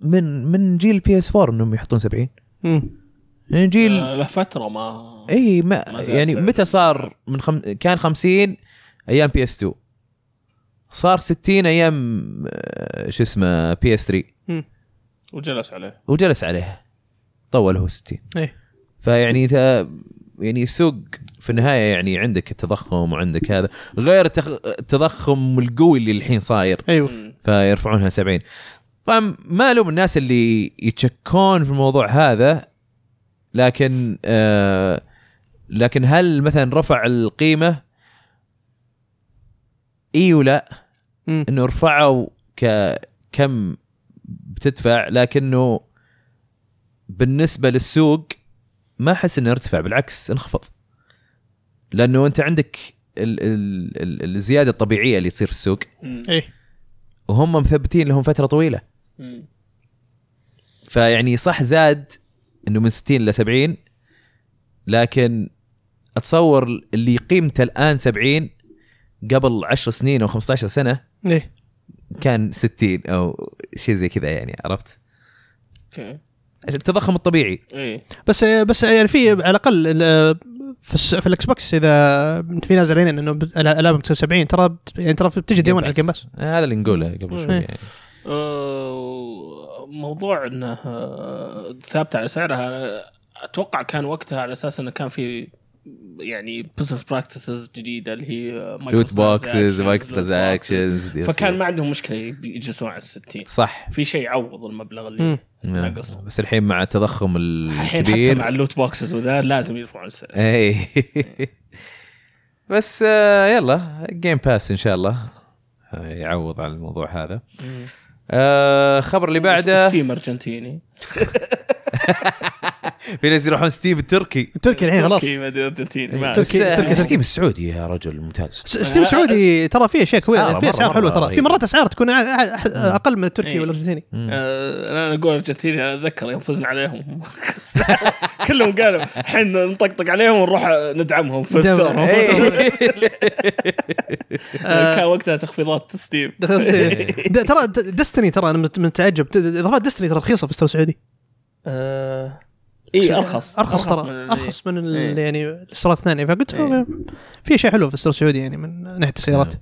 S1: من من جيل بي اس 4 انهم يحطون 70 يعني جيل
S3: آه، له فتره ما
S1: اي ما
S3: ما زال
S1: يعني
S3: سعر.
S1: متى صار من خم... كان 50 ايام بي اس 2 صار 60 ايام آه، شو اسمه بي اس 3
S3: وجلس عليه
S1: وجلس عليه طول هو 60
S2: ايه
S1: فيعني تا- يعني السوق في النهايه يعني عندك التضخم وعندك هذا غير التخ... التضخم القوي اللي الحين صاير
S2: ايوه
S3: مم.
S1: فيرفعونها 70 طبعا ما الوم الناس اللي يتشكون في الموضوع هذا لكن آه لكن هل مثلا رفع القيمه اي ولا
S2: مم.
S1: انه رفعوا ك كم بتدفع لكنه بالنسبه للسوق ما احس انه ارتفع بالعكس انخفض لانه انت عندك ال ال ال الزياده الطبيعيه اللي تصير في السوق
S3: مم.
S2: ايه
S1: وهم مثبتين لهم فتره طويله
S3: مم.
S1: فيعني صح زاد انه من 60 ل 70 لكن اتصور اللي قيمته الان 70 قبل 10 سنين او 15 سنه
S2: ايه
S1: كان 60 او شيء زي كذا يعني عرفت؟
S3: اوكي
S1: عشان التضخم الطبيعي
S3: ايه
S2: بس بس يعني في على الاقل ال- في, الس- في الاكس بوكس اذا في ناس زعلانين انه بت- الع- الالعاب بتصير 70 ترى بت- يعني ترى بتجي ديوان على الجيم باس
S1: آه، هذا اللي نقوله قبل شوي
S2: إيه.
S1: يعني
S3: آه، موضوع انه آه، ثابت على سعرها آه، اتوقع كان وقتها على اساس انه كان في يعني بزنس براكتسز جديده اللي هي
S1: لوت بوكسز مايكرو ترانزاكشنز
S3: فكان ما عندهم مشكله يجلسون على 60
S1: صح آه.
S3: في شيء يعوض المبلغ
S2: مم.
S3: اللي نقص.
S1: بس الحين مع التضخم
S3: الحين حتى
S1: الكبير
S3: مع اللوت بوكسز وذا لازم يرفعون السعر
S1: اي بس آه، يلا جيم باس ان شاء الله آه، يعوض على الموضوع هذا آه، الخبر اللي بعده
S3: ستيم ارجنتيني
S1: في ناس يروحون ستيم التركي
S2: تركيا الحين إيه، خلاص
S3: تركي ما ادري ارجنتيني ما
S2: تركي-
S3: أدري.
S1: بس، آه،
S2: تركي-
S1: ستيم السعودي يا رجل ممتاز
S2: س- ستيم سعودي ترى فيه اشياء كويسه
S3: آه،
S1: أسعاره
S2: فيه
S1: مرة-
S2: اسعار
S1: مرة
S2: حلوه ترى في
S1: رهيبة.
S2: مرات اسعار تكون أع- أح- اقل من التركي
S3: إيه.
S2: والارجنتيني
S3: آه، انا اقول ارجنتيني انا اتذكر يوم فزنا عليهم كلهم قالوا الحين نطقطق عليهم ونروح ندعمهم في
S2: دعم.
S3: ستور
S1: إيه.
S2: آه.
S3: كان وقتها تخفيضات ستيم
S2: دخل ستيم. د- ترى دستني ترى انا مت- متعجب د- د- اضافات دستني ترى رخيصه في السوق السعودي
S3: آه، اي ارخص
S2: ارخص
S3: من
S2: ترى
S3: ال-
S2: ارخص من ال-
S3: إيه.
S2: يعني السيارات الثانيه فقلت
S3: إيه.
S2: في اشياء حلوه في السوق السعودي يعني من ناحيه السيارات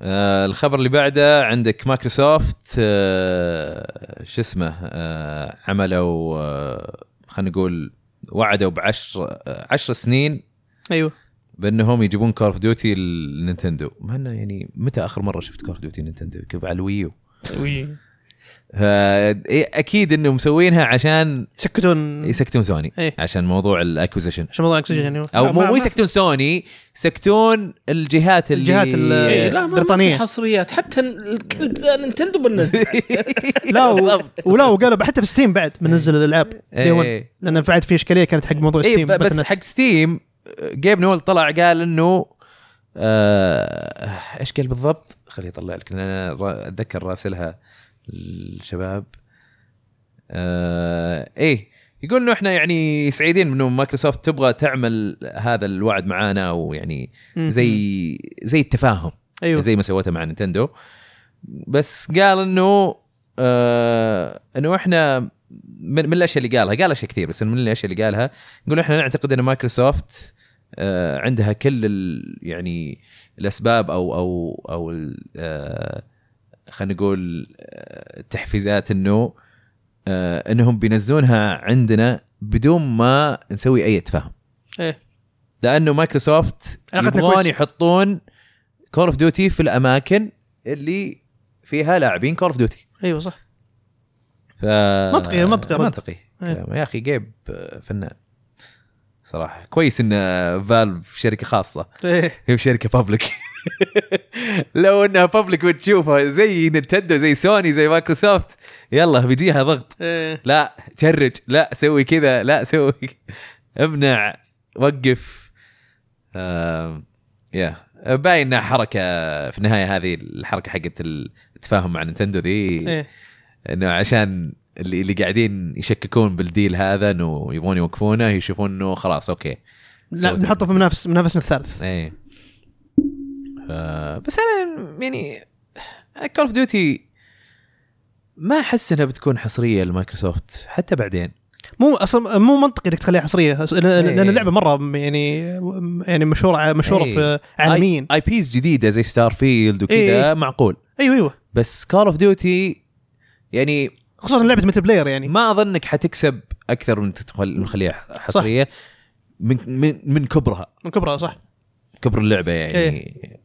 S1: آه الخبر اللي بعده عندك مايكروسوفت آه شو اسمه آه عملوا آه خلينا نقول وعدوا بعشر آه، عشر سنين
S2: ايوه
S1: بانهم يجيبون كور اوف ديوتي للنينتندو مع انه يعني متى اخر مره شفت كور اوف ديوتي نينتندو كيف على الويو
S3: وي.
S1: آه إيه، اكيد انهم مسوينها عشان
S2: سكتون
S1: يسكتون سوني
S2: إيه.
S1: عشان موضوع الاكوزيشن
S2: عشان موضوع الاكسجين ايوه
S1: او
S3: لا،
S1: مو
S3: ما-
S1: مو
S3: ما-
S1: يسكتون سوني يسكتون الجهات اللي
S2: الجهات ال-
S3: إيه،
S1: إيه.
S3: لا ما- ما
S2: بريطانية.
S3: في حصريات حتى الكلب ذا نينتندو بنزل
S2: لا و...
S1: بالضبط.
S2: ولا وقالوا حتى في ستيم بعد بنزل الالعاب
S1: إيه.
S2: دي لان بعد في اشكاليه كانت حق موضوع
S1: اي
S2: ستيم
S1: إيه، ب- بس
S2: مثلاً.
S1: حق ستيم آه، جيب نول طلع قال انه آه، ايش قال بالضبط؟ خليه يطلع لك لان انا را- اتذكر راسلها الشباب آه ايه يقول انه احنا يعني سعيدين انه مايكروسوفت تبغى تعمل هذا الوعد معانا ويعني
S2: مم.
S1: زي زي التفاهم
S2: ايوه
S1: زي ما سوته مع نينتندو بس قال انه آه انه احنا من, من الاشياء اللي قالها قال اشياء كثير بس من الاشياء اللي قالها يقول احنا نعتقد ان مايكروسوفت آه عندها كل ال يعني الاسباب او او او ال- آه خلينا نقول آه، التحفيزات انه آه انهم بينزلونها عندنا بدون ما نسوي اي تفاهم
S2: إيه.
S1: لانه مايكروسوفت
S2: علاقتنا
S1: يبغون
S2: كويسة.
S1: يحطون كول اوف ديوتي في الاماكن اللي فيها لاعبين كول اوف ديوتي
S2: ايوه صح
S1: ف...
S2: منطقي- منطقي رد.
S1: منطقي
S2: إيه.
S1: يا اخي جيب آه، فنان صراحه كويس آه، ان فالف شركه خاصه
S2: ايه
S1: هي شركه بابليك لو انها بابليك وتشوفها زي نتندو زي سوني زي مايكروسوفت يلا بيجيها ضغط
S2: ايه
S1: لا شرج لا سوي كذا لا سوي امنع وقف آم، يا باين انها حركه في النهايه هذه الحركه حقت التفاهم مع نتندو ذي
S2: إيه.
S1: انه عشان اللي اللي قاعدين يشككون بالديل هذا انه يبغون يوقفونه يشوفون انه خلاص اوكي
S2: لا
S1: سوت-
S2: بنحطه في منافس منافسنا الثالث
S1: ايه آه بس انا يعني كول اوف ديوتي ما احس انها بتكون حصريه لمايكروسوفت حتى بعدين
S2: مو اصلا مو منطقي انك تخليها حصريه لأن- لان
S1: إيه.
S2: اللعبه مره يعني يعني مشهوره مشهوره
S1: إيه.
S2: في عالميا
S1: اي بيز جديده زي ستار فيلد وكذا
S2: إيه.
S1: معقول
S2: ايوه ايوه
S1: بس كول اوف ديوتي يعني
S2: خصوصا لعبه مثل بلاير يعني
S1: ما اظنك حتكسب اكثر من تخل- من تخليها حصريه من من من كبرها
S2: من كبرها صح
S1: كبر اللعبه يعني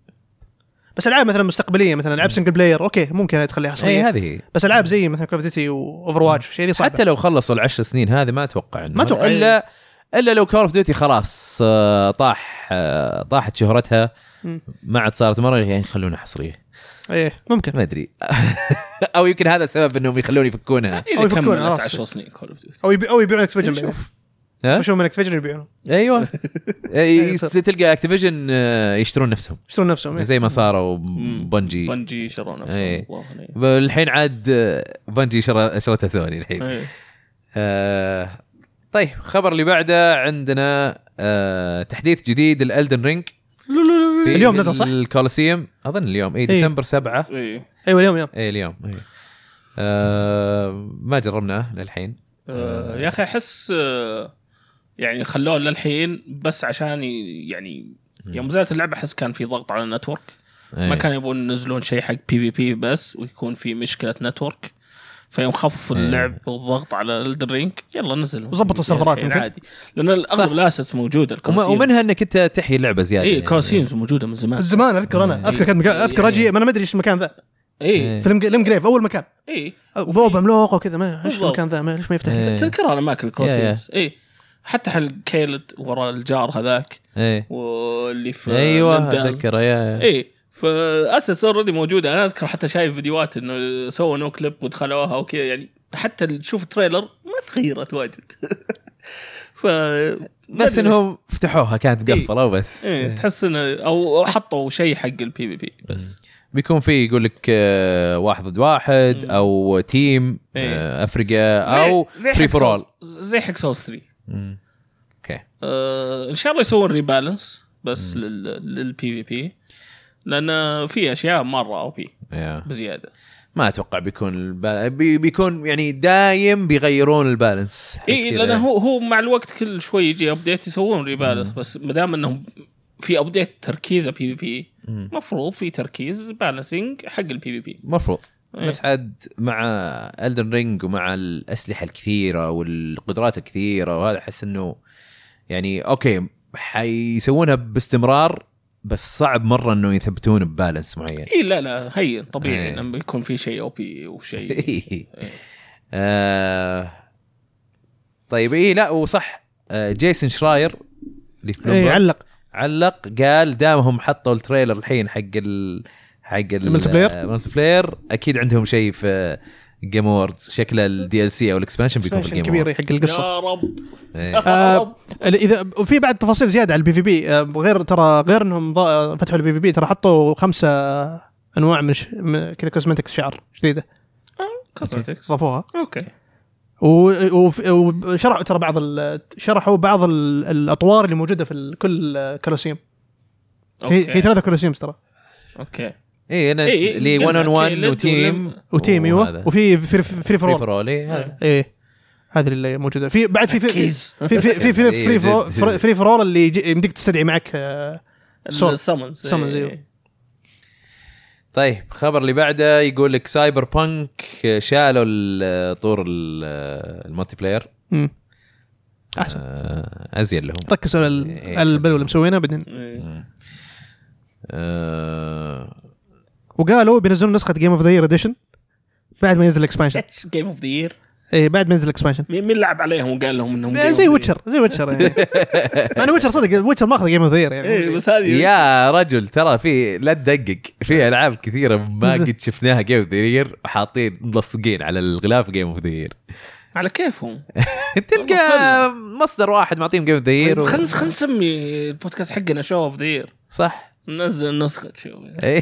S2: بس العاب مثلا مستقبليه مثلا العاب سنجل بلاير اوكي ممكن تخليها
S1: اي
S2: حصريه
S1: هذه هي.
S2: بس العاب زي مثلا كوف ديوتي واوفر واتش شيء دي صعبه
S1: إيه، حتى لو خلصوا العشر سنين هذه ما اتوقع إنه
S2: ما أتوقع.
S1: الا الا لو كول اوف ديوتي خلاص آه، طاح آه، طاحت شهرتها
S2: مم.
S1: ما عاد صارت مره يعني خلونا حصريه
S2: ايه ممكن
S1: ما ادري او يمكن هذا السبب انهم يخلون يفكونها
S2: أو
S3: اذا
S2: يفكون
S3: كملت
S2: خلاص.
S3: 10 سنين كول اوف ديوتي
S2: او يبي او يبيعون اكتيفيجن بعدين
S1: ها؟
S2: يفشون من اكتيفيجن يبيعونه
S1: ايوه
S2: أيوة، صح.
S1: تلقى اكتيفيجن يشترون نفسهم
S2: يشترون نفسهم إيه.
S1: زي ما صاروا
S2: أمم.
S3: مم.
S1: بنجي
S3: بنجي شروا نفسهم
S1: إيه.
S3: الله عليه.
S1: الحين عاد آه، بنجي شرى- شرتها سوني الحين
S2: أيوة.
S3: إيه.
S1: آه، طيب الخبر اللي بعده عندنا آه، تحديث جديد للالدن رينج في
S2: اليوم نزل، صح؟ إيه.
S1: الكولوسيوم اظن اليوم اي ديسمبر 7
S3: إيه.
S2: ايوه اليوم اليوم
S1: اي اليوم إيه. آه، ما جربناه للحين
S3: آه، يا اخي احس آه، يعني خلوه للحين بس عشان ي- يعني يوم نزلت اللعبه احس كان في ضغط على النتورك ما
S1: إيه.
S3: كانوا يبون ينزلون شيء حق بي في بي بس ويكون في مشكله نتورك فيوم خف
S1: إيه.
S3: اللعب والضغط على الدرينك يلا نزل
S2: وظبطوا السيرفرات
S3: الحين
S2: يمكن.
S3: عادي لان اغلب الاسس موجوده
S1: وم-
S3: الكوسينز
S1: ومنها انك انت تحيي اللعبه زياده
S3: اي
S1: يعني.
S3: كوسينز موجوده إيه، من
S1: آه.
S3: زمان
S2: زمان اذكر انا اذكر كنت مكان اذكر اجي ما انا ما ادري ايش المكان ذا
S1: إيه.
S3: اي
S2: في الام جريف اول مكان
S3: اي
S2: بوبا ملوق وكذا ما ايش
S3: بالضبط.
S2: المكان ذا ما- ليش ما يفتح
S1: إيه.
S3: تذكر الاماكن الكوسينز اي إيه. حتى حل كيلد ورا الجار هذاك
S1: ايه
S3: واللي في
S1: ايوه
S3: لندن. إيه،
S1: اتذكر يا
S3: اي فاسس اوريدي موجوده انا اذكر حتى شايف فيديوهات انه سووا نو كليب ودخلوها وكذا يعني حتى ال- شوف التريلر ما تغيرت واجد ف
S1: بس انهم فتحوها كانت
S3: إيه.
S1: مقفله وبس
S3: إيه تحس انه او أو حطوا شيء حق البي بي بي بس
S1: بيكون في يقول لك آه، واحد ضد واحد
S3: مم.
S1: او تيم
S3: إيه.
S1: آه، افريقيا
S3: زي-
S1: او
S3: زي
S1: فري
S3: Hack
S1: فور اول
S3: Souls- زي حق سوس 3
S1: اوكي
S3: آه، ان شاء الله يسوون ريبالانس بس لل- للبي في بي لان في اشياء مره او بي
S1: يا.
S3: بزياده
S1: ما اتوقع بيكون البال... بي... بيكون يعني دايم بيغيرون البالانس أحس
S3: اي
S1: كذا.
S2: إيه.
S3: لان إيه، هو هو مع الوقت كل شوي يجي ابديت يسوون ريبالانس بس ما دام انهم في ابديت تركيزه بي بي بي
S1: مم.
S3: المفروض في تركيز بالانسنج حق البي بي بي
S1: مفروض
S3: إيه.
S1: بس عاد مع الدن رينج ومع الاسلحه الكثيره والقدرات الكثيره وهذا احس انه يعني اوكي حيسوونها باستمرار بس صعب مره انه يثبتون ببالانس معين
S3: اي إيه، لا لا هي طبيعي
S1: إيه.
S3: لما يكون في شيء او بي
S2: إيه،
S3: وشيء
S1: آه طيب اي لا وصح آه جيسون شراير اللي في
S2: اي
S1: Bloomberg
S2: علق
S1: علق قال دامهم حطوا التريلر الحين حق ال حق
S2: الملتي بلاير؟
S1: الملتي بلاير اكيد عندهم شيء في جيم اووردز شكله الدي ال سي او الاكسبانشن بيكون في
S2: شيء
S1: الجيم
S2: كبير
S1: اووردز
S2: حق القصه
S3: يا رب
S1: إيه.
S2: آه، اذا وفي بعد تفاصيل زياده على البي في بي آه، غير ترى غير انهم ضا- فتحوا البي في بي ترى حطوا خمسه انواع من, ش... من كذا كوزمتكس شعر جديده
S3: كوزمتكس
S2: ضافوها
S3: اوكي
S2: و- وف- وشرحوا ترى بعض ال- شرحوا بعض ال- الاطوار اللي موجوده في ال- كل كولوسيوم هي هي
S3: اوكي
S2: ثلاثه كولوسيوم ترى
S3: اوكي
S1: اي انا
S3: إيه،
S1: لي
S3: قلنا
S1: 1 اون 1
S3: كيلد
S1: وتيم
S3: ولم-
S2: وتيم
S1: وهذا.
S2: ايوه وفي فري فري
S1: فري
S2: فور
S1: فور اول إيه، هذا.
S2: ايه هذه اللي موجوده في بعد في في
S3: ركز.
S2: في في في
S1: إيه،
S2: فري
S1: جد.
S2: فري فري فور اللي يجي- يمديك تستدعي معك آه، سول.
S3: السمنز
S2: summons، أيوه.
S3: إيه.
S1: طيب الخبر اللي بعده يقول لك سايبر بانك شالوا ال- آه، طور ال- الملتي بلاير
S2: مم. احسن
S1: آه، ازين لهم
S2: ركزوا على ال-
S1: إيه.
S2: على البلوه اللي مسوينها بعدين
S3: إيه.
S1: آه،
S2: وقالوا بينزلون نسخه جيم اوف ذا يير اديشن بعد ما ينزل الاكسبانشن
S3: جيم اوف ذا يير
S2: اي بعد ما ينزل الاكسبانشن
S3: مين مين لعب عليهم وقال لهم انهم Game of
S2: إيه، زي
S3: the Year؟
S2: ويتشر زي ويتشر يعني مع انه ويتشر صدق ويتشر ماخذ جيم اوف ذا يير يعني مو
S3: ايه
S2: شيء.
S3: بس هذه
S1: يا رجل ترى في لا تدقق في العاب كثيره ما قد شفناها جيم اوف ذا وحاطين ملصقين على الغلاف جيم اوف ذا
S3: على كيفهم
S1: تلقى مصدر واحد معطيهم جيم اوف
S3: طيب خلنا
S1: ذا
S3: خلنا نسمي البودكاست حقنا شو اوف ذا يير
S1: صح
S3: ننزل نسخه شو
S1: إيه.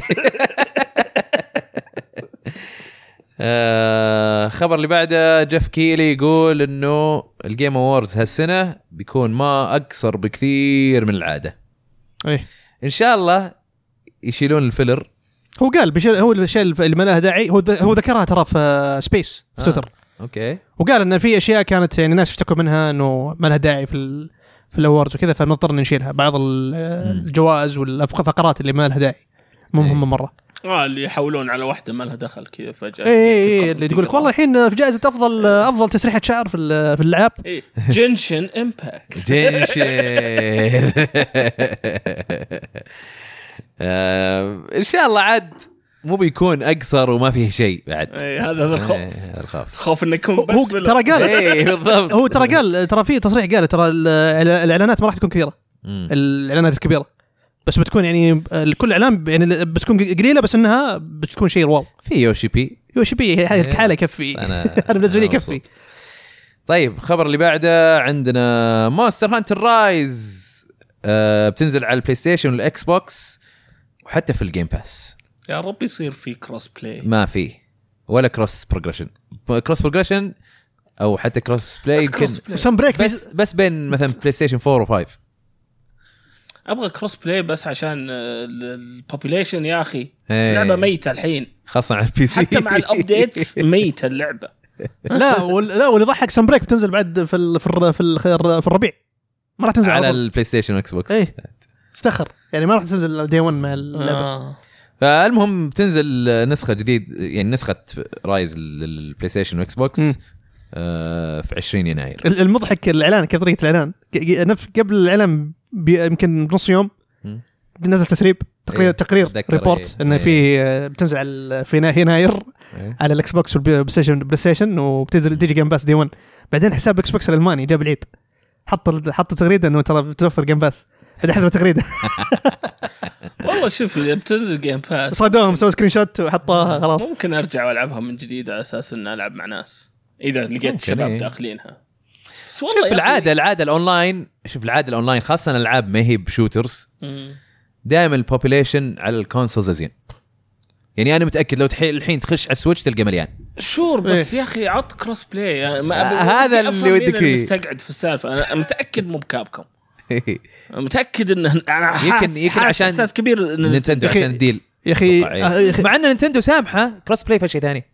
S1: آه، خبر اللي بعده جيف كيلي يقول انه الجيم اووردز هالسنه بيكون ما اقصر بكثير من العاده
S2: إيه.
S1: ان شاء الله يشيلون الفيلر
S2: هو قال بشيء هو الشيء اللي ما لها داعي هو ذ- هو ذكرها ترى في آه، سبيس في
S1: آه.
S2: تويتر
S1: اوكي
S2: وقال ان في اشياء كانت يعني ناس اشتكوا منها انه ما لها داعي في ال... في الاوردز وكذا فنضطر إن نشيلها بعض ال- آه،
S1: مم.
S2: الجوائز والفقرات اللي ما لها داعي مو
S1: إيه.
S2: مهمه مره
S3: اه اللي يحولون على واحده ما لها دخل كذا فجاه
S1: يعني
S2: اي اي إيه، اللي تقول لك والله الحين في جائزه افضل
S1: إيه.
S2: آه، افضل تسريحه شعر في ال- في اللعب
S3: ايه جنشن امباكت
S1: جنشن آه، ان شاء الله عاد مو بيكون اقصر وما فيه شيء بعد
S3: ايه هذا هذا الخوف
S1: إيه، هذا الخوف
S3: خوف انه يكون
S2: هو-
S3: بس
S2: هو
S3: فيلر.
S2: ترى قال
S1: اي بالضبط
S2: إيه، هو ترى قال ترى في تصريح قال ترى ال- الاعلانات ما راح تكون كثيره
S1: مم.
S2: الاعلانات الكبيره بس بتكون يعني كل اعلان يعني بتكون قليله بس انها بتكون شيء واو
S1: في يوشي بي
S2: يوشي بي هذه الحاله
S1: يس،
S2: يكفي
S1: انا
S2: أنا بالنسبة لي
S1: إيه، أنا
S2: يكفي.
S1: مبسوط. طيب الخبر اللي بعده عندنا مونستر هانتر رايز آه بتنزل على البلاي ستيشن والاكس بوكس وحتى في الجيم باس
S3: يا رب يصير في كروس بلاي
S1: ما فيه ولا كروس بروجريشن كروس بروجريشن او حتى كروس بلاي
S3: بس
S1: يمكن
S3: كروس بلاي
S2: سم بريك
S1: بس بس بين مثلا بلاي ستيشن 4 و5
S3: ابغى كروس بلاي بس عشان آه، البوبيليشن يا اخي
S1: إيه.
S3: لعبه ميته الحين
S1: خاصه على البي سي
S3: حتى مع الابديتس ميته اللعبه
S2: لا وال- لا واللي ضحك سم بريك بتنزل بعد في ال- في ال- في ال- في الربيع ما راح تنزل
S1: على
S2: على طول.
S1: البلاي ستيشن والاكس بوكس
S2: ايه استخر يعني ما راح تنزل دي 1 مع اللعبه
S3: آه.
S1: فالمهم تنزل نسخه جديد يعني نسخه رايز للبلاي ستيشن واكس بوكس
S2: مم.
S1: آه في 20 يناير
S2: ال- المضحك الاعلان كيف طريقه الاعلان ق- ق- نف- قبل الاعلان ب- يمكن بنص يوم
S1: مم.
S2: نزل تسريب تقرير
S1: إيه،
S2: تقرير
S1: أتذكر،
S2: ريبورت
S1: إيه.
S2: انه في آه، بتنزل على ال- في نا- يناير
S1: إيه.
S2: على الاكس بوكس والبلاي ستيشن بلاي ستيشن وبتنزل تيجي جيم باس دي 1 بعدين حساب اكس بوكس الالماني جاب العيد حط حط تغريده انه ترى بتوفر جيم باس بعدين حذفوا تغريده
S3: والله شوف اذا بتنزل جيم باس
S2: صادوهم سووا سكرين شوت وحطوها خلاص
S3: ممكن ارجع والعبها من جديد على اساس اني العب مع ناس اذا لقيت
S1: ممكن،
S3: شباب
S1: إيه.
S3: داخلينها بس
S1: شوف
S3: يا أخي-
S1: العاده العاده الاونلاين شوف العاده الاونلاين خاصه الالعاب ما هي بشوترز
S3: مم.
S1: دائما البوبوليشن على الكونسولز ازين يعني انا متاكد لو تحي الحين تخش على السويتش تلقى مليان
S3: شور بس يا اخي عط كروس بلاي يعني ما أبي-
S1: إيه. آه، هذا
S3: أبي أفهم
S1: اللي
S3: مين
S1: ودك فيه.
S3: مستقعد في السالفه انا متاكد مو بكابكم متاكد انه انا حاس
S1: يمكن- يمكن
S3: حاس
S1: عشان
S3: احساس كبير إن-
S1: نينتندو
S2: يا أخي-
S1: عشان الديل
S2: يا اخي
S1: أتوقع، إيه.
S2: يا أخي-
S1: مع ان نينتندو سامحه كروس بلاي في شيء ثاني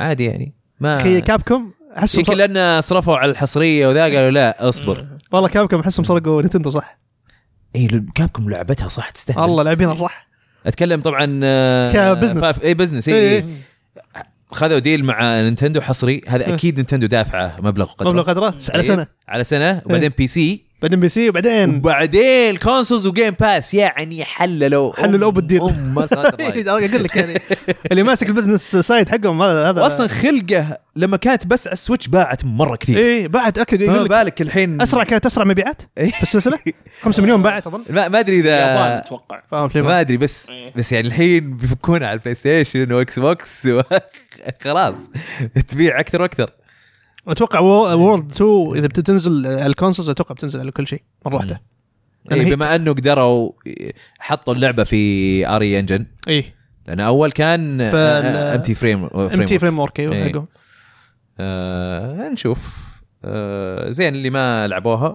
S1: عادي يعني ما
S2: اخي كابكم احسهم
S1: يمكن
S2: صر-
S1: لان صرفوا على الحصريه وذا قالوا لا اصبر
S3: مم.
S2: والله كابكم احسهم سرقوا نتندو صح
S1: اي كابكم لعبتها صح تستاهل
S2: والله لاعبينها صح
S1: اتكلم طبعا
S2: كبزنس.
S1: اي بزنس
S2: إيه.
S1: اي خذوا ديل مع نينتندو حصري هذا
S2: إيه.
S1: اكيد نينتندو دافعه مبلغ قدره
S2: مبلغ قدره على إيه.
S1: طيب.
S2: سنه
S1: على سنه وبعدين بي سي
S2: بعدين بي سي وبعدين
S1: وبعدين الكونسولز وجيم باس يعني حللوا
S2: حللوا
S1: أم-
S2: أبو الديل.
S1: ام صراحة الرئيس.
S2: اقول لك يعني اللي ماسك البزنس سايد حقهم هذا هذا
S1: واصلا خلقه لما كانت بس على السويتش باعت مره كثير
S2: اي بعد اكل
S1: فما
S2: إيه، يقول لك
S1: بالك الحين
S2: اسرع كانت اسرع مبيعات
S1: إيه.
S2: في السلسله 5 مليون باعت اظن
S1: ما ما ادري
S3: اليابان
S1: اذا
S3: اتوقع
S2: فاهم
S1: ما ادري بس
S3: إيه.
S1: بس يعني الحين بيفكونا على البلاي ستيشن واكس بوكس و- خلاص تبيع اكثر واكثر
S2: اتوقع وورلد 2 اذا بتنزل على الكونسولز اتوقع بتنزل على كل شيء مره واحده أنا
S1: إيه
S2: هيك.
S1: بما انه قدروا حطوا اللعبه في E اري انجن
S2: اي
S1: لان اول كان
S2: فال-
S1: ام تي فريم
S2: ام تي فريم ورك
S1: إيه.
S2: أيوة، حقهم
S1: آه نشوف آه زين اللي ما لعبوها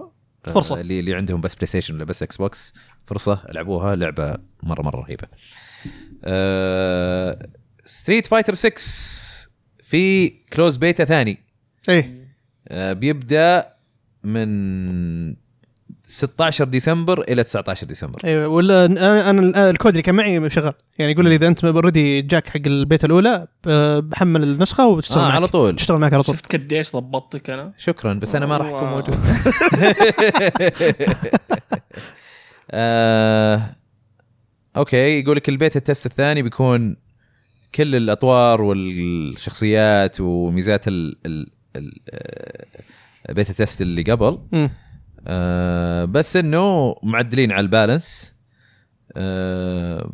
S1: آه،
S2: فرصة.
S1: اللي اللي عندهم بس بلاي ستيشن ولا بس اكس بوكس فرصه لعبوها لعبه مره مره رهيبه آه ستريت فايتر 6 في كلوز بيتا ثاني
S2: اي
S1: آه بيبدا من 16 ديسمبر الى 19 ديسمبر
S2: ايوه ولا انا انا آه، الكود اللي كان معي شغال يعني يقول لي اذا انت اوريدي جاك حق البيت الاولى ب- بحمل النسخه وبتشتغل
S1: آه
S2: معك
S1: على طول
S2: تشتغل معك على طول
S3: شفت قديش ضبطتك انا
S1: شكرا بس انا ما راح اكون
S3: والله.
S1: موجود آه، اوكي يقول لك البيت التست الثاني بيكون كل الاطوار والشخصيات وميزات ال ال ال آه، بيتا تست اللي قبل
S2: مم.
S1: آه، بس انه معدلين على البالانس آه،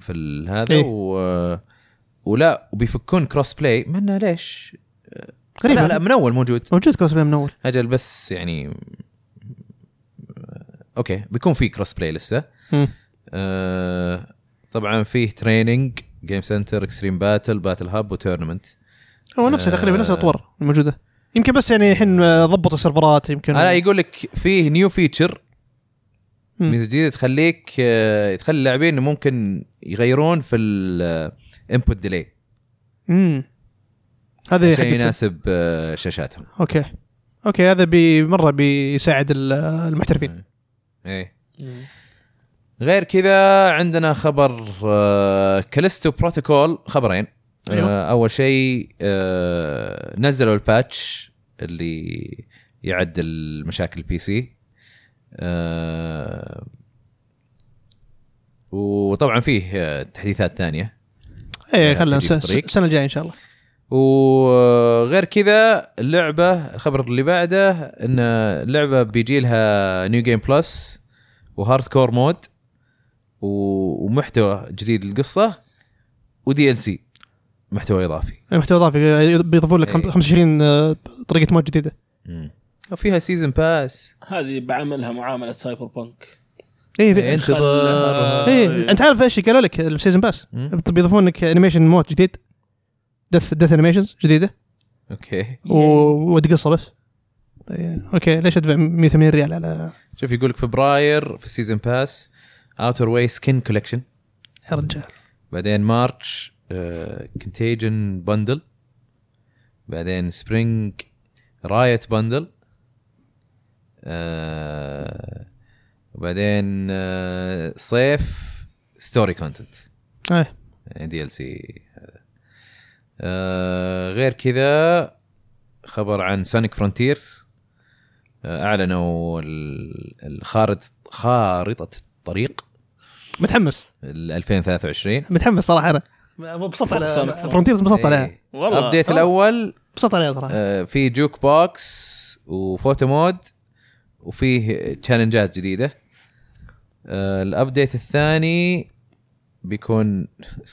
S1: في ال- هذا
S2: إيه.
S1: و ولا وبيفكون كروس بلاي ما إنه ليش
S2: غريب
S1: لا لا من اول موجود
S2: موجود كروس بلاي من اول
S1: اجل بس يعني اوكي بيكون في كروس بلاي لسه
S2: مم.
S1: آه طبعا فيه تريننج جيم سنتر اكستريم باتل باتل هاب وتورنمنت
S2: هو نفسه
S1: آه.
S2: تقريبا نفس الاطوار الموجوده يمكن بس يعني الحين آه، ضبطوا السيرفرات يمكن
S1: انا يقول لك فيه نيو فيتشر
S2: مم.
S1: ميزه جديده تخليك آه، تخلي اللاعبين ممكن يغيرون في آه، الانبوت ديلي
S2: امم هذه
S1: عشان
S2: حقت
S1: يناسب آه، شاشاتهم
S2: اوكي اوكي هذا بي مره بيساعد ال- المحترفين
S1: ايه غير كذا عندنا خبر آه، كاليستو بروتوكول خبرين
S2: أيوة.
S1: آه، اول شيء آه، نزلوا الباتش اللي يعدل مشاكل البي سي آه، وطبعا فيه آه، تحديثات ثانيه
S2: ايه
S1: آه،
S2: خلينا
S1: تجي في
S2: الس-
S1: الطريق.
S2: السنه الجايه ان شاء الله
S1: وغير كذا اللعبه الخبر اللي بعده ان اللعبه بيجي لها نيو جيم بلس وهارد كور مود و- ومحتوى جديد للقصه ودي ال سي محتوى اضافي
S2: محتوى اضافي آه، بيضيفون لك
S1: إيه.
S2: 25 آه، طريقه مود جديده
S1: وفيها سيزن باس
S3: هذه بعملها معامله سايبر بانك
S2: ايه
S1: إيه،
S2: بي-
S1: انتظر
S3: خلها-
S2: ايه انت عارف ايش قالوا لك السيزون باس
S1: مم.
S2: بيضيفون لك انيميشن مود جديد دث دث انيميشنز جديده
S1: اوكي
S2: و- ودي قصه بس طيب، اوكي ليش ادفع 180 ريال على
S1: شوف يقول لك فبراير في السيزون باس اوتر واي سكين كولكشن
S2: يا رجال
S1: بعدين مارتش آه، كونتيجن بندل بعدين سبرينج رايت بندل وبعدين آه، صيف يعني ستوري كونتنت
S2: ايه
S1: دي ال سي آه، غير كذا خبر عن سونيك فرونتيرز اعلنوا ال- الخارط خارطه الطريق
S2: متحمس
S1: ال 2023
S2: متحمس صراحه انا انبسطت على
S3: Sonic Frontier.
S2: فرونتير انبسطت
S1: إيه.
S2: عليها
S3: والله.
S1: الابديت
S3: آه.
S1: الاول
S2: انبسطت عليها صراحه
S1: آه، في جوك بوكس وفوتو مود وفيه تشالنجات جديده آه، الابديت الثاني بيكون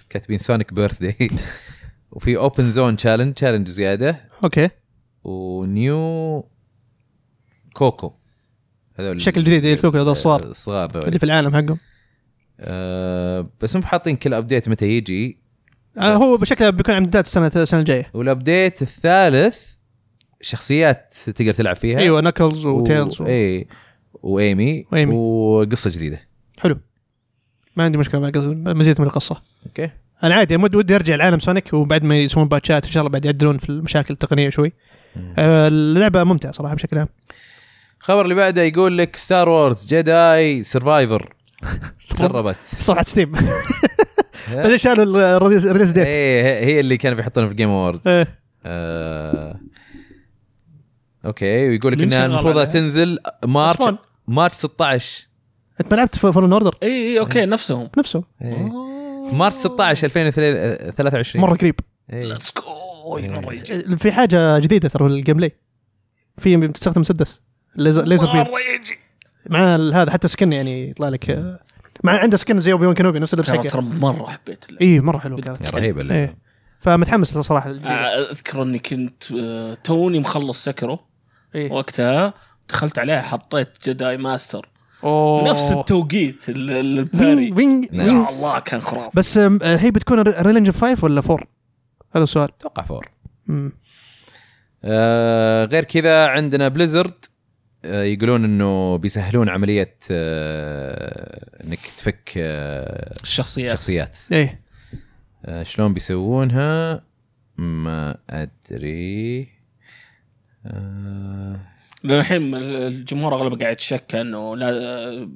S1: كاتبين سونيك بيرث داي وفي اوبن زون تشالنج تشالنج زياده
S2: اوكي
S1: ونيو كوكو هذول
S2: شكل جديد إيه، الكوكو هذول الصغار.
S1: الصغار ذول
S2: اللي في العالم حقهم
S1: آه بس هم حاطين كل ابديت متى يجي
S2: آه، هو بشكله بيكون امتداد السنه السنه الجايه
S1: والابديت الثالث شخصيات تقدر تلعب فيها
S2: ايوه نكلز وتيلز و...
S1: اي وايمي
S2: وإيمي.
S1: وقصه جديده
S2: حلو ما عندي مشكله مع قص- مزيد من القصه
S1: اوكي
S2: انا عادي مد- ودي ارجع لعالم سونيك وبعد ما يسوون باتشات ان شاء الله بعد يعدلون في المشاكل التقنيه شوي
S1: مم.
S2: آه، اللعبه ممتعه صراحه بشكل عام
S1: الخبر اللي بعده يقول لك ستار وورز جداي سرفايفر سربت
S2: صفحه ستيم بعدين شالوا ال- الريليز الريليز ديت
S1: ايه هي- هي اللي كانوا بيحطونها في الجيم اووردز
S2: إيه.
S1: آه. اوكي ويقول لك
S3: مين
S1: انها
S3: شغال
S1: المفروض
S3: عليها؟
S1: تنزل
S2: أصلاً.
S1: مارش مارش 16
S2: انت ما لعبت في فولن اوردر
S3: اي اي اوكي نفسهم
S2: نفسه
S1: إيه. مارش 16 2023
S2: مره قريب
S1: إيه.
S3: ليتس جو مره يجي
S2: في حاجه جديده ترى في الجيم بلاي في بتستخدم مسدس ليزر ليزر بيم
S3: مره يجي
S2: مع ال- هذا حتى سكن يعني يطلع لك آه، مع عنده سكن زي اوبي وان كنوبي نفس اللبس
S3: ترى
S2: حقه
S3: ترى مره حبيت اللعبة.
S2: اي مره حلو كانت
S1: يا رهيبه اللعبة.
S2: إيه. فمتحمس صراحه
S3: آه، اذكر اني كنت آه، توني مخلص سكرو
S2: إيه.
S3: وقتها دخلت عليه حطيت جداي ماستر
S2: أوه.
S3: نفس التوقيت ال- ال- الباري
S2: وينج وينج
S1: نعم.
S3: يا
S2: وينج.
S3: الله كان خرافي
S2: بس آم، آه، هي بتكون ريل انجن 5 ولا 4 هذا السؤال
S1: اتوقع فور
S2: مم.
S1: آه غير كذا عندنا بليزرد آه يقولون انه بيسهلون عمليه آه انك تفك آه
S3: الشخصيات
S1: شخصيات
S2: ايه
S1: آه، شلون بيسوونها ما ادري آه،
S3: لان الحين ال- الجمهور اغلبه قاعد يتشكى انه لا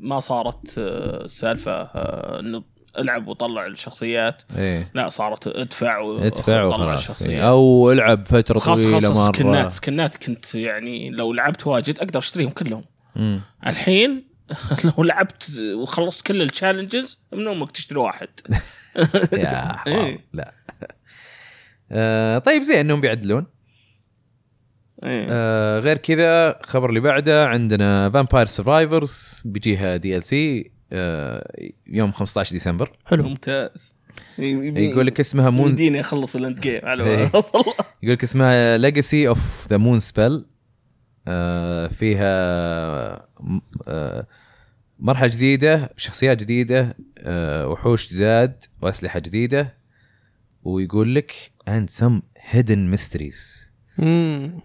S3: ما صارت آه، السالفه آه، انه العب وطلع الشخصيات
S1: ايه
S3: لا صارت ادفع و-
S1: ادفع
S3: وطلع
S1: وخلاص
S3: الشخصيات.
S1: إيه. او العب فتره
S3: خاصة
S1: طويله
S3: خاصة
S1: مره
S3: سكنات سكنات كنت يعني لو لعبت واجد اقدر اشتريهم كلهم
S1: مم.
S3: الحين لو لعبت وخلصت كل التشالنجز ممنوع انك تشتري واحد
S1: يا حرام
S3: إيه.
S1: لا آه، طيب زين انهم بيعدلون
S3: إيه.
S1: آه، غير كذا الخبر اللي بعده عندنا فامباير سرفايفرز بيجيها دي ال سي آه، يوم 15 ديسمبر
S2: حلو
S3: ممتاز إيه.
S1: يقول لك اسمها مون
S3: يديني اخلص الاند جيم على
S1: إيه.
S3: ما اوصل
S1: يقول لك اسمها ليجاسي اوف ذا مون سبيل فيها م- آه، مرحله جديده شخصيات جديده آه، وحوش جداد واسلحه جديده ويقول لك and some hidden mysteries
S2: مم.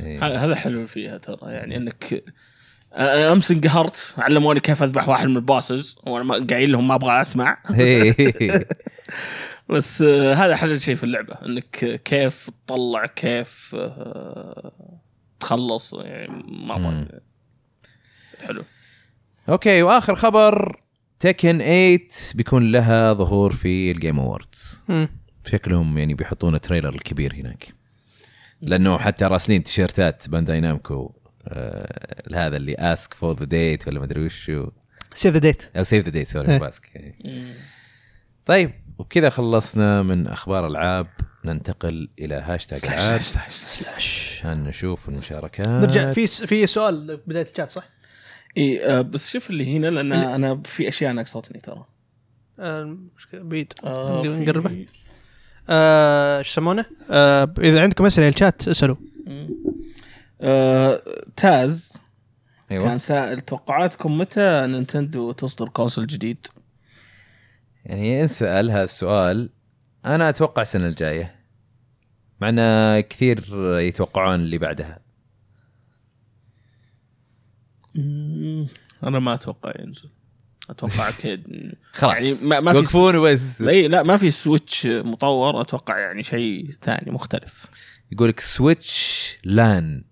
S1: إيه.
S3: ه- هذا حلو فيها ترى يعني انك أنا امس انقهرت علموني كيف اذبح واحد من الباسز وانا ما- قايل لهم ما ابغى اسمع
S1: إيه.
S3: بس آه، هذا حلو شيء في اللعبه انك آه، كيف تطلع كيف آه، تخلص يعني
S1: مم.
S3: مره حلو
S1: اوكي واخر خبر تكن 8 بيكون لها ظهور في الجيم اووردز
S2: مم.
S1: شكلهم يعني بيحطون تريلر الكبير هناك لانه حتى راسلين تيشيرتات بانداي نامكو آه هذا اللي اسك فور ذا ديت ولا ما ادري وش هو.
S2: سيف ذا ديت
S1: او سيف ذا ديت
S2: إيه.
S1: سوري باسك طيب وبكذا خلصنا من اخبار العاب ننتقل الى هاشتاج العاب عشان نشوف المشاركات
S2: نرجع في س- في سؤال بدايه الشات صح؟
S3: اي آه، بس شوف اللي هنا لان انا في اشياء ناقصتني ترى
S2: آه، المشكلة بعيد
S3: آه، في-
S2: نقربه آه، ايش يسمونه؟ آه، اذا عندكم اسئله الشات اسالوا
S3: مم. آه، تاز كان
S1: ايوه
S3: سائل توقعاتكم متى نينتندو تصدر كونسل جديد؟
S1: يعني انسال هذا السؤال انا اتوقع السنه الجايه مع ان كثير يتوقعون اللي بعدها
S3: انا ما اتوقع ينزل اتوقع كد
S1: خلاص
S3: يعني ما- ما في-
S1: يوقفون وبس
S3: اي لا ما في سويتش مطور اتوقع يعني شيء ثاني مختلف
S1: يقول لك سويتش لان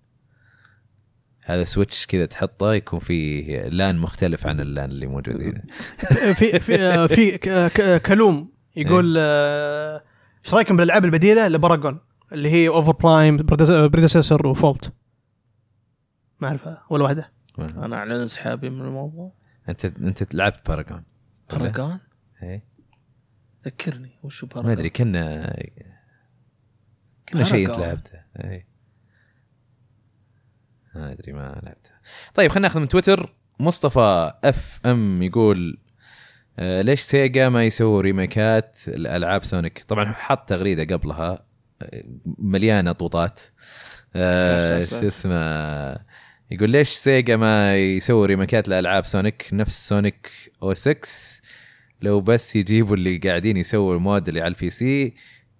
S1: هذا سويتش كذا تحطه يكون فيه لان مختلف عن اللان اللي موجود هنا
S2: في في آه، في ك- ك- كلوم يقول آه، ايش رايكم بالالعاب البديله لباراجون اللي هي اوفر برايم بريدسيسور وفولت ما اعرف ولا واحده
S3: انا على انسحابي من الموضوع
S1: انت انت لعبت باراجون
S3: باراجون
S1: إيه.
S3: ذكرني وش باراجون
S1: ما ادري كنا كنا شيء انت
S3: Paragon.
S1: لعبته إيه. ما ادري ما لعبته طيب خلينا ناخذ من تويتر مصطفى اف ام يقول آه، ليش سيجا ما يسووا ريميكات الالعاب سونيك طبعا حط تغريده قبلها آه، مليانه طوطات آه،
S3: صح، صح، صح.
S1: شو اسمه يقول ليش سيجا ما يسوي ريميكات لالعاب سونيك نفس سونيك او 6 لو بس يجيبوا اللي قاعدين يسووا المواد اللي على البي سي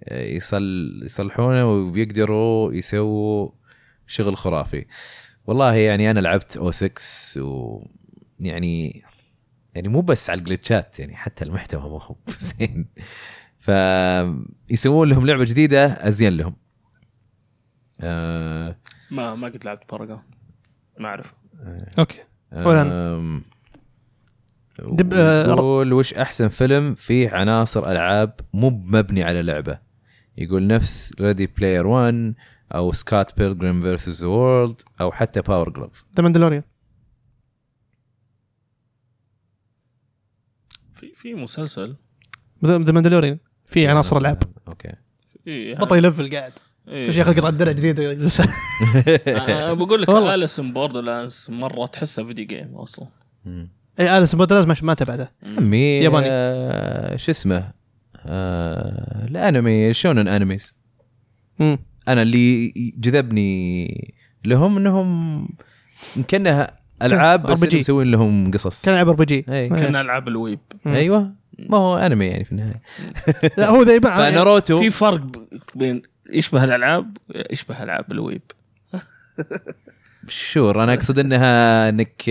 S1: آه، يصل يصلحونه وبيقدروا يسووا شغل خرافي والله يعني انا لعبت او 6 ويعني يعني مو بس على الجلتشات يعني حتى المحتوى ما هو زين فيسوون لهم لعبه جديده ازين لهم آه
S3: ما ما قد لعبت باراجون ما اعرف
S2: اوكي
S1: آه.
S2: ولا أنا.
S1: أم،
S2: دب- آه،
S1: يقول وش احسن فيلم فيه عناصر العاب مو مبني على لعبه يقول نفس ريدي بلاير 1 او سكوت بيلجريم فيرسز وورلد او حتى باور جلوف
S2: ذا ماندلوريان
S3: في في مسلسل
S2: ذا ماندلوريان في
S1: آه.
S2: عناصر العاب
S1: اوكي
S3: في
S2: بطل يلفل قاعد
S3: إيه.
S2: يا شيخ اقرا درع جديده يجلس.
S3: أنا أه، بقول لك
S2: والله.
S3: اليس ان بوردرلاندز مره تحسها فيديو جيم اصلا
S1: مم.
S2: اي اليس بودرز ما ما تبعته
S1: عمي
S2: ياباني.
S1: آه شو اسمه آه الانمي شونن انميز
S2: امم
S1: انا اللي جذبني لهم انهم كانها العاب بس
S2: RPG.
S1: إنهم مسوين لهم قصص
S2: كان يلعب ار بي جي
S1: إيه،
S3: كان العاب الويب
S2: مم.
S1: ايوه ما هو انمي يعني في النهايه
S2: لا هو ذا يباع يعني.
S1: فناروتو
S3: في فرق ب- بين يشبه الالعاب يشبه العاب الويب
S1: شور انا اقصد انها انك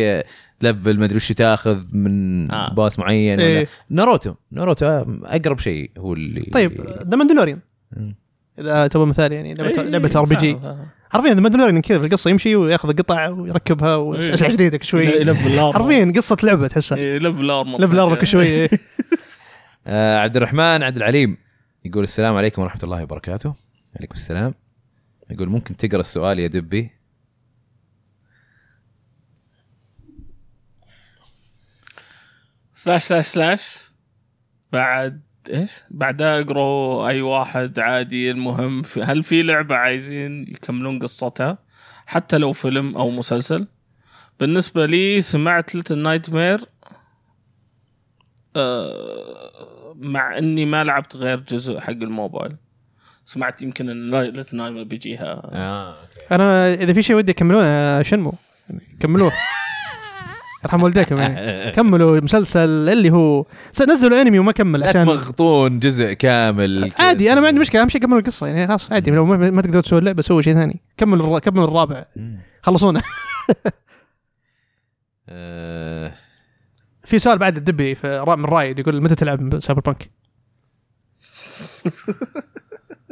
S1: تلبل ما ادري وش تاخذ من
S3: آه.
S1: باص معين ولا
S2: إيه.
S1: ناروتو ناروتو اقرب شيء هو اللي
S2: طيب ذا ماندلوريان
S1: مم.
S2: اذا تبغى مثال يعني لعبه
S3: إيه،
S2: لعبه ار بي جي
S3: فاهم، فاهم.
S2: حرفيا ذا ماندلوريان كذا في القصه يمشي وياخذ قطع ويركبها
S3: إيه.
S2: واسلحه جديده كل شوي
S3: ليفل ارمر
S2: حرفيا قصه لعبه تحسها
S3: إيه، ليفل ارمر
S2: ليفل ارمر كل شوي إيه.
S1: آه عبد الرحمن عبد العليم يقول السلام عليكم ورحمه الله وبركاته عليكم السلام يقول ممكن تقرا السؤال يا دبي
S3: سلاش سلاش سلاش بعد ايش؟ بعد اقرو اي واحد عادي المهم في هل في لعبه عايزين يكملون قصتها؟ حتى لو فيلم او مسلسل بالنسبه لي سمعت ليتل نايت مير آه، مع اني ما لعبت غير جزء حق الموبايل سمعت يمكن ان ليتل نايت مير بيجيها
S1: اه اوكي
S2: انا اذا في شيء ودي يكملونه شنمو كملوه يرحم والديكم يعني كملوا مسلسل اللي هو س- نزلوا انمي وما كمل
S1: لا
S2: عشان
S1: تمغطون جزء كامل
S2: عادي انا ما عندي مشكله اهم شيء كملوا القصه يعني خلاص عادي لو ما, ما تقدر تسوي اللعبه سوي شيء ثاني كملوا الر... كملوا الرابع
S1: مم.
S2: خلصونا
S1: آه،
S2: في سؤال بعد الدبي في را- من رايد يقول متى تلعب سايبر بانك؟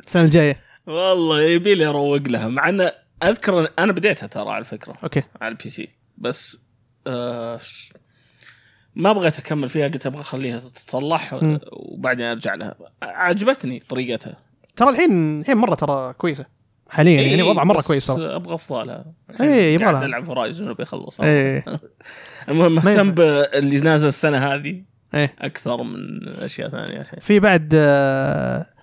S2: السنه الجايه
S3: والله يبي لي اروق لها مع ان اذكر انا بديتها ترى على فكره
S2: اوكي
S3: على البي سي بس آه ش- ما بغيت اكمل فيها قلت ابغى اخليها تتصلح
S2: مم.
S3: وبعدين ارجع لها عجبتني طريقتها
S2: ترى الحين الحين مره ترى كويسه حاليا يعني وضع مره
S3: بس يعني
S2: كويس ترى
S3: ابغى افضلها
S2: إيه، يبغى لها.
S3: العب هورايزون وبيخلص
S2: ايه
S3: المهم
S2: ما
S3: مهتم باللي نازل السنه هذه
S2: ايه
S3: اكثر من اشياء ثانيه الحين
S2: في بعد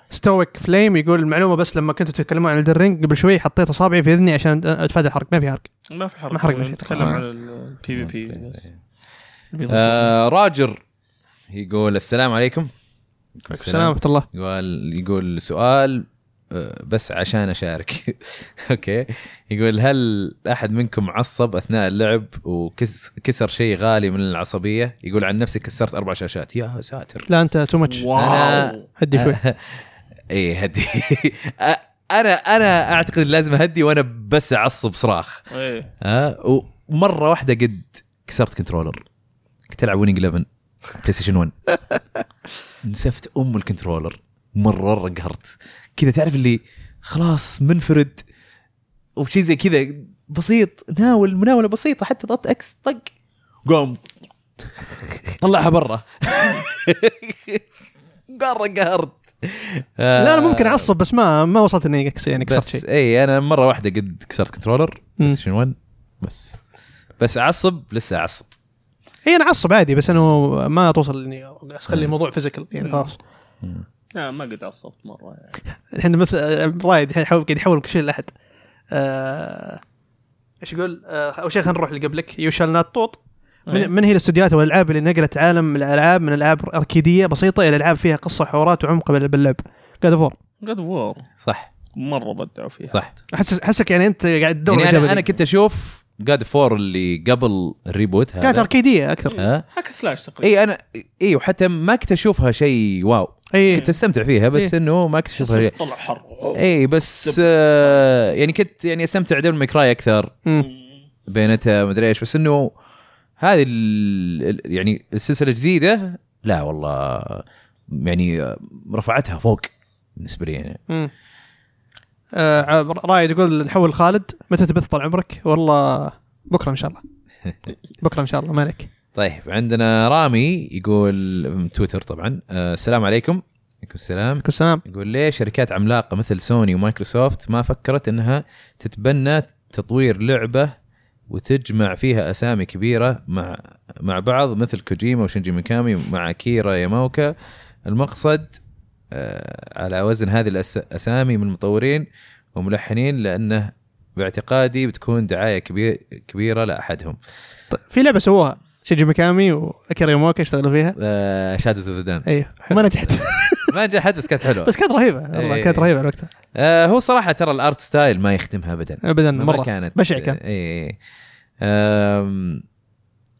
S2: ستويك فليم يقول المعلومه بس لما كنتوا تتكلمون عن الدرينج قبل شوي حطيت اصابعي في اذني عشان اتفادى الحرق ما في حرق
S3: ما في حرق
S2: ما حرقنا شيء.
S3: نتكلم
S2: آه.
S3: عن البي في بي
S1: آه، راجر يقول السلام عليكم
S2: السلام ورحمه الله
S1: يقول يقول سؤال آه، بس عشان اشارك اوكي يقول هل احد منكم عصب اثناء اللعب وكسر شيء غالي من العصبيه يقول عن نفسي كسرت اربع شاشات يا ساتر
S2: لا انت تو ماتش
S3: واو
S2: هدي شوي
S1: اي إيه، هدي آه، انا انا اعتقد لازم اهدي وانا بس اعصب صراخ
S3: ايه
S1: ها ومره واحده قد كسرت كنترولر كنت العب ويننج 11 بلاي ستيشن 1 نسفت ام الكنترولر مره مره قهرت كذا تعرف اللي خلاص منفرد وشي زي كذا بسيط ناول مناوله بسيطه حتى ضغط اكس طق قام طلعها برا مره قهرت
S2: لا انا ممكن اعصب بس ما ما وصلت اني كس- يعني كسرت
S1: آه. بس إيه،
S2: شيء
S1: اي انا مره واحده قد كسرت كنترولر بلاي ستيشن 1 بس بس اعصب لسه اعصب
S2: هي انا اعصب إيه، عادي بس انه ما توصل اني اخلي الموضوع فيزيكال يعني خلاص
S3: لا ما قد عصبت مره يعني.
S2: الحين مثل آه، رايد الحين يحاول قاعد يحول كل شيء لاحد آه، ايش يقول آه، اول شيء خلينا نروح اللي قبلك يو شال نوت طوط
S3: إيه.
S2: من, من هي الاستديوهات والالعاب اللي نقلت عالم الالعاب من العاب اركيديه بسيطه الى العاب فيها قصه وحوارات وعمق بال- باللعب جاد فور
S3: قد وور
S1: صح
S3: مره بدعوا فيها
S1: صح
S2: احس احسك يعني انت قاعد تدور
S1: يعني
S2: الإجابة
S1: انا, أنا
S2: دي.
S1: كنت اشوف جاد فور اللي قبل الريبوت
S2: كانت
S1: هذا
S2: اركيديه اكثر
S1: ها
S3: هاك سلاش تقريبا
S1: اي انا اي وحتى ما كنت اشوفها شيء واو
S2: اي
S1: كنت استمتع فيها بس
S2: إيه.
S1: انه ما كنت اشوفها شيء
S3: طلع حر
S1: اي بس آه يعني كنت يعني استمتع دبل مكراي اكثر
S2: مم.
S1: بينتها مدري ايش بس انه هذه ال- ال- يعني السلسله الجديده لا والله يعني آه، رفعتها فوق بالنسبه لي يعني
S2: مم. آه ع- رايد يقول نحول خالد متى تبث طال عمرك والله بكره ان شاء الله بكره ان شاء الله مالك
S1: طيب عندنا رامي يقول من تويتر طبعا آه، السلام عليكم عليكم السلام
S2: كل سلام
S1: يقول ليه شركات عملاقه مثل سوني ومايكروسوفت ما فكرت انها تتبنى تطوير لعبه وتجمع فيها اسامي كبيره مع مع بعض مثل كوجيما وشنجي ميكامي مع كيرا ياماوكا المقصد آه، على وزن هذه الاسامي من مطورين وملحنين لانه باعتقادي بتكون دعايه كبير كبيره لاحدهم
S2: طيب في لعبه سووها شيجي ميكامي واكيرا يوموكا اشتغلوا فيها
S1: شادوز اوف ذا
S2: ايوه ما نجحت
S1: ما نجحت بس كانت حلوه
S2: بس كانت رهيبه والله
S1: إيه.
S2: كانت رهيبه على وقتها
S1: آه، هو صراحه ترى الارت ستايل ما يخدمها ابدا
S2: ابدا
S1: ما
S2: مره
S1: كانت
S2: بشع كان.
S1: اي اي أم،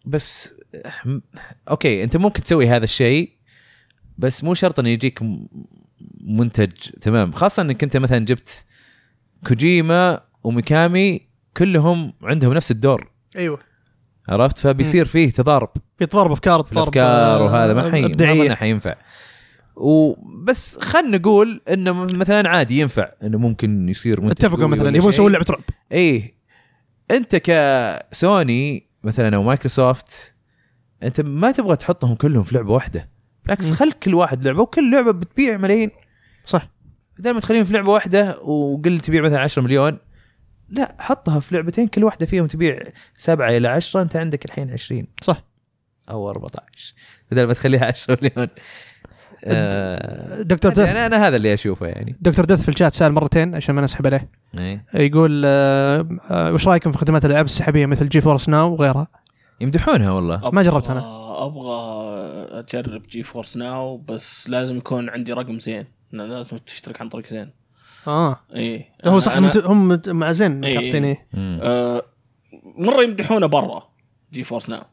S1: بس أم، اوكي انت ممكن تسوي هذا الشيء بس مو شرط انه يجيك م- منتج تمام خاصه انك انت مثلا جبت كوجيما وميكامي كلهم عندهم نفس الدور
S2: ايوه
S1: عرفت فبيصير فيه تضارب
S2: في تضارب افكار
S1: في الافكار وهذا
S2: آه،
S1: ما حي ما أظن
S2: ابداعيه
S1: حينفع وبس خلينا نقول انه مثلا عادي ينفع انه ممكن يصير منتج
S2: اتفقوا
S1: قوي
S2: مثلا
S1: ولا
S2: يبون
S1: شيء.
S2: يسوون لعبه رعب
S1: ايه انت كسوني مثلا او مايكروسوفت انت ما تبغى تحطهم كلهم في لعبه واحده بالعكس
S2: مم.
S1: خلك كل واحد لعبه وكل لعبه بتبيع ملايين
S2: صح
S1: بدل ما تخليهم في لعبه واحده وقل تبيع مثلا 10 مليون لا حطها في لعبتين كل واحده فيهم تبيع 7 الى 10 انت عندك الحين 20
S2: صح
S1: او 14 بدل ما تخليها 10 مليون آه
S2: دكتور دث
S1: انا انا هذا اللي اشوفه يعني
S2: دكتور دث في الشات سال مرتين عشان ما نسحب عليه
S1: إيه.
S2: يقول آه، آه، وش رايكم في خدمات الالعاب السحابيه مثل جي فورس ناو وغيرها؟
S1: يمدحونها والله
S2: ما جربت أنا.
S3: ابغى اجرب جي فورس ناو بس لازم يكون عندي رقم زين لأن لازم تشترك عن طريق زين
S1: آه.
S2: اه
S3: اي
S2: هو صح
S3: أنا-
S2: مت- هم مت- مع زين
S3: إيه.
S2: حاطيني
S1: مم.
S3: آه، مره يمدحونه برا جي فورس ناو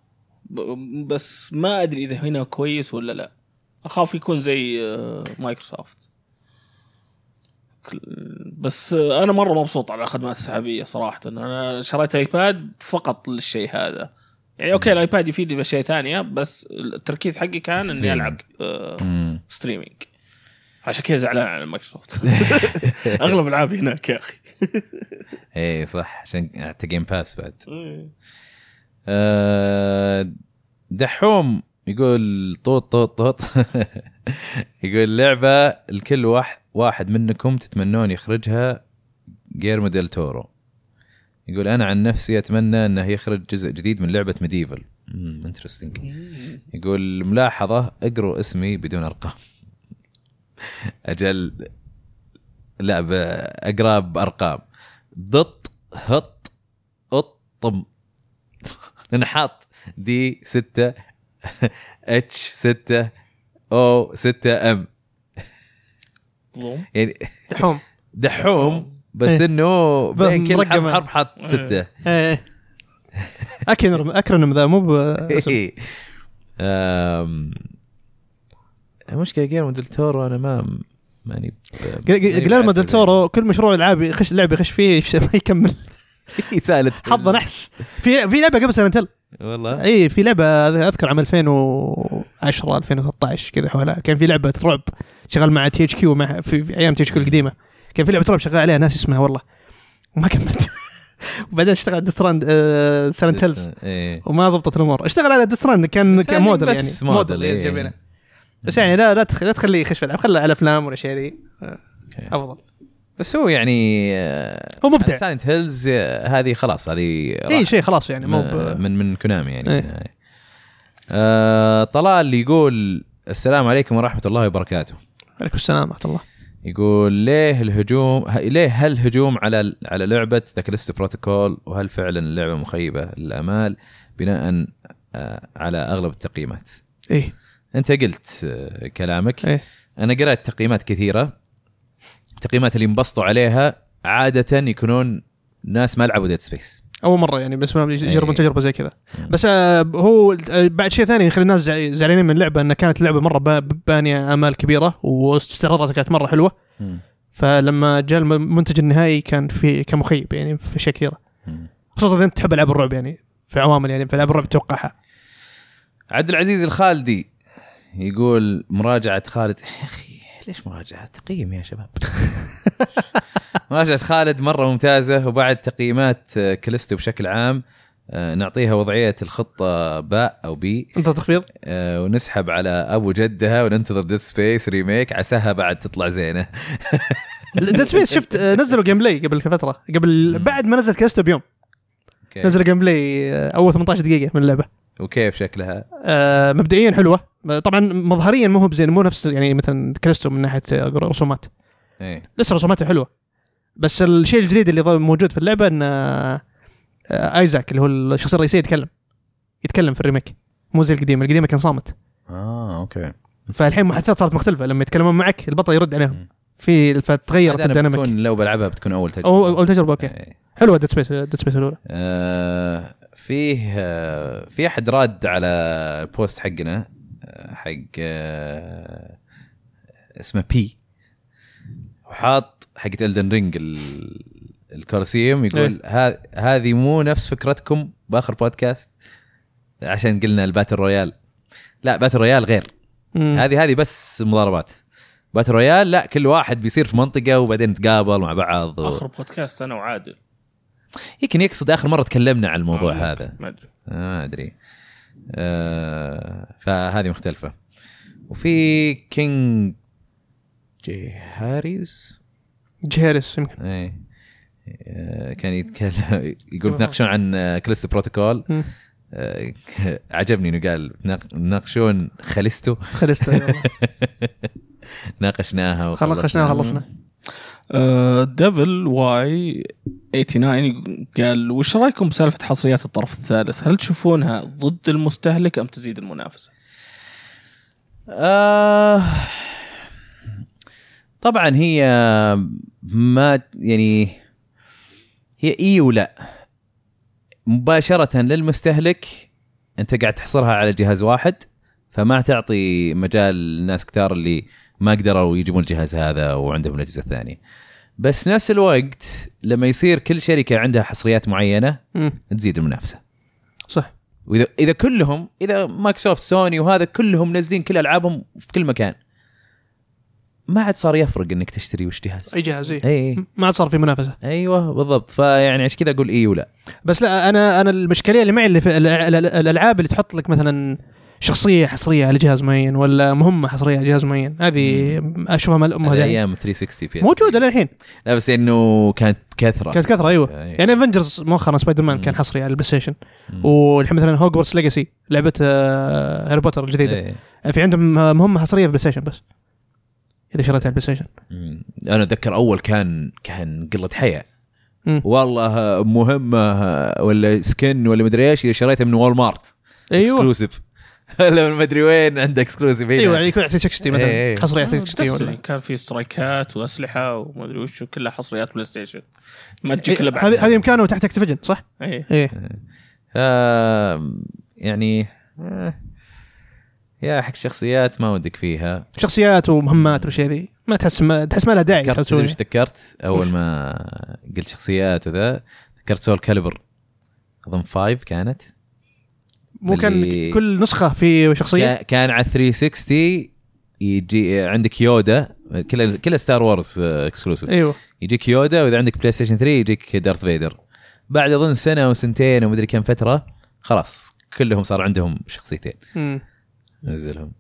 S3: ب- بس ما ادري اذا هنا كويس ولا لا اخاف يكون زي آه، مايكروسوفت كل- بس آه، انا مره مبسوط على الخدمات السحابيه صراحه انا شريت ايباد فقط للشيء هذا يعني اوكي الايباد يفيدني باشياء ثانيه بس التركيز حقي كان اني
S1: ستريمينج.
S3: العب آه،
S1: مم.
S3: ستريمينج عشان كذا زعلان على مايكروسوفت اغلب العابي هناك يا اخي
S1: ايه صح عشان حتى جيم باس بعد آه، دحوم يقول طوط طوط طوط يقول لعبة الكل واحد واحد منكم تتمنون يخرجها جيرمو ديل تورو يقول انا عن نفسي اتمنى انه يخرج جزء جديد من لعبة ميديفل انترستنج يقول ملاحظة اقروا اسمي بدون ارقام اجل لا ب- اقرا بارقام ضط هط اطم لان حاط دي 6 اتش 6 او 6 ام
S3: ظلم
S1: يعني
S2: دحوم
S1: دحوم بس
S2: إيه.
S1: انه بين كل حرف
S2: مرقمة.
S1: حرف حاط
S3: إيه.
S1: 6
S2: ايه اكرم اكرم ذا مو ب-
S1: المشكله جيرمو ديل تورو انا ما ماني أيوة،
S2: جليرمو ديل تورو كل مشروع العاب يخش لعبه يخش فيه يش- ما يكمل
S1: إيه، سالت
S2: حظه نحس في في لعبه قبل سنتين
S1: والله
S2: اي في لعبه اذكر عام 2010 2013 كذا حولها كان في لعبه رعب شغال مع تي اتش كيو مع في في ايام تي اتش كيو القديمه كان في لعبه رعب شغال عليها ناس اسمها والله وما كملت وبعدين اشتغل ديستراند آه سايلنت هيلز
S1: ايه
S2: وما زبطت الامور اشتغل على ديستراند كان
S1: بس
S2: كان
S1: يعني
S2: موديل يعني
S1: بس موديل، إيه.
S2: جايبينه بس يعني لا لا تخ- لا تخليه يخش في العاب خله على الافلام والاشياء ذي آه، افضل
S1: بس هو يعني آه،
S2: هو مبدع
S1: سايلنت هيلز آه، هذه خلاص هذه
S2: اي شيء خلاص يعني مو
S1: م-
S2: ب-
S1: من من كونامي يعني
S2: إيه.
S1: آه طلال يقول السلام عليكم ورحمه الله وبركاته
S2: عليكم السلام ورحمه الله
S1: يقول ليه الهجوم ه- ليه هل هجوم على على لعبه ذا كاليستو بروتوكول وهل فعلا اللعبه مخيبه للامال بناء آه، على اغلب التقييمات
S2: ايه
S1: انت قلت آه، كلامك
S2: إيه.
S1: انا قرات تقييمات كثيره التقييمات اللي انبسطوا عليها عاده يكونون ناس ما لعبوا ديد سبيس
S2: اول مره يعني بالنسبه لهم يجربون
S1: إيه.
S2: تجربه زي كذا
S1: مم.
S2: بس آه، هو آه، بعد شيء ثاني يخلي الناس زع- زعلانين من اللعبه انها كانت لعبه مره با- بانيه امال كبيره واستعراضاتها كانت مره حلوه
S1: مم.
S2: فلما جاء الم- المنتج النهائي كان في كان مخيب يعني في اشياء كثيره
S1: مم.
S2: خصوصا اذا انت تحب العاب الرعب يعني في عوامل يعني في العاب الرعب تتوقعها
S1: عبد العزيز الخالدي يقول مراجعة خالد يا أخي ليش مراجعة تقييم يا شباب مراجعة خالد مرة ممتازة وبعد تقييمات آه، كاليستو بشكل عام آه، نعطيها وضعية الخطة باء أو بي
S2: انت تخفيض
S1: آه، ونسحب على أبو جدها وننتظر ديد سبيس ريميك عساها بعد تطلع زينة
S2: ديد سبيس شفت آه، نزلوا جيم بلاي قبل فتره قبل
S1: مم.
S2: بعد ما نزلت كاستو بيوم
S1: أوكي.
S2: نزلوا جيم بلاي آه، اول 18 دقيقه من اللعبه
S1: وكيف شكلها
S2: آه، مبدئيا حلوه طبعا مظهريا مو هو بزين مو نفس يعني مثلا كريستو من ناحيه آه، رسومات
S1: إيه.
S2: لسه رسوماتها حلوه بس الشيء الجديد اللي ض- موجود في اللعبه ان آه، آه، ايزاك اللي هو الشخص الرئيسي يتكلم يتكلم في الريميك مو زي القديمه القديمه كان صامت
S1: آه أوكي
S2: فالحين محادثات صارت مختلفه لما يتكلمون معك البطل يرد عليهم
S1: مم.
S2: في فتغيرت
S1: هذا أنا
S2: الديناميك
S1: بتكون لو بلعبها بتكون أول تجربة
S2: أو- اول تجربه اوكي
S1: إيه.
S2: حلوه ديد سبيس ديد سبيس الاولى
S1: آه، فيه آه، في احد راد على البوست حقنا آه، حق آه، اسمه بي وحاط حقة الدن رينج الكورسيوم يقول ها- هذه مو نفس فكرتكم باخر بودكاست عشان قلنا الباتل رويال لا باتل رويال غير
S2: مم.
S1: هذه هذه بس مضاربات باتل رويال لا كل واحد بيصير في منطقه وبعدين نتقابل مع بعض و...
S3: اخر بودكاست انا وعادل
S1: يمكن يقصد اخر مره تكلمنا عن الموضوع
S3: آه،
S1: هذا
S3: ما ادري
S1: ما ادري آه فهذه مختلفه وفي كينج جي هاريز
S2: جهارس يمكن
S1: ايه آه، كان يتكلم يقول تناقشون عن آه، كاليستو بروتوكول
S2: مم.
S1: آه، عجبني انه قال تناق- تناقشون خليستو
S2: خلصت
S1: ناقشناها
S2: خلاص خلصنا خلصنا
S3: آه، ديفل واي 89 قال وش رايكم بسالفه حصريات الطرف الثالث؟ هل تشوفونها ضد المستهلك ام تزيد المنافسه؟
S1: آه طبعا هي ما يعني هي اي ولا مباشرة للمستهلك انت قاعد تحصرها على جهاز واحد فما تعطي مجال لناس كثار اللي ما قدروا يجيبون الجهاز هذا وعندهم الاجهزه الثانيه. بس نفس الوقت لما يصير كل شركه عندها حصريات معينه
S2: مم.
S1: تزيد المنافسه.
S2: صح
S1: واذا اذا كلهم اذا مايكروسوفت سوني وهذا كلهم نازلين كل العابهم في كل مكان ما عاد صار يفرق انك تشتري وش جهاز
S2: اي جهاز إيه. إي.
S1: اي
S2: ما عاد صار في منافسه
S1: ايوه بالضبط فيعني عشان كذا اقول اي ولا
S2: بس لا انا انا المشكله اللي معي اللي في الألع- الألع- الالعاب اللي تحط لك مثلا شخصيه حصريه على جهاز معين ولا مهمه حصريه على جهاز معين هذه اشوفها مال امها يعني
S1: ايام 360 فيها
S2: موجوده للحين
S1: لا بس انه كانت بكثره
S2: كانت كثره ايوه
S1: أي.
S2: يعني افنجرز مؤخرا سبايدر مان
S1: مم.
S2: كان حصري على البلاي ستيشن
S1: مم.
S2: والحين مثلا هوجورتس ليجاسي لعبه آه، هاري بوتر الجديده
S1: إيه.
S2: في عندهم آه، مهمه حصريه في البلاي ستيشن بس اذا شريتها على البلاي ستيشن
S1: مم. انا اتذكر اول كان كان قله حياه
S2: مم.
S1: والله مهمه ولا سكن ولا مدري ايش اذا شريتها من وول مارت
S2: ايوه
S1: اكسكلوسيف ولا من مدري وين عند اكسكلوسيف
S2: ايوه يعني يكون يعطيك 60
S1: إيه،
S2: مثلا
S1: إيه.
S2: حصريه طيب، يعطيك
S3: Destiny
S2: 60 ولا
S3: آه، كان في سترايكات واسلحه وما ادري وش كلها حصريات بلاي ستيشن ما تجيك الا
S2: إيه،
S3: بعد
S2: هذه
S3: سنة.
S2: هذه امكانه تحت اكتيفجن صح؟
S3: إيه.
S2: ايه
S1: آه، يعني آه، يا حق شخصيات ما ودك فيها
S2: شخصيات ومهمات وشيء ذي ما تحس ما تحس ما لها داعي
S1: ذكرت تدري
S2: تسوي.
S1: ايش ذكرت اول
S2: وش؟
S1: ما قلت شخصيات وذا ذكرت سول كاليبر اظن فايف كانت
S2: مو كان
S1: اللي-
S2: كل نسخه في شخصيه
S1: كا- كان على 360 يجي عندك يودا كلها كلها ستار وورز اكسكلوسيف
S2: ايوه
S1: آه، يجيك يودا واذا عندك بلاي ستيشن 3 يجيك دارث فيدر بعد اظن سنه وسنتين ومدري كم فتره خلاص كلهم صار عندهم شخصيتين
S2: مم.
S1: نزلهم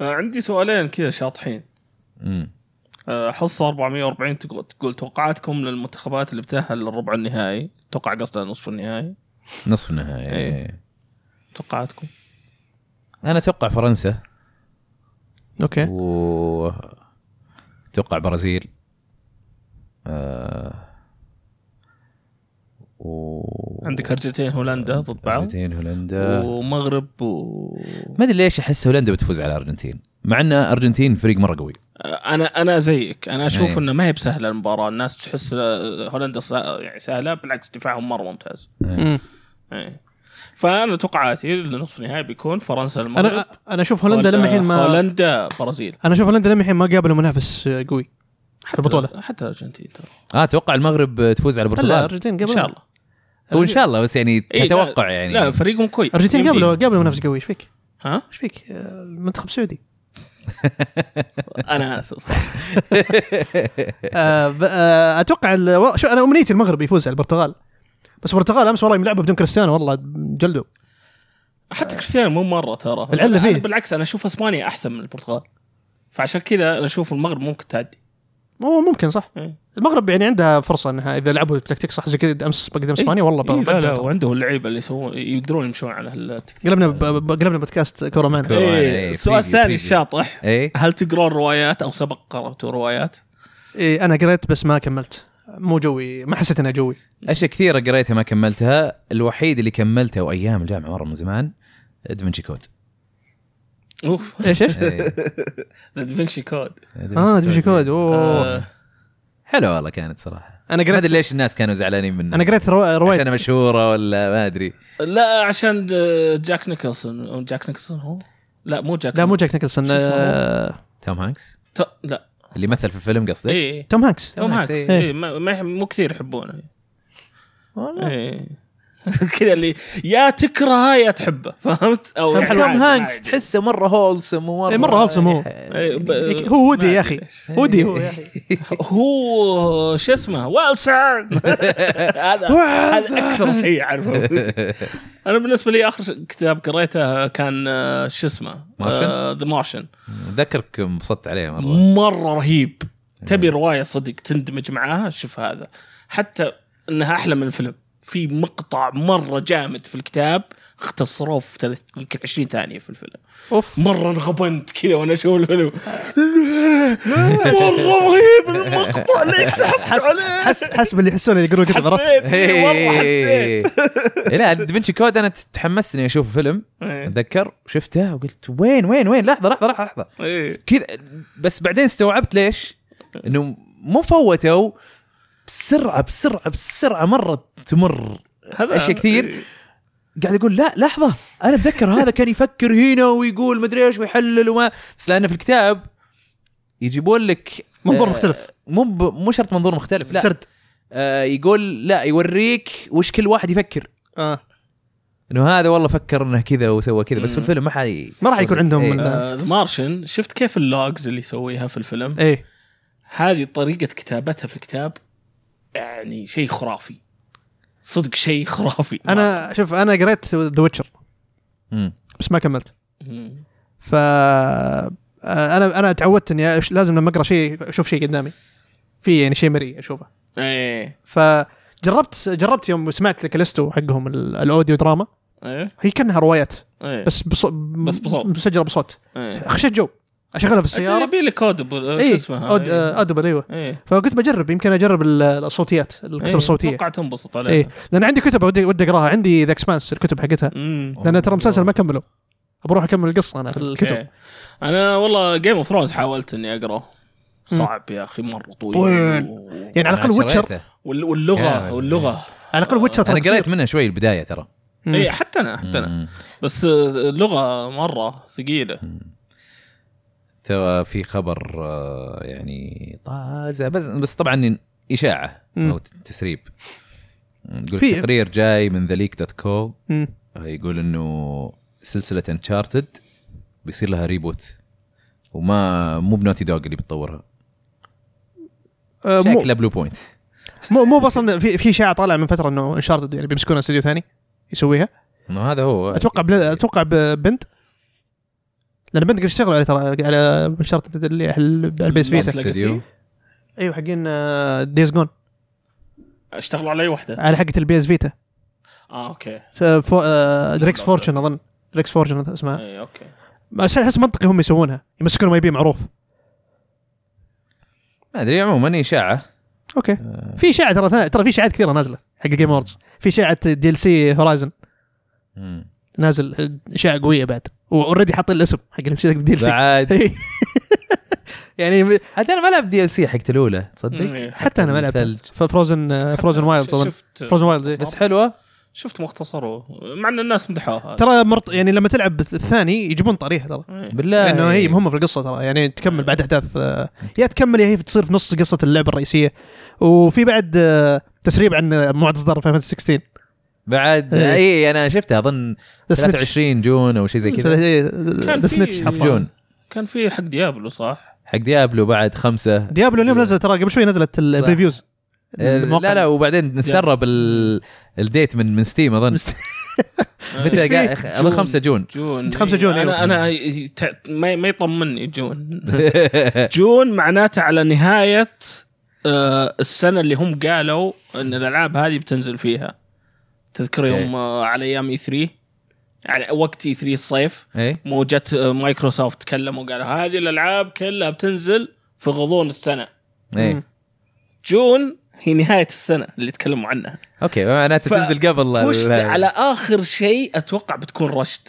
S3: آه، عندي سؤالين كذا شاطحين
S1: امم
S3: آه، حصه 440 تقول تقول توقعاتكم للمنتخبات اللي بتاهل للربع النهائي توقع قصدها نصف النهائي
S1: نصف النهائي
S3: إيه. توقعاتكم
S1: انا اتوقع فرنسا
S3: إيه.
S2: اوكي
S1: و اتوقع برازيل آه... و
S3: عندك هرجتين هولندا ضد بعض
S1: الارجنتين هولندا
S3: ومغرب و
S1: ما ادري ليش احس هولندا بتفوز على الارجنتين مع ان الارجنتين فريق مره قوي
S3: انا انا زيك انا اشوف
S2: إيه.
S1: أيوة.
S3: انه ما هي بسهله المباراه الناس تحس هولندا سا- يعني سهله بالعكس دفاعهم مره ممتاز
S2: مم.
S3: أي. فانا توقعاتي لنصف النهائي بيكون فرنسا المغرب
S2: انا انا اشوف هولندا لما الحين ما
S3: هولندا برازيل
S2: انا اشوف هولندا لما الحين ما قابلوا منافس قوي
S3: حتى
S2: البطولة.
S3: حتى الارجنتين ترى
S1: اه اتوقع المغرب تفوز على
S2: لا
S1: البرتغال
S2: الارجنتين
S3: ان
S2: قبل
S3: شاء الله
S1: هو ان شاء الله بس يعني
S3: إيه، لا-
S1: كتوقع يعني
S3: لا فريقهم كويس
S2: الارجنتين
S3: يمديهم.
S2: قبلوا قبلوا منافس قوي ايش فيك؟
S3: ها
S2: ايش فيك؟ آه، المنتخب السعودي
S3: انا اسف صح
S2: آه، ب- آه، اتوقع ال- و- شو انا امنيتي المغرب يفوز على البرتغال بس البرتغال امس والله ملعبه بدون كريستيانو والله جلدوا
S3: حتى كريستيانو مو مره ترى
S2: العلة
S3: أنا
S2: فيه.
S3: بالعكس انا اشوف اسبانيا احسن من البرتغال فعشان كذا انا اشوف المغرب ممكن تعدي
S2: مو ممكن صح
S3: إيه.
S2: المغرب يعني عندها فرصه انها اذا لعبوا التكتيك صح زي كذا امس قدام اسبانيا والله
S3: إيه لا لا
S2: بنتها.
S3: وعنده اللعيبه اللي يسوون يقدرون يمشون على التكتيك
S2: قلبنا ب- ب- قلبنا بودكاست كوره معنا
S1: كورة.
S3: إيه،
S1: إيه،
S3: السؤال
S1: preview، preview.
S3: الثاني الشاطح
S1: ايه
S3: هل تقرون روايات او سبق قرأتوا روايات؟
S2: إيه انا قريت بس ما كملت مو جوي ما حسيت انها جوي
S1: اشياء كثيره قريتها ما كملتها الوحيد اللي كملته وايام الجامعه مره من زمان دافنشي كود
S3: اوف
S2: ايش ايش؟
S1: إيه،
S3: دافنشي كود
S2: اه دافنشي كود اوه
S3: آه،
S1: حلو والله كانت صراحه
S2: انا
S1: ما ادري
S2: قريت
S1: ليش الناس كانوا زعلانين منها
S2: انا قريت روا- روايه
S1: عشانها مشهوره ولا ما ادري
S3: لا عشان آه، جاك نيكلسون أو جاك نيكلسون هو لا مو جاك
S2: لا مو جاك نيكلسون
S3: شو اسمه هو؟
S2: آه،
S1: توم هانكس
S3: ت- لا
S1: اللي مثل في الفيلم قصدك
S3: اي إي.
S2: توم هانكس
S3: توم هانكس
S1: إيه.
S3: إي، ما ما يح- مو كثير يحبونه
S1: والله
S3: إي. كذا اللي يا تكرهه يا تحبه فهمت او يعني
S1: توم
S3: عادي،
S1: هانكس
S3: عادي.
S1: تحسه مره هولسم ومره
S2: إيه، مرة wholesome هو.
S1: يعني
S3: إي، ب-
S2: هو ودي
S3: ما
S2: يا
S3: أدري
S2: أخي.
S3: ليش.
S2: ودي هو يا اخي
S3: إيه. هو شو اسمه واسع هذا هذا اكثر شيء اعرفه انا بالنسبه لي اخر ش- كتاب قريته كان آه، شو اسمه آه،
S1: مارشن؟
S3: ذا مارشن
S1: اتذكرك انبسطت عليه مره
S3: مره رهيب تبي روايه صدق تندمج معاها شوف هذا حتى انها احلى من الفيلم في مقطع مره جامد في الكتاب اختصروه في ثلاث يمكن 20 ثانيه في الفيلم
S2: اوف
S3: مره انغبنت كذا وانا اشوف الفيلم مره رهيب المقطع ليش سحبت عليه
S2: حس حس باللي يحسون اللي يقولون كذا عرفت
S3: حسيت إيه، والله حسيت
S1: إيه، لا دافنشي كود انا تحمست اني اشوف فيلم
S3: إيه.
S1: اتذكر شفته وقلت وين وين وين لحظه لحظه لحظه لحظه
S3: إيه.
S1: كذا بس بعدين استوعبت ليش انه مو فوتوا بسرعه بسرعه بسرعه مره تمر
S3: هذا
S1: أشياء كثير. قاعد اقول لا لحظه انا اتذكر هذا كان يفكر هنا ويقول مدري ايش ويحلل وما بس لانه في الكتاب يجيبون لك
S2: منظور
S1: آه،
S2: مختلف.
S1: مو ب- مو شرط منظور مختلف لا
S2: سرد
S1: آه يقول لا يوريك وش كل واحد يفكر
S2: آه.
S1: انه هذا والله فكر انه كذا وسوى كذا بس في
S3: مم.
S1: الفيلم ما حي
S2: ما راح يكون عندهم
S1: إيه.
S2: من-
S3: آه، ذا مارشن شفت كيف اللوجز اللي يسويها في الفيلم
S2: ايه
S3: هذه طريقة كتابتها في الكتاب يعني شيء خرافي صدق شيء خرافي
S2: انا شوف انا قريت ذا ويتشر
S1: مم.
S2: بس ما كملت
S3: مم.
S2: ف آه، انا انا تعودت اني أش- لازم لما اقرا شيء اشوف شيء قدامي في يعني شيء مرئي اشوفه
S3: ايه
S2: فجربت جربت يوم سمعت الكاليستو حقهم ال- الاوديو دراما
S3: ايه
S2: هي كانها روايات
S3: ايه
S2: بس بصوت
S3: بس بصوت.
S2: مسجله بصوت
S3: ايه
S2: خشيت جو اشغلها في إيه، السياره
S3: يبي لك اودبل شو
S2: اي
S3: اسمها ايه.
S2: اودبل ايوه
S3: ايه
S2: فقلت بجرب يمكن اجرب ال- الصوتيات الكتب
S3: ايه.
S2: الصوتيه
S3: اتوقع تنبسط عليها
S2: ايه لان عندي كتب ودي ودي اقراها عندي ذا اكسبانس الكتب حقتها
S3: مم.
S2: لان ترى مسلسل ما كمله بروح اكمل القصه انا في الكتب
S3: ايه. انا والله جيم اوف ثرونز حاولت اني اقراه صعب يا اخي مره طويل
S2: طويل.
S3: و-
S2: يعني على
S1: أنا
S2: الاقل ويتشر
S1: شريته.
S3: وال-
S1: يا-
S3: واللغه واللغه
S2: على الاقل ويتشر
S1: انا قريت منه شوي البدايه ترى
S3: اي إيه، حتى انا حتى انا
S1: مم.
S3: بس آه، اللغه مره ثقيله
S1: ترى في خبر آه، يعني طازه بس بس طبعا اشاعه
S2: مم.
S1: او ت- تسريب يقول
S2: في-
S1: تقرير جاي من ذا ليك دوت كو
S2: مم.
S1: يقول انه سلسله انشارتد بيصير لها ريبوت وما مو بنوتي دوغ اللي بتطورها
S2: آه، مو
S1: شكلها بلو بوينت
S2: مو مو اصلا في في اشاعه طالعه من فتره انه انشارتد يعني بيمسكونها استوديو ثاني يسويها
S1: انه هذا هو
S2: اتوقع بل... اتوقع ب- بنت لان بنت قاعد يشتغلوا على ترى على انشارتد اللي ال- البيس
S1: Lost
S2: فيتا
S3: Legacy.
S1: Studio.
S2: ايوه حقين دايز جون
S3: اشتغلوا على اي وحده
S2: على حقه البيس فيتا
S3: اه اوكي
S2: دريكس
S3: Lost.
S2: فورتشن اظن دريكس فورتشن اسمها
S3: اي اوكي
S2: بس احس منطقي هم يسوونها يمسكون ما يبي معروف
S1: ما ادري عموما اشاعه
S2: آه، اوكي في اشاعه ترى ثا- ترى في اشاعات كثيره نازله حق جيم اوردز في اشاعه دي ال سي هورايزن
S1: مم.
S2: نازل اشاعه قويه بعد واوريدي حاطين الاسم حق دي ال سي
S1: بعد
S2: يعني
S1: حتى انا ما لعب دي ال سي حق الاولى
S3: مم،
S1: تصدق
S3: إيه.
S2: حتى انا ما لعبت
S1: ثلج.
S2: فروزن فروزن وايلد اظن
S3: شفت
S2: فروزن وايلد
S1: بس حلوه
S3: شفت مختصره مع ان الناس مدحوها
S2: ترى مرط يعني لما تلعب الثاني يجيبون طريقه ترى
S3: إيه.
S1: بالله
S2: لانه هي مهمه في القصه ترى يعني تكمل بعد احداث آه، يا تكمل يا هي تصير في نص قصه اللعبه الرئيسيه وفي بعد آه، تسريب عن آه، موعد اصدار فاينل 16
S1: بعد
S2: إيه.
S1: اي انا شفتها اظن 23 جون او شيء زي كذا
S2: إيه،
S3: كان
S2: ذا سنتش
S3: في-
S1: حف جون
S3: كان في حق ديابلو صح؟
S1: حق ديابلو بعد خمسه
S2: ديابلو اليوم نزل ترى قبل شوي نزلت البريفيوز
S1: آه، لا لا وبعدين نسرب ال- الديت من من ستيم اظن متى
S2: إيش
S1: قا-
S2: فيه؟
S1: اظن 5 جون
S3: جون
S2: 5 جون، أيوة.
S3: انا انا ي- تع- ما ما يطمني جون
S1: إيه،
S3: جون معناته على نهايه آه، السنه اللي هم قالوا ان الالعاب هذه بتنزل فيها تذكر يوم آه، على ايام اي 3 على وقت اي 3 الصيف
S1: اي
S3: مو جت آه، مايكروسوفت تكلموا وقالوا هذه الالعاب كلها بتنزل في غضون السنه
S1: اي
S3: جون هي نهايه السنه اللي تكلموا عنها
S1: اوكي معناته
S3: ف-
S1: تنزل قبل ال-
S3: بوشت على اخر شيء اتوقع بتكون رشد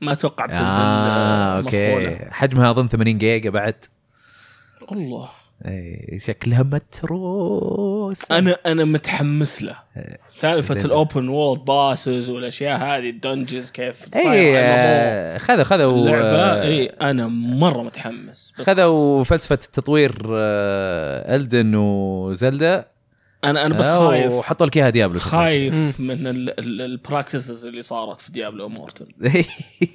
S3: ما اتوقع بتنزل
S1: آه،
S3: آه
S1: اوكي
S3: مسخونه
S1: حجمها اظن 80 جيجا بعد
S3: الله
S1: اي شكلها متروس
S3: انا انا متحمس له سالفه
S1: إيه.
S3: الاوبن وورلد باسز والاشياء هذه الدنجز كيف
S1: اي
S3: صايره
S1: آه، إيه، خذوا خذوا
S3: اللعبه
S1: آه،
S3: اي انا مره إيه، متحمس بس
S1: خذوا آه، فلسفه التطوير الدن وزلدا
S3: انا انا بس
S1: آه،
S3: خايف
S1: وحطوا لك اياها ديابلو
S2: مم.
S3: خايف من البراكتسز اللي صارت في يعني ديابلو مورتل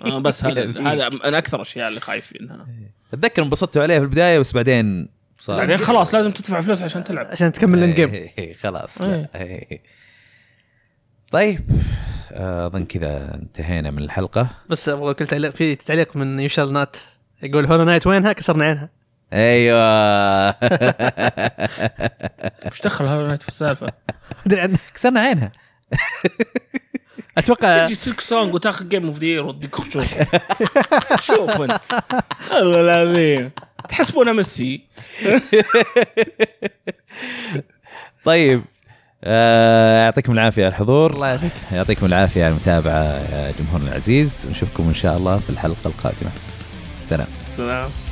S3: انا آه، بس
S1: يعني
S3: هذا هذا من اكثر الاشياء اللي خايفينها
S1: اتذكر انبسطتوا عليها في البدايه بس بعدين صار
S3: بعدين خلاص لازم تدفع فلوس عشان تلعب
S2: عشان تكمل الاند جيم
S1: إيه، إيه، خلاص لا. إيه. طيب آه، اظن كذا انتهينا من الحلقه
S2: بس ابغى كل تعليق في تعليق من يوشال نات يقول هولو نايت وينها كسرنا عينها
S1: ايوه أيوة.
S3: وش دخل هذا النايت في السالفه؟
S2: ادري عنه
S1: كسرنا عينها
S2: اتوقع
S3: تجي سلك سونج وتاخذ جيم اوف ذير وتدق شوف شوف انت والله العظيم تحسبونه ميسي
S1: طيب آه، يعطيكم العافيه على الحضور
S2: الله يعافيك
S1: يعطيكم العافيه على آه، المتابعه يا جمهورنا العزيز ونشوفكم ان شاء الله في الحلقه القادمه سلام
S3: سلام